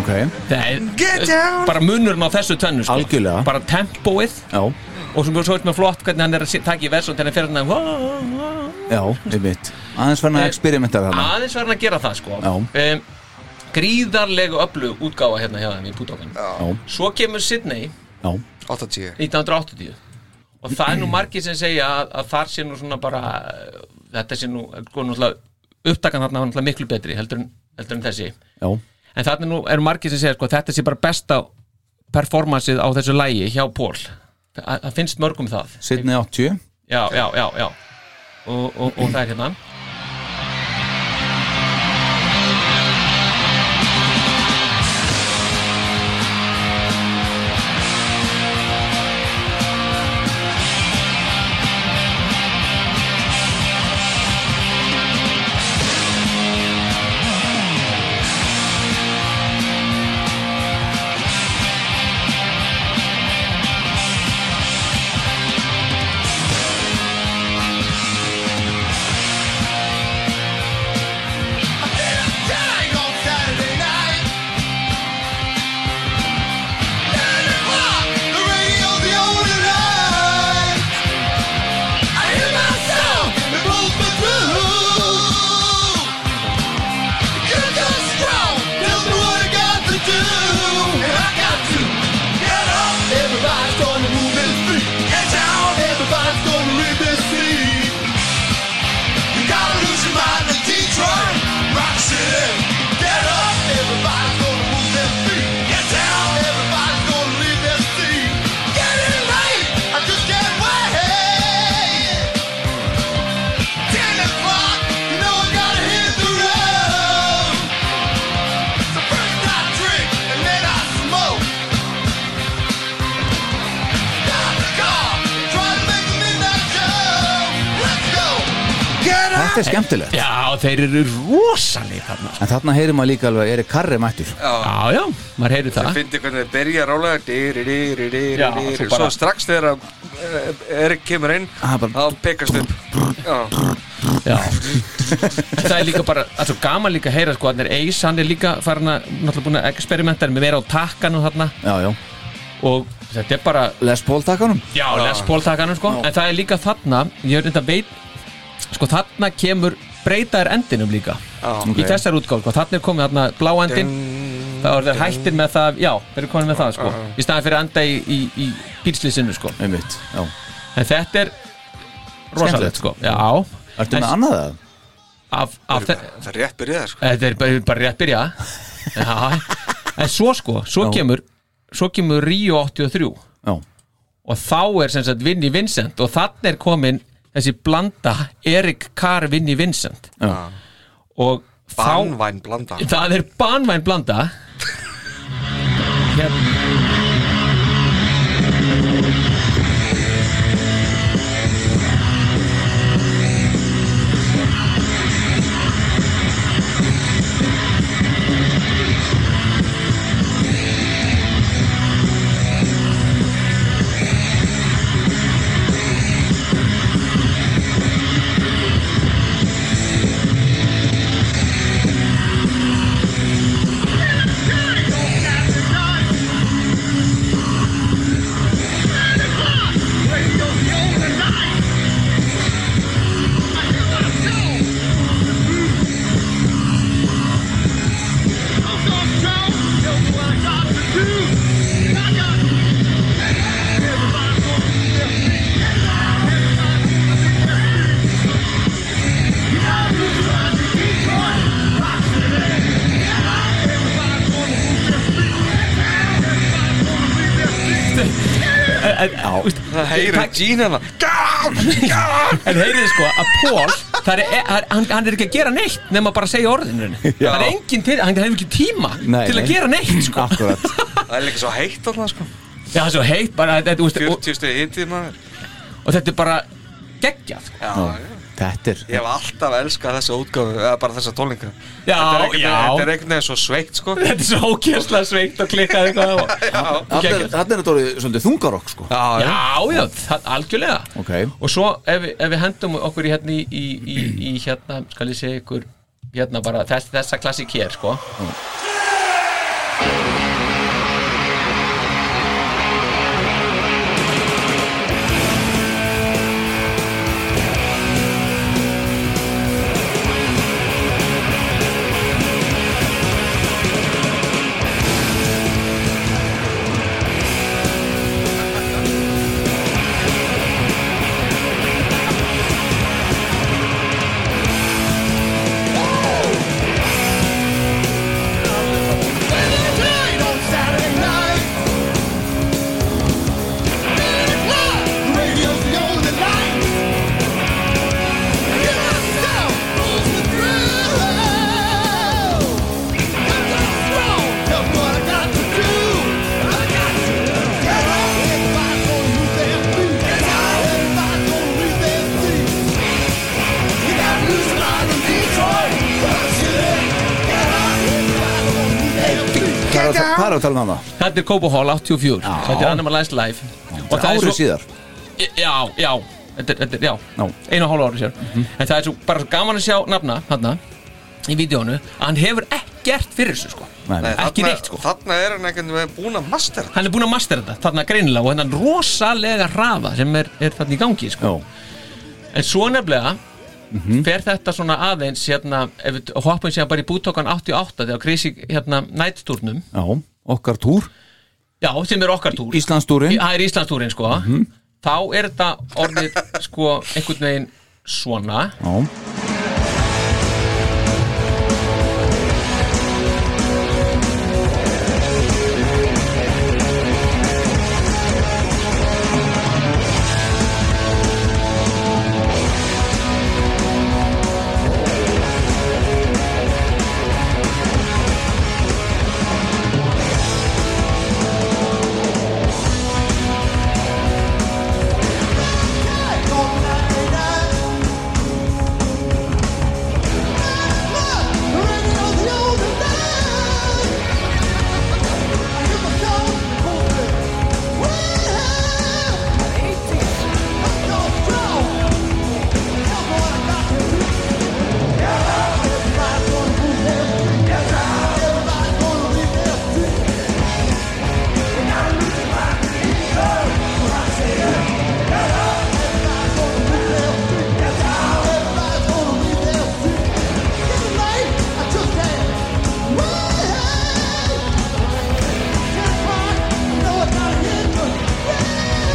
Ok
Get down eh, Bara munurinn á þessu tönnu sko.
Algjörlega
Bara tempóið
Já
Og sem svo er með flott hvernig hann er að taka í versón Þegar hann fer hann að
Já, einmitt Aðeins fann að
Eh,
experimenta þarna
aðeins verðan að gera það sko
Já.
um, gríðarlegu öflu útgáfa hérna hjá þeim í Búdókan
Já.
svo kemur Sydney
Já
80
1980 og það er nú margir sem segja að, að þar sé nú svona bara eh, þetta sé nú sko, náttúrulega, upptakan þarna var náttúrulega miklu betri heldur en, heldur en þessi
Já
en þarna nú eru margir sem segja sko þetta sé bara besta performansið á þessu lægi hjá Pól Þa- það finnst mörgum það
Sydney 80
já, já, já, já og, og, og það er hérna
Everybody's gonna move their feet. Get down. Everybody's gonna read their feet. You gotta lose your mind in Detroit, Rock City. Get up, everybody's gonna move their feet. Get down, everybody's gonna leave their seat. Get in late, I just can't wait. Ten o'clock, you know I gotta hit the road. So first I drink and then I smoke. Stop the car, try to make the midnight show. Let's go.
Þetta er skemmtilegt
Já, þeir eru rosalega þarna
En þarna heyrir maður líka alveg Eri Karri mættur
Já, já, maður heyrir
Ég fyndi hvernig þið byrja rólega dyrir, dyrir, dyrir, dyrir Svo strax þegar að, eh, Erik kemur inn þá pekast upp
Já Það er líka bara, það er svo gaman líka að heyra sko, þannig er Ace, hann er líka farin að náttúrulega búin að experimenta með vera á takkanum þarna
Já, já
og þetta er bara
Les Paul takkanum
Já, Les Paul takkanum sko, en það er líka þarna ég er reynda að veit sko þarna kemur breytaðir endinum líka
ok.
í þessar útgáð, sko, þarna er komið þarna blá endin þá er þeir hættir með það, já, þeir eru komið með það sko,
Já.
í staðan fyrir að enda í, í, í bílslýsinu sko
Einmitt, já
En þetta er
Skemmtilegt.
rosalegt sko Já
Ertu með annað það?
Af, af þe-
Það er rétt byrjað sko
Þetta er bara, bara rétt byrja Já En svo sko, svo
Já.
kemur Svo kemur Rio 83
Já
og þá er sem sagt Vinnie Vincent og þannig er komin þessi blanda Erik Carr Vinnie Vincent
Já.
og þá
Banvæn blanda
það er banvæn blanda hérna
Það heyrir hérna. Gínana
En heyrið sko að Paul það er, hann, hann er ekki að gera neitt nema bara að segja orðinu
Já.
Það er engin til, hann hefur ekki tíma
Nei,
til að
nei.
gera neitt sko
Akkurat
Það er líka svo heitt alltaf sko
Já, það er svo heitt bara þetta, þú veist,
40 stuði hintið maður
og, og þetta er bara geggjað
Já, já.
Þetta er
Ég hef alltaf elskað þessa útgáfu eða bara þessa tónlinga
Já,
Þetta er einhvern veginn-
já.
Þetta er einhvern veginn svo sveikt sko
Þetta er svo ókjærslega sveikt og klikkað eitthvað á
Þannig er
Geggjað.
þetta orðið svolítið þungarokk sko
Já,
Já, já, það, algjörlega
Ok,
Og svo ef, við- ef við hendum okkur í hérna í, í, í, í hérna, skal ég segja ykkur hérna bara þess, þessa klassik hér sko
hvað er að- hvað er að tala um hana?
Þetta er Kópa Hall 84 Þetta er Animal Eyes Live Og
Þetta er árið síðar
Já, já, þetta, er- þetta, er- já.
Já. Mhm.
einu og hálfa ári sér En það er svo, bara svo gaman að sjá nafna hana, í vídjónu að hann hefur ekkert fyrir þessu sko.
Nei, nei.
Ekki
þarna-
neitt sko
Þarna er hann einhvern veginn búin að master
Hann er búinn að mastera þetta, þarna greinilega og hennan rosalega hraða sem er, er þarna í gangi sko. En svo nefnilega fer þetta svona aðeins hérna, ef við hoppum sér bara í bútókan 88 þegar Krisi hérna nættúrnum
Já, okkar túr
Já, sem er okkar túr
Íslandstúrin
Það er Íslandstúrin sko Þá er þetta orðið sko einhvern veginn svona
Já,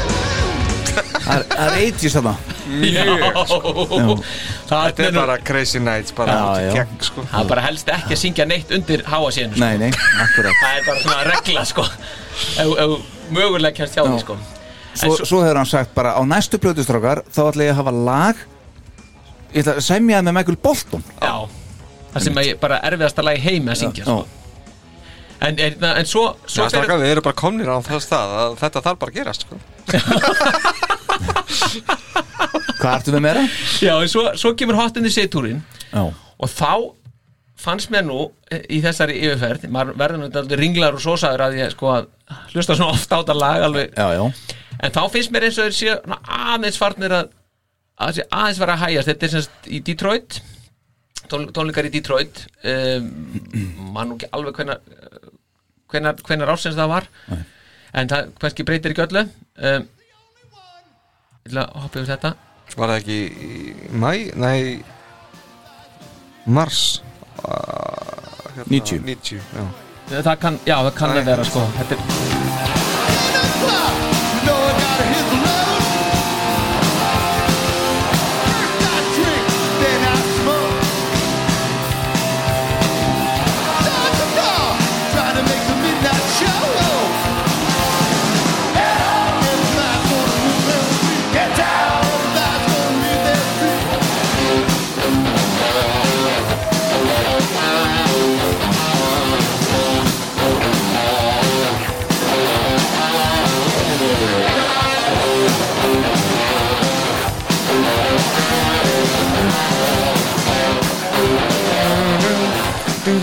það er- það er 80s þarna
Mjög
Já.
sko. Það
Þetta
er
er bara crazy nights bara
Já,
út í
já.
gegn sko
Það er bara helst ekki að syngja neitt undir háa síðan sko.
Nei, nei, akkurat
Það er bara svona regla sko ef, ef mögulega kjast hjá því sko
svo, svo, hefur hann sagt bara á næstu plötustrákar þá ætla ég að hafa lag ég ætla að semja það með Michael Bolton
Já, það sem er bara erfiðasta lagi heimi að syngja sko. en, en, en svo, svo
Já, strákar, við erum bara komnir á það stað að þetta þarf bara að gerast sko.
Hvað ertu með meira?
Já, en svo, svo kemur hotinni sétúrin
Já.
og þá fannst mér nú eh, í þessari yfirferð maður verður náttúrulega ringlar og sósaður að ég sko að hlusta svona oft á þetta lag alveg
já, já.
en þá finnst mér eins og þeir séu svona aðeins farnir að, að sé aðeins vera að hægjast þetta er semst í Detroit tón, tónleikar í Detroit um, mann nú ekki alveg hvenar eh, hvenar, hvenar ásins það var en það kannski breytir ekki öllu um, ég ætla að hoppa yfir þetta
Var það ekki í mæ, nei Mars uh,
90.
90, já
það kann, já það kann að vera sko þetta er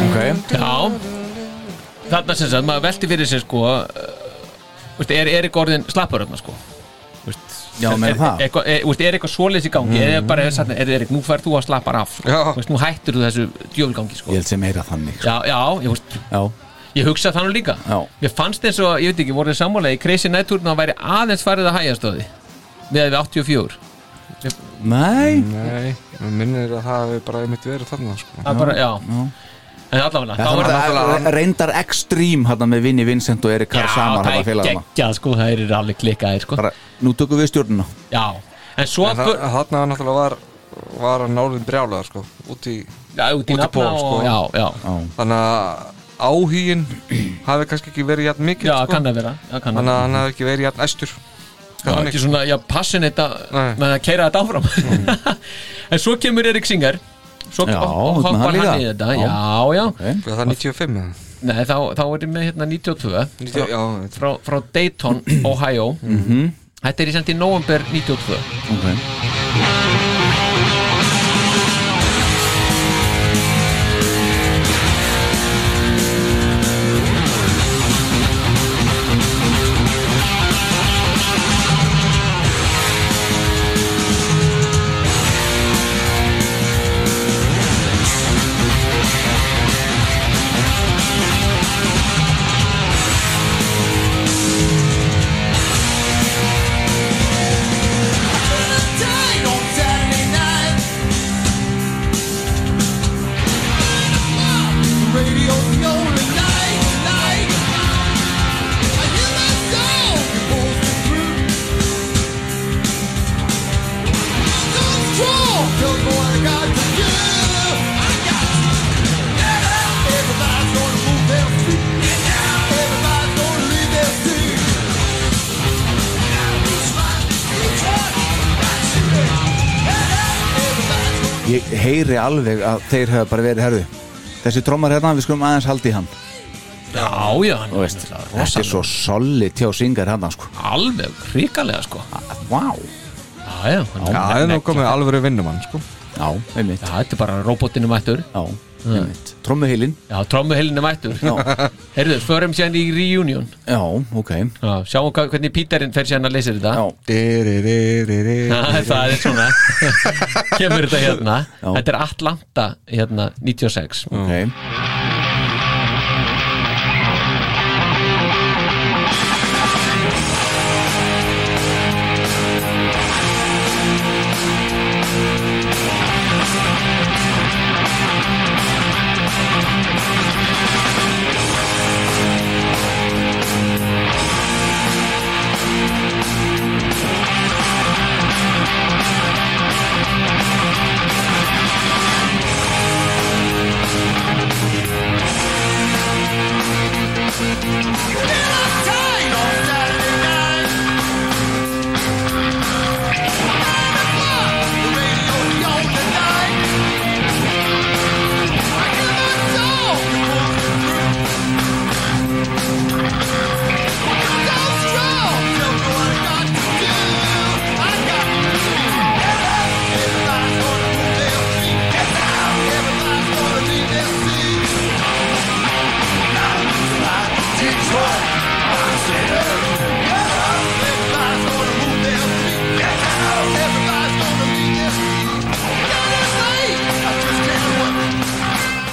Ok
Já Þarna sem sagt, maður velti fyrir sér sko uh, veist, er, er ekki orðin slappur þarna sko veist,
Já, meina það?
er, er, veist, er eitthvað svoleiðs í gangi mm. er bara, er, er, er, Erik, nú fær þú að slappa af sko. veist, nú hættir þú þessu djöfulgangi sko.
Ég held sem meira þannig
Já, já, ég, veist,
Já,
ég hugsa þannig líka
já,
Mér fannst eins og, ég veit ekki, voru þið sammálega í Crazy Night Tour, það væri aðeins farið að hægjast á því meðan við 84
Nei
Nei, mér minnir að það hefur bara einmitt verið þarna sko.
Það bara, já, En allavega,
Það var náttúrulega reyndar ekstrím hérna með Vinni Vincent og Erik Karl Samar
það
hérna
er
félagana
geggjað sko, það er alveg klikkaðir sko
bara, Nú tökum við stjórnuna
Já, en svo
En það, þarna náttúrulega var var hann náliðin brjálega sko, út í,
já, út í nafna og- já, já.
þannig að áhugin hafi kannski ekki verið jætt mikið
Já, kann að vera, já, kann að
þannig að
vera.
hann hafi ekki verið jætt æstur
Það er ekki svona, já, passin þetta með að keira þetta áfram En svo kemur Erik Singer Svo
Já,
og- og hoppar
út með hann
hann í
líka.
þetta
Já.
Já, já
Var það 95 eða?
Nei, þá, þá er ég með hérna 92
90
frá,
já,
frá, frá Dayton, Ohio
Mhm.
Þetta er í sendi í november 92
okay. Ég heyri alveg að þeir hafa bara verið herðu Þessi trommar hérna, við skulum aðeins haldi hann
Já, já, hann
Þú veist, Þetta er svo solid hjá syngar hérna sko
Alveg, hrikalega sko
Vá
Já, já, hann-
Já, það er nú komið alvöru vinnumann sko.
Já, einmitt Hmm.
Já, þetta er bara robotinu mættur
Já, einmitt Trommuheilin
Já, trommuhelinu mættur
Já.
Herðu, förum sér í reunion
Já, ok
Já, sjáum hvað- hvernig Píterinn fer sér að leysa þetta Já
Já,
það er svona kemur þetta hérna
Já.
þetta er Atlanta hérna 96
okay.
Thank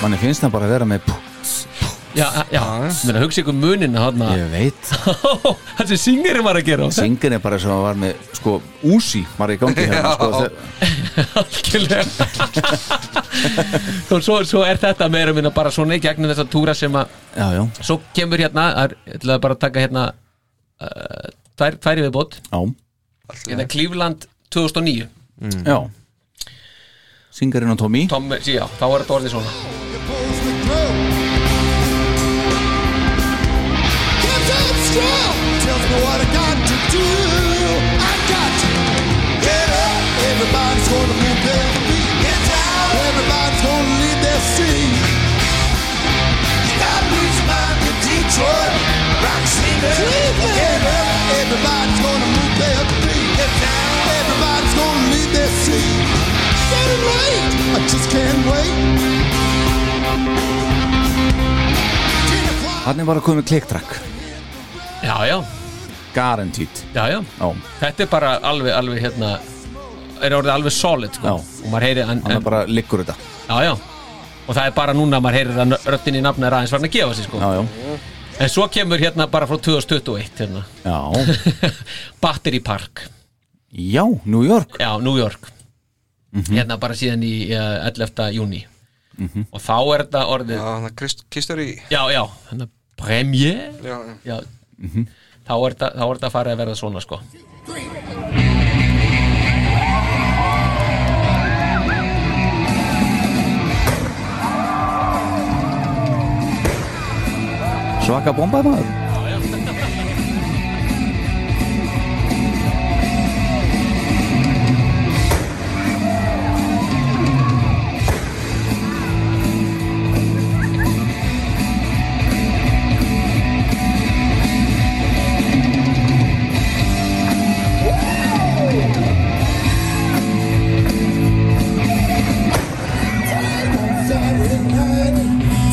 manni finnst það bara að vera með
Já, já, menn að hugsa ykkur munin hana.
Ég veit
Það sem singurinn var að gera
Singurinn bara sem var með, sko, úsi var í gangi hérna, sko
Já.
þe-
og svo, svo er þetta meira minna bara svona í gegnum þessa túra sem að
Já, já,
svo kemur hérna, það er- ég ætlaði bara að taka hérna uh, tvær, tvær í viðbót
já,
hérna Cleveland 2009
Mm. já Singurinn og Tommy
Tom, sí, já, þá var þetta orðið svona
Tells me what I got to do. I got to get up. Everybody's gonna move their feet. Get down. Everybody's gonna leave their seat. You gotta lose your mind to Detroit. Rock Cleveland. Get up. Everybody's gonna move their feet. Get down. Everybody's gonna leave their seat. Get it right. I just can't wait.
Hann er bara að koma með klikktrakk
Já, já,
Guaranteed
já, já
Já,
þetta er bara alveg, alveg hérna er orðið alveg solid sko.
Já.
og maður heyri en,
hann er
en,
bara liggur þetta
já, já. og það er bara núna að maður heyrir að röttin í nafna er aðeins farin að gefa sig sko.
Já, já,
en svo kemur hérna bara frá 2021 hérna.
já
Battery Park
Já, New York
Já, New York Hérna bara síðan í uh, 11. júni
Mhm.
Og þá er þetta orðið
Já, hann kistur í
Já, já, hérna Premier
Já, já.
já.
Mhm.
Þá er þetta- þá er þetta farið að verða svona sko
Svaka bomba maður
Saturday night,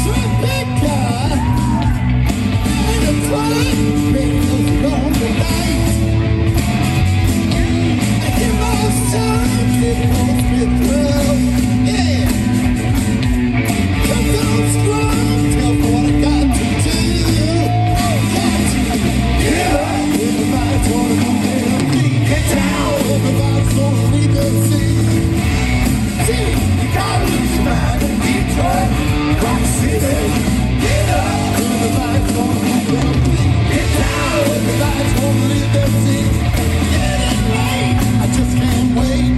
Tribeca. In a twilight, rainbows along the night. And give us time, give us the thrill, yeah. Come down strong, tell me what I got to do. I got to get up. Everybody's gonna move their feet. Get down. Everybody's gonna leave their seat. See, you gotta lose your mind in Detroit, Rock City. Get up, everybody's gonna move their feet. Get down, everybody's gonna leave their seat. Get it right, I just can't wait.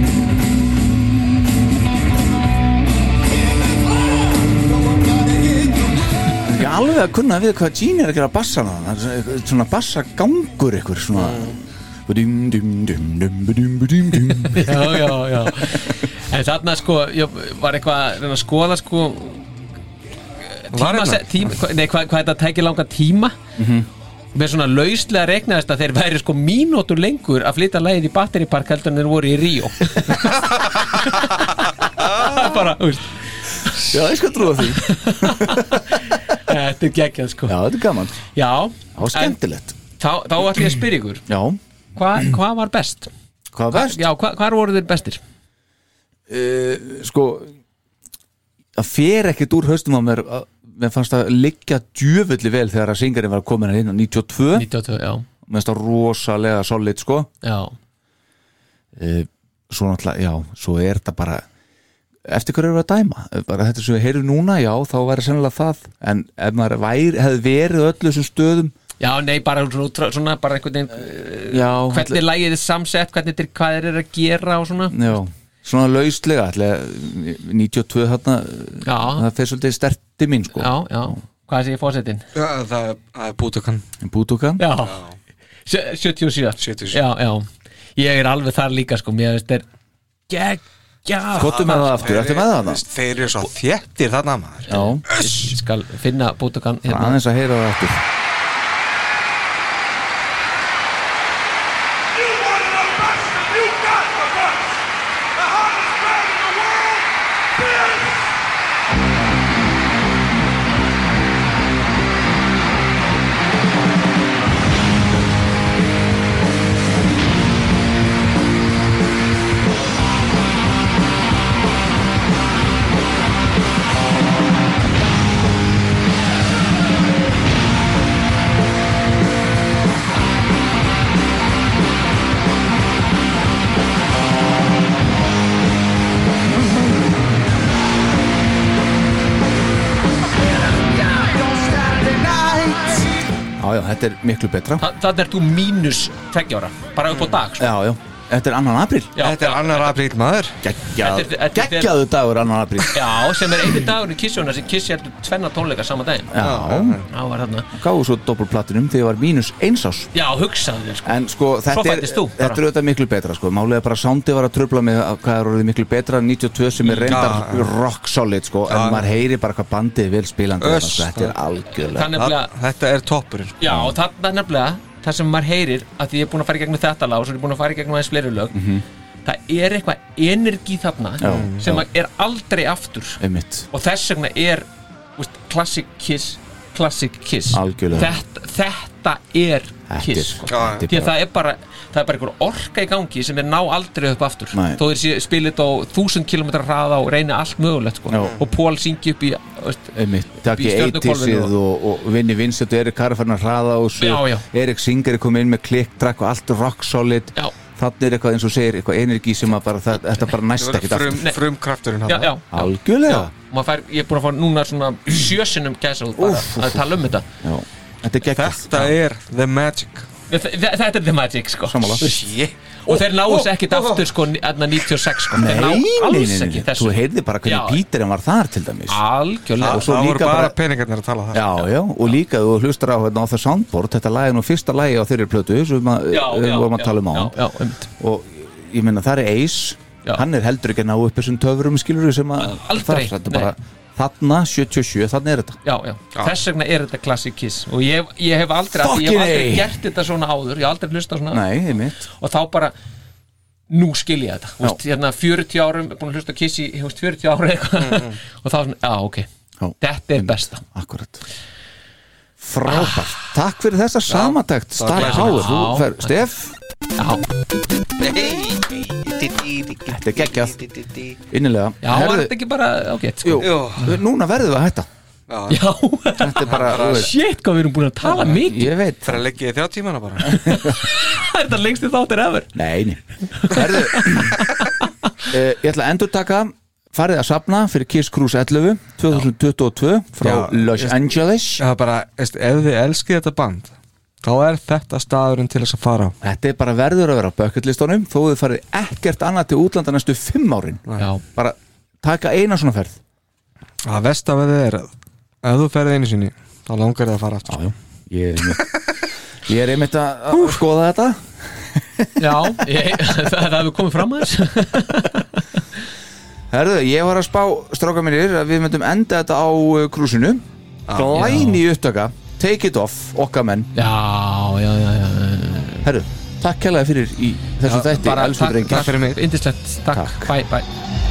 Give it up, no one gotta hit the
Ég er alveg að kunna við hvað Gene er að gera bassana Það er svona- eitthvað- svona bassagangur ykkur svona Dum, dum, dum, dum, dum, dum, dum.
Já, já, já En þarna sko, ég var eitthvað að reyna að skoða sko
Var
tíma,
hérna?
tíma, hva- nei, hvað hva þetta tækir langan tíma með svona lauslega regnaðist að þeir væri sko mínútur lengur að flytja lægið í Battery Park heldur en þeir voru í Ríó Það er bara, þú veist
Já, ég skal trúa því
Þetta er geggjað sko
Já, þetta er gaman
Já,
Það var skemmtilegt
þá, þá ætlum ég að spyrja ykkur
Já,
Hvað hva var best?
hvað var verst?
Já, hva, hvað voru þeir bestir?
Uh, sko Það fer ekkert úr haustum á mér að- Mér fannst það liggja djöfulli vel þegar að syngarinn var komin hérna inn á 92
92, já,
Mér finnst það rosalega solid sko
já.
uh, Svo náttúrulega, já, svo er þetta bara Eftir hverju eru að dæma bara Þetta sem við heyrum núna, já, þá væri sennilega það En ef maður væri, hefði verið öllu þessum stöðum
já, nei, bara svona, svona bara einhvern veginn
Já,
hvernig lægið er samsett, hvernig þeir, hvað þeir eru að gera og svona
já Svona lauslega, ætla, 92 hérna
Já,
það fer svolítið sterti mín sko
já, já Hvað segir fórsetin?
Já, það er- það er bútukan
Bútukan
Já, Sjö- 77
77.
Já, já Ég er alveg þar líka sko, mér veist þeir Geggja
Kottu með það aftur, ertu með það
Hérna.
það?
Þeir eru svo þjettir þarna maður
Já,
Ég skal finna bútukan
bara
hérna.
aðeins að heyra það aftur
You wanted the best, and you got the best. The hottest band in the world, Bill.
Get
já, þetta er miklu betra
Þa, Þannig er þú mínus tveggjára Bara upp á dag sko.
Já, já, þetta er annan april
Já, Þetta er já, annar
april maður
Þetta er- þetta er-
Geggjaðu dagur annan april
Já, sem er einu dagur í kissjóna sem kissi heldur tvenna tónleika sama daginn
Já,
Já, var þarna
gáðu svo doppelplatinum þegar ég var mínus eins ás
Já, hugsaðu þér sko
En sko,
Svo
þetta er,
fæddist þú, bara.
þetta er auðvitað miklu betra sko. Málið er bara að soundið var að tröfla mig að hvað er orðið miklu betra en 92 sem er reyndar
Já.
rock solid sko. En
Já.
maður heyri bara hvað bandið er vel spilandi
Öss.
sko. Þetta er algjörlega
Þannig að-
Þetta er toppurinn
Já, og þarna nefnilega Það sem maður heyrir að því ég er búin að fara í gegnum þetta lag og svo er ég búin að fara í gegnum aðeins fleiri lög Það er eitthvað energi þarna
Mhm. Já,
sem
já.
að er aldrei aftur
Einmitt.
og þess vegna er úst, classic kiss classic kiss
Algjörlega.
þetta, þetta er
Þetta er-
kiss sko.
þetta er
því
bara-
að það er bara það er bara einhver orka í gangi sem er ná aldrei upp aftur
Nei.
þó þeir sé- spili þetta á þúsund kilometrar hraða og reyna allt mögulegt sko.
Já.
og Pól syngi upp í veist,
Einmitt, takki
Í stjörnuhvolfinu
80-sið og, og vinni vinsett og Erik Karfarn að hraða og svo
Já, já.
Erik Singer er komið inn með klikkdrakk og allt rock solid
já.
Þannig er eitthvað eins og segir eitthvað energi sem að bara, það, þetta bara
sko.
næst ekkit aftur
Frumkrafturinn
já, já, já.
Algjörlega
Og maður Fær, ég er búin að fá núna svona sjösinum gæsa bara að tala um þetta
já. Þetta er geggjast
Þetta er the magic
Þe- þe- Þetta er the magic sko
Sammála. Oh,
Shit. Og þeir náðus ekkit aftur sko aðna 96 sko
Nei,
Þeir ná
nei,
alls
nei,
ekki
nei, þú
þessu
heyrði bara
Já. Ah,
hvernig Píterin var þar til dæmis
Algjörlega
Og svo
Það
líka
voru bara
bara-
peningarnir að tala það
Já, já, og líka þú hlustar á hérna á það soundboard þetta lag er nú fyrsta lagi á þeirri plötu sem að-
Já,
við
já,
vorum að
já,
tala um á
já, já,
og ég meina það er Ace hann er heldur ekki að ná upp þessum töfurum skilur sem að
Aldrei,
það, þetta
nei.
bara, þarna 77, þarna er þetta
Já, já, þess vegna er þetta classic kiss og ég, ég hef aldrei, af því ég
Fucking
hef aldrei
A.
gert þetta svona áður, ég hef aldrei hlustað svona
Nei, einmitt
og þá bara nú skil ég þetta, þú veist, hérna 40 árum búin að hlusta á kiss í, þú veist, 40 árum eitthvað
Mm,
og þá svona, já, ok þetta er besta
Akkurat Frábært,
Ah.
takk fyrir þessa samatækt Star Power, þú fer, Steff Þetta er geggjað Innilega
Já, var þetta ekki bara ágætt sko?
Jú, núna verðum við að hætta
Já,
Þetta er bara, þú veist,
shit, hvað við erum búin að tala mikið
ég veit
Það er að leggja í þrjá tímana bara
Það er þetta lengst í þáttir efer
Nei, nei Herðu, uh, Ég ætla að endur taka farið að safna fyrir Kiss Cruise 11 2022 frá
Já.
Los Angeles
Það er bara, veist, ef þið elskið þetta band þá er þetta staðurinn til þess að fara á
Þetta er bara verður að vera á bucketlistunum þó þið farið ekkert annað til útlanda næstu 5 árin
Já.
bara taka eina svona ferð
Það vest af þið er að ef þú ferði einu sinni þá langar þið að fara aftur
Já, já Ég er einmitt, ég er einmitt að að skoða þetta
Já, ég, það, það hefur komið fram að þess
Herðu, ég var að spá stráka mínir að við myndum enda þetta á uh, krúsinu glæni upptaka Take it off, okkar menn
Já, já, já, já.
Herru, takk kærlega fyrir í þessu þætti, elsku
takk,
drengir
takk fyrir mig Indislegt, takk, bye, bye